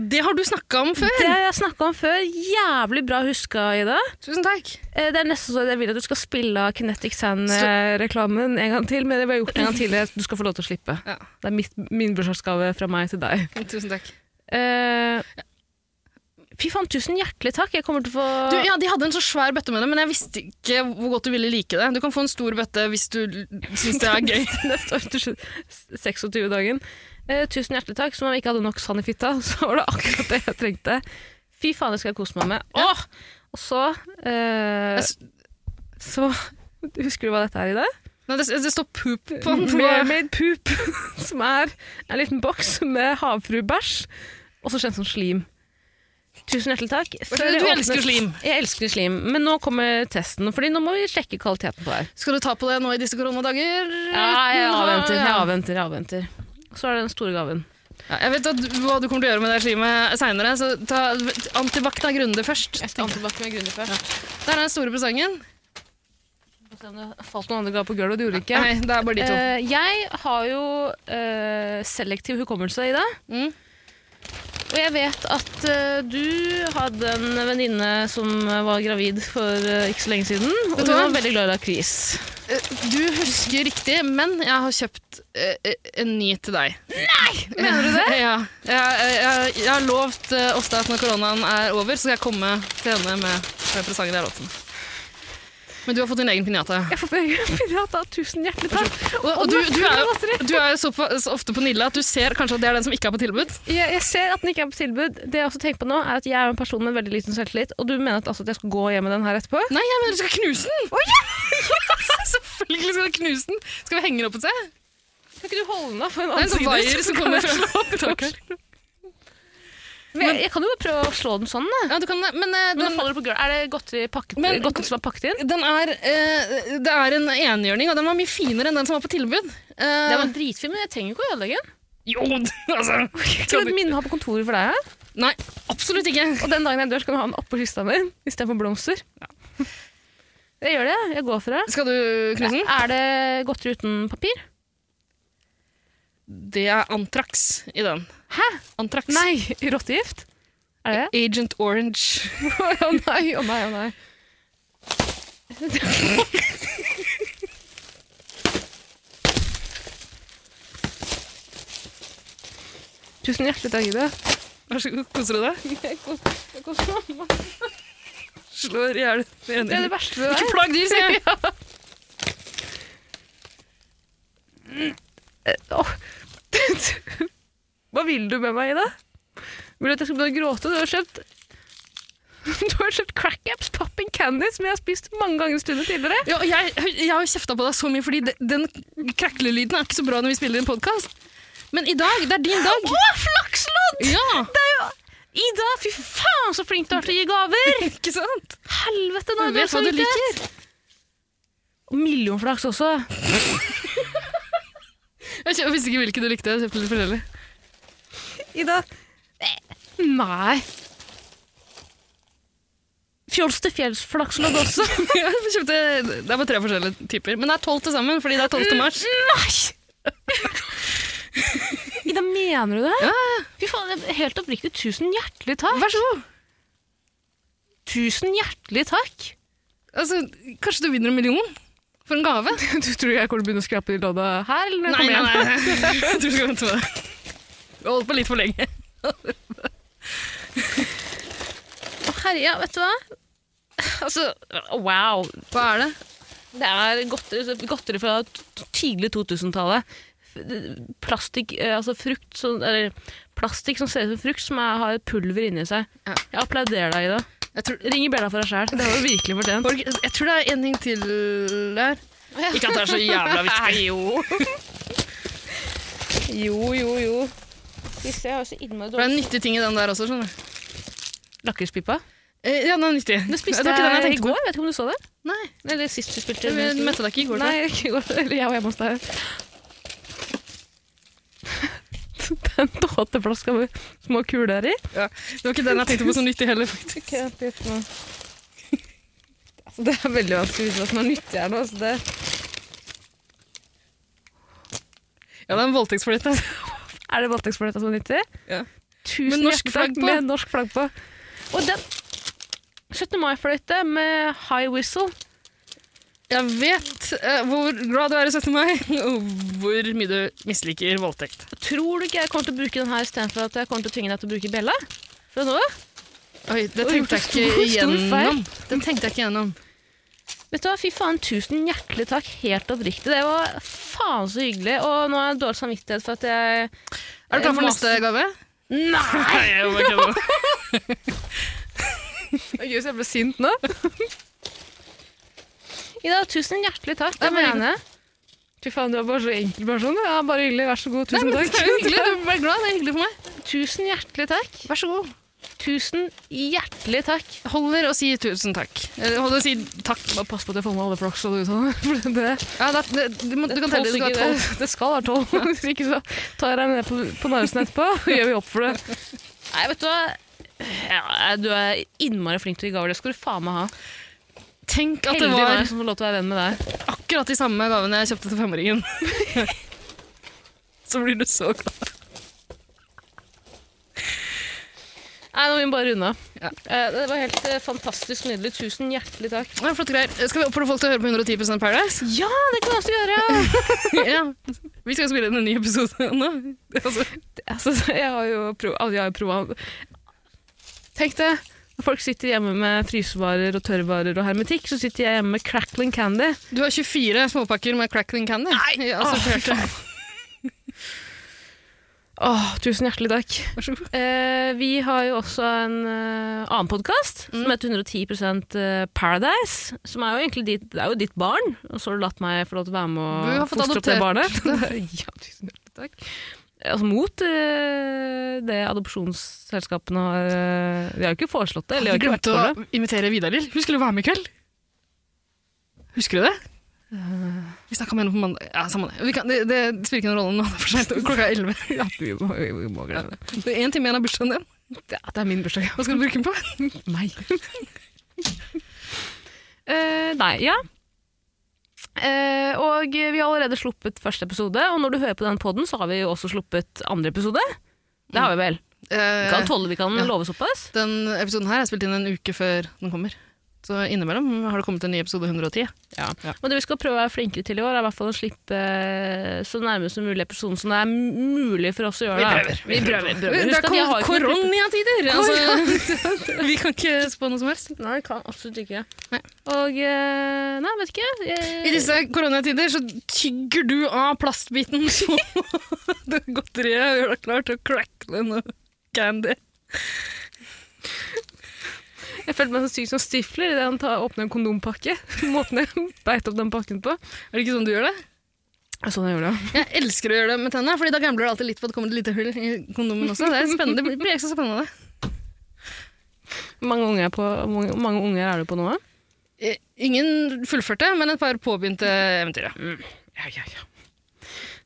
[SPEAKER 2] Det har du snakka om før.
[SPEAKER 1] Det har jeg snakka om før. Jævlig bra huska, Ida.
[SPEAKER 2] Tusen takk.
[SPEAKER 1] Eh, Det er nesten så jeg vil at du skal spille av Kinetic Sand-reklamen en gang til, men det vi har gjort en gang tidligere, du skal få lov til å slippe.
[SPEAKER 2] Ja. <laughs>
[SPEAKER 1] Det er mitt, min bursdagsgave fra meg til deg.
[SPEAKER 2] Tusen takk.
[SPEAKER 1] Eh, fy faen, tusen hjertelig takk. Jeg kommer til å få
[SPEAKER 2] Du,
[SPEAKER 1] <laughs>
[SPEAKER 2] ja, De hadde en så svær bøtte med det, men jeg visste ikke hvor godt du ville like det. Du kan få en stor bøtte hvis du syns det er <laughs> gøy.
[SPEAKER 1] neste år til 26-dagen. Eh, tusen hjertelig takk. Som om jeg ikke hadde nok sand i fitta, <laughs> så var det akkurat det jeg trengte. Fy faen, det skal jeg kose meg med. Åh! Og så eh,
[SPEAKER 2] Jeg s-
[SPEAKER 1] Så <laughs> Husker du hva dette er i dag?
[SPEAKER 2] Nei, det, <laughs> det står poop på den.
[SPEAKER 1] Mermaid poop, <laughs> som er en liten boks med havfruebæsj, også kjent som slim. Tusen hjertelig takk. Før
[SPEAKER 2] du
[SPEAKER 1] vi åpner-
[SPEAKER 2] elsker slim.
[SPEAKER 1] Jeg elsker slim, men nå kommer testen, Fordi nå må vi sjekke kvaliteten på det her.
[SPEAKER 2] Skal du ta på det nå i disse koronadager?
[SPEAKER 1] Ja, jeg
[SPEAKER 2] Uten å ha-
[SPEAKER 1] avventer, jeg
[SPEAKER 2] ja.
[SPEAKER 1] avventer, jeg avventer. Så er det den store gaven.
[SPEAKER 2] Ja, jeg vet at du, hva du kommer til å gjøre med det slimet seinere, så ta antibac da grunde først.
[SPEAKER 4] Jeg skal tilbake med grunnen først.
[SPEAKER 2] Der er den store presangen.
[SPEAKER 1] Få se om det falt noen andre gaver på gulvet, det gjorde det ikke.
[SPEAKER 2] Nei, det er bare de to.
[SPEAKER 1] Eh, jeg har jo eh, selektiv hukommelse i det.
[SPEAKER 2] Mm.
[SPEAKER 1] Og jeg vet at eh, du hadde en venninne som var gravid for eh, ikke så lenge siden. Og
[SPEAKER 2] Vet
[SPEAKER 1] hun
[SPEAKER 2] du hva?
[SPEAKER 1] var veldig glad i lakris.
[SPEAKER 2] Eh, Du husker riktig, men jeg har kjøpt eh, eh, en ny til deg. Nei! Mener du det? <laughs> Ja. Jeg, jeg, jeg har lovt eh, Åsta at når koronaen er over, så skal jeg komme til henne med, med presangen jeg har lovt henne. Men du har fått din egen pinjata.
[SPEAKER 1] <laughs> Jeg får begynne Tusen hjertelig takk.
[SPEAKER 2] Og, og du, du er jo, du er jo såpass ofte på Nilla at du ser kanskje at det er den som ikke er på tilbud.
[SPEAKER 1] Jeg, jeg ser at den ikke er på tilbud. Det jeg også tenker på nå, er at jeg er en person med veldig liten selvtillit, og du mener at, altså, at jeg skal gå hjem med den her etterpå?
[SPEAKER 2] Nei, jeg mener du skal knuse den! <laughs> Selvfølgelig skal du knuse den! Skal vi henge den opp et sted?
[SPEAKER 1] Kan ikke du holde den da for en
[SPEAKER 2] Det er en
[SPEAKER 1] annen
[SPEAKER 2] sånn
[SPEAKER 1] side?
[SPEAKER 2] vaier
[SPEAKER 1] så kan
[SPEAKER 2] som <laughs>
[SPEAKER 1] <laughs>
[SPEAKER 2] kommer
[SPEAKER 1] jeg slå
[SPEAKER 2] fra
[SPEAKER 1] den. Men jeg, jeg kan jo bare prøve å slå den sånn, da.
[SPEAKER 2] Ja, du kan det, men eh,
[SPEAKER 1] Men da
[SPEAKER 2] den,
[SPEAKER 1] faller det på gulvet. Er det godteri, pakket,
[SPEAKER 2] Men-
[SPEAKER 1] godteri som er pakket inn?
[SPEAKER 2] den er, eh, det er en enhjørning, og den var mye finere enn den som var på tilbud. Eh,
[SPEAKER 1] Det var dritfint, men jeg trenger jo ikke å ødelegge den.
[SPEAKER 2] Jo, <laughs> altså
[SPEAKER 1] Skal du et minne ha på kontoret for deg? ja?
[SPEAKER 2] Nei, absolutt ikke.
[SPEAKER 1] Og den dagen jeg dør, skal du ha den oppå kista mi istedenfor blomster. Jeg gjør det. Jeg går for det.
[SPEAKER 2] Skal du knuse den?
[SPEAKER 1] Er det godteri uten papir?
[SPEAKER 2] Det er Antrax i den.
[SPEAKER 1] Hæ?
[SPEAKER 2] Antrax.
[SPEAKER 1] Nei, rottegift? Er det det?
[SPEAKER 2] Agent Orange.
[SPEAKER 1] <laughs> Å nei, å nei, å nei. <laughs> Tusen hjertelig takk, Ida.
[SPEAKER 2] Vær så god, koser du deg?
[SPEAKER 1] Det
[SPEAKER 2] Slår i hjel den
[SPEAKER 1] er det
[SPEAKER 2] ene.
[SPEAKER 1] verste med
[SPEAKER 2] Ikke plag dyr, sier <laughs> jeg.
[SPEAKER 1] deg. Eh, Åh. Hva vil du med meg, Ida? Vil du at jeg skal begynne å gråte? Du har kjøpt <laughs> Du har kjøpt Crack Apps Popping Candy, som jeg har spist mange ganger i stunden tidligere.
[SPEAKER 2] Ja, og jeg, jeg har jo kjefta på deg så mye, fordi de- den kraklelyden er ikke så bra når vi spiller en podkast. Men i dag, det er din dag.
[SPEAKER 1] Å, flakslodd!
[SPEAKER 2] Ja,
[SPEAKER 1] Ida, fy faen så flink du er til å gi <laughs> gaver!
[SPEAKER 2] ikke sant?
[SPEAKER 1] Helvete, nå
[SPEAKER 2] Du
[SPEAKER 1] er det
[SPEAKER 2] vet hva du
[SPEAKER 1] samvittighet.
[SPEAKER 2] liker.
[SPEAKER 1] Og Millionflaks også.
[SPEAKER 2] Jeg kjø- jeg visste ikke hvilke du likte. Jeg kjøpte litt forskjellig. <laughs>
[SPEAKER 1] Ida. Nei. Fjols til fjells flakslodd også.
[SPEAKER 2] Jeg kjøpte, det er bare tre forskjellige typer. Men det er tolv til sammen, fordi det er 12.
[SPEAKER 1] Mm.
[SPEAKER 2] til mars.
[SPEAKER 1] Nei! Ida, mener du det?
[SPEAKER 2] Ja,
[SPEAKER 1] Fy faen, det er helt oppriktig, tusen hjertelig takk.
[SPEAKER 2] Vær så god.
[SPEAKER 1] Tusen hjertelig takk.
[SPEAKER 2] Altså, kanskje du vinner en million for en gave?
[SPEAKER 1] <laughs> Du tror jeg kommer til å begynne å skrape i lodda her? Eller
[SPEAKER 2] Nei, nei, nei.
[SPEAKER 1] <laughs>
[SPEAKER 2] Jeg tror du skal vente med det. Du har holdt på litt for lenge.
[SPEAKER 1] Herre, ja, vet du hva? Altså, wow.
[SPEAKER 2] Hva er det?
[SPEAKER 1] Det er godteri, godteri fra t- tidlig 2000-tallet. F- Plastikk, eh, altså frukt, som- eller plastikk som ser ut som frukt, som er, har pulver inni seg.
[SPEAKER 2] Ja.
[SPEAKER 1] Jeg applauderer deg, Ida.
[SPEAKER 2] Jeg tror,
[SPEAKER 1] Ring i bjella for deg sjæl. Det har du virkelig fortjent.
[SPEAKER 2] Borg, jeg tror det er en ting til der. Ikke at det er så jævla viktig. jo. <laughs>
[SPEAKER 1] Jo, jo, jo. jeg har så innmari
[SPEAKER 2] Det er en nyttig ting i den der også, skjønner du.
[SPEAKER 1] Lakrispipa.
[SPEAKER 2] Eh, Ja, den er nyttig.
[SPEAKER 1] Det spiste
[SPEAKER 2] Det var ikke den jeg
[SPEAKER 1] jeg i
[SPEAKER 2] tenkte
[SPEAKER 1] går. Vet ikke om du så det?
[SPEAKER 2] Nei,
[SPEAKER 1] Eller sist vi spilte
[SPEAKER 2] jeg møtte deg ikke i går. tror jeg.
[SPEAKER 1] Nei, ikke i går. Eller jeg var hjemme hos deg. Den tåteflaska med små kuler i.
[SPEAKER 2] Ja. Det var ikke den jeg tenkte på som nyttig heller, faktisk. Altså,
[SPEAKER 1] Altså, det er veldig vanskelig å vite hva som er nyttig her nå. Altså det.
[SPEAKER 2] Ja, det er en voldtektsflytt. altså.
[SPEAKER 1] Er det voldtektsfløyta som er nyttig?
[SPEAKER 2] Ja.
[SPEAKER 1] Tusen
[SPEAKER 2] Med norsk
[SPEAKER 1] hjertelig
[SPEAKER 2] flagg
[SPEAKER 1] takk
[SPEAKER 2] på.
[SPEAKER 1] med norsk flagg på. Og den 17. mai-fløyte med high whistle.
[SPEAKER 2] Jeg vet eh, hvor glad du er i 17. mai, og hvor mye du misliker voldtekt.
[SPEAKER 1] Tror du ikke jeg kommer til å bruke den her istedenfor at jeg kommer til å tvinge deg til å bruke bjella? Fra nå av?
[SPEAKER 2] Oi, det
[SPEAKER 1] Oi,
[SPEAKER 2] tenkte
[SPEAKER 1] stor-
[SPEAKER 2] jeg ikke
[SPEAKER 1] stor feil.
[SPEAKER 2] igjennom. Den tenkte jeg ikke igjennom.
[SPEAKER 1] Vet du hva, fy faen, tusen hjertelig takk. Helt oppriktig. Det var faen så hyggelig. Og nå har jeg dårlig samvittighet for at jeg
[SPEAKER 2] Er du klar for
[SPEAKER 1] Mas-
[SPEAKER 2] neste gave?
[SPEAKER 1] Nei!
[SPEAKER 2] Nei, jeg må <laughs> ikke det.
[SPEAKER 1] Gøy så jeg ble sint nå. Ida, tusen hjertelig takk. Det
[SPEAKER 2] Nei, men-
[SPEAKER 1] mener jeg. Fy faen, du er bare så enkel person. Ja, bare hyggelig. Vær så god.
[SPEAKER 2] Nei,
[SPEAKER 1] Tusen
[SPEAKER 2] men det er jo
[SPEAKER 1] takk.
[SPEAKER 2] hyggelig. Du er glad, det er hyggelig for meg.
[SPEAKER 1] Tusen hjertelig takk.
[SPEAKER 2] Vær så god.
[SPEAKER 1] Tusen hjertelig <laughs> takk.
[SPEAKER 2] Holder å si tusen takk. Eh, Holder å si takk.
[SPEAKER 4] Bare pass på at jeg får med alle flaks og uttaler. For det, det,
[SPEAKER 2] Ja, det, det, du, må, du kan telle det skal være tolv.
[SPEAKER 4] det. det skal være
[SPEAKER 1] <laughs>
[SPEAKER 4] tolv. Hvis ikke så tar jeg deg med på, på Narvesen etterpå, og gjør vi opp for det.
[SPEAKER 1] Nei, vet du hva? Ja, du er innmari flink til å gi gaver. Det skal du faen meg ha.
[SPEAKER 2] Tenk at det
[SPEAKER 1] Heldig
[SPEAKER 2] var
[SPEAKER 1] meg som får lov til å være venn med deg.
[SPEAKER 2] akkurat de samme gavene jeg kjøpte til femåringen. så blir du så glad.
[SPEAKER 1] Nei, nå må vi bare runde av.
[SPEAKER 2] Ja.
[SPEAKER 1] Eh, Det var helt eh, fantastisk nydelig. Tusen hjertelig takk.
[SPEAKER 2] Ja, flotte greier. Skal vi oppfordre folk til å høre på 110 Paradise?
[SPEAKER 1] Ja, det kan vi også gjøre!
[SPEAKER 2] <laughs> ja. Vi skal spille inn en ny episode nå. Altså,
[SPEAKER 1] <laughs>
[SPEAKER 4] Altså, jeg har jo prova
[SPEAKER 1] altså,
[SPEAKER 4] Jeg har jo prova
[SPEAKER 1] Tenk det. Når folk sitter hjemme med frysevarer og tørrvarer og hermetikk, så sitter jeg hjemme med crackling candy.
[SPEAKER 2] du har 24 småpakker med crackling candy. Nei! Ja,
[SPEAKER 1] Åh,
[SPEAKER 2] så hørte jeg.
[SPEAKER 1] Åh, tusen hjertelig takk.
[SPEAKER 2] Vær så god.
[SPEAKER 1] Eh, vi har jo også en eh, annen podkast
[SPEAKER 2] Mm.
[SPEAKER 1] som heter 110 eh, Paradise. Som er jo egentlig ditt, det er jo ditt barn, og så har du latt meg få lov til å være
[SPEAKER 2] Du
[SPEAKER 1] med
[SPEAKER 2] har
[SPEAKER 1] og
[SPEAKER 2] fått
[SPEAKER 1] fostre opp det
[SPEAKER 2] adoptert
[SPEAKER 1] barnet. <laughs>
[SPEAKER 4] Ja, tusen hjertelig takk.
[SPEAKER 1] Altså mot eh, det adopsjonsselskapene har eh, De har jo ikke foreslått det, eller de har
[SPEAKER 2] Jeg
[SPEAKER 1] ikke vært
[SPEAKER 2] glemte
[SPEAKER 1] for det.
[SPEAKER 2] å invitere Vidar Lill. Hun skulle være med i kveld. Husker du det?
[SPEAKER 1] Eh.
[SPEAKER 2] Vi snakka med henne på mandag. Ja, samme det. Vi kan, det, det spiller ikke noen rolle nå. Det er for sent. Klokka er 11.
[SPEAKER 4] Ja, vi må, vi må glemme det.
[SPEAKER 2] Det er én time igjen av bursdagen din.
[SPEAKER 4] Ja, det er min bursdag, ja.
[SPEAKER 2] Hva skal du bruke den på?
[SPEAKER 4] Meg.
[SPEAKER 1] <laughs> Eh, nei, ja. Eh, og vi har allerede sluppet første episode, og når du hører på den podden, så har vi jo også sluppet andre episode. Det har vi vel. Vi kan tåle, vi kan
[SPEAKER 2] ja.
[SPEAKER 1] love såpass.
[SPEAKER 2] Eh, Den episoden her er spilt inn en uke før den kommer. Så innimellom har det kommet en ny episode 110.
[SPEAKER 1] Men det vi skal prøve å være flinkere til i år, er i hvert fall å slippe eh, så nærme som mulig episoden som det er mulig for oss å gjøre. da. Vi prøver. Vi prøver.
[SPEAKER 2] Det
[SPEAKER 1] Husk
[SPEAKER 2] er
[SPEAKER 1] at jeg har
[SPEAKER 2] kor-
[SPEAKER 1] jo ikke noe klipp-
[SPEAKER 2] koronatider! <laughs> Altså, vi kan ikke spå noe som helst.
[SPEAKER 1] Nei, jeg kan absolutt ikke.
[SPEAKER 2] Nei.
[SPEAKER 1] Og eh, Nei, vet ikke. jeg-
[SPEAKER 2] I disse koronatider så tygger du av plastbiten <laughs> på det godteriet og gjør deg klar til å crackle noe candy.
[SPEAKER 4] Jeg følte meg så syk som stifler idet han tar- åpner en
[SPEAKER 1] <laughs>
[SPEAKER 4] kondompakke. Måten jeg beit opp den pakken på.
[SPEAKER 2] Er det ikke sånn du gjør det?
[SPEAKER 4] Det er Sånn jeg gjorde det.
[SPEAKER 2] Jeg elsker å gjøre det med tennene, fordi da gambler du alltid litt på at det kommer et lite hull i kondomen også. Det er spennende. Det blir ekstra spennende.
[SPEAKER 1] Hvor mange unger er på- hvor mange- hvor mange unger er du på nå?
[SPEAKER 2] Eh, Ingen fullførte, men et par påbegynte eventyr. ja.
[SPEAKER 4] Ja, ja, ja.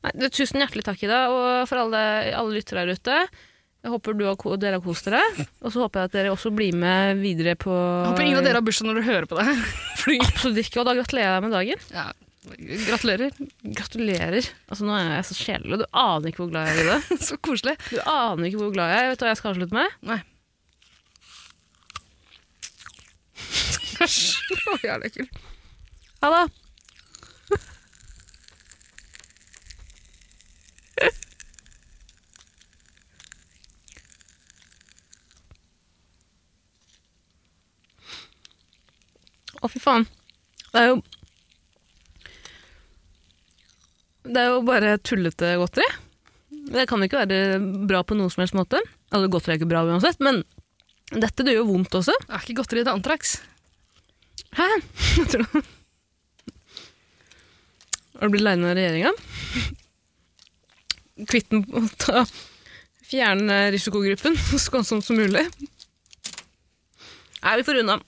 [SPEAKER 1] Nei, du, tusen hjertelig takk, Ida, og for alle, alle lyttere her ute. Jeg håper du har, ko- dere har kost dere, og så håper jeg at dere også blir med videre på
[SPEAKER 2] Jeg Håper ingen av dere har bursdag når dere hører på det her. <laughs> Fordi,
[SPEAKER 1] Absolutt ikke, og da gratulerer jeg deg med dagen.
[SPEAKER 2] ja, gratulerer. <laughs>
[SPEAKER 1] Gratulerer. Altså, nå er jeg så sjelelig, og du aner ikke hvor glad jeg er i det.
[SPEAKER 2] Så koselig.
[SPEAKER 1] Du aner ikke hvor glad jeg er. Vet du hva jeg skal avslutte med?
[SPEAKER 2] Nei.
[SPEAKER 4] Å, ja, det er kult.
[SPEAKER 1] Ha det! Å, fy faen. Det er jo Det er jo bare tullete godteri. Det kan ikke være bra på noen som helst måte. Altså, godteri er ikke bra uansett, men dette det gjør vondt også.
[SPEAKER 2] Det er ikke godteri, det er Antrax.
[SPEAKER 1] Hæ? Tror du Har du blitt lei av regjeringa? Kvitt den på ta, Fjerne risikogruppen så skånsomt som mulig. Nei, vi får unna.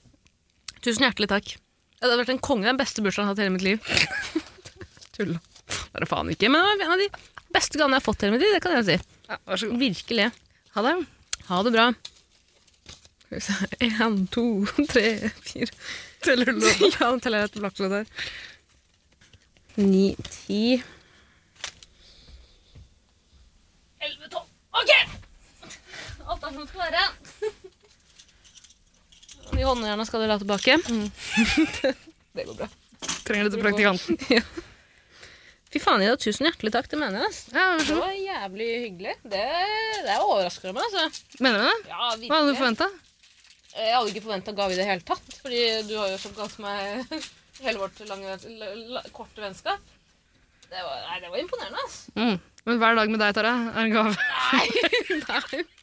[SPEAKER 1] Tusen hjertelig takk. Ja, Det hadde vært en konge. Den beste bursdagen jeg har hatt i hele mitt liv. <laughs> Tull. Det er det faen ikke. Men det var en av de beste gavene jeg har fått i hele mitt liv. Det kan jeg si.
[SPEAKER 2] Ja, vær så god.
[SPEAKER 1] Virkelig.
[SPEAKER 2] Ha det.
[SPEAKER 1] Ha det bra.
[SPEAKER 4] Skal vi se. En, to, tre, fire.
[SPEAKER 2] Teller du
[SPEAKER 1] <laughs>
[SPEAKER 2] nå?
[SPEAKER 4] Ja, nå teller jeg et blakklåd her.
[SPEAKER 1] Ni, ti Elleve, tolv. OK! Alt er som det skal være. De håndjerna skal dere la tilbake. <laughs>
[SPEAKER 4] Det går bra.
[SPEAKER 2] Trenger du til praktikanten?
[SPEAKER 1] Fy faen, Ida. Tusen hjertelig takk. Det mener jeg. ass.
[SPEAKER 2] Ja, vær
[SPEAKER 1] Det
[SPEAKER 2] så god.
[SPEAKER 1] var jævlig hyggelig. Det, det er overraskende meg, altså.
[SPEAKER 2] Mener du det?
[SPEAKER 1] Ja,
[SPEAKER 2] Hva hadde du
[SPEAKER 1] virkelig.
[SPEAKER 2] forventa?
[SPEAKER 1] Eh, Jeg hadde ikke forventa gave i det hele tatt. Fordi du har jo forgått meg <laughs> hele vårt lange, la, la, korte vennskap. Det var, nei, det var imponerende, ass.
[SPEAKER 2] Mm. Men hver dag med deg, Tara, er en gave.
[SPEAKER 1] Nei.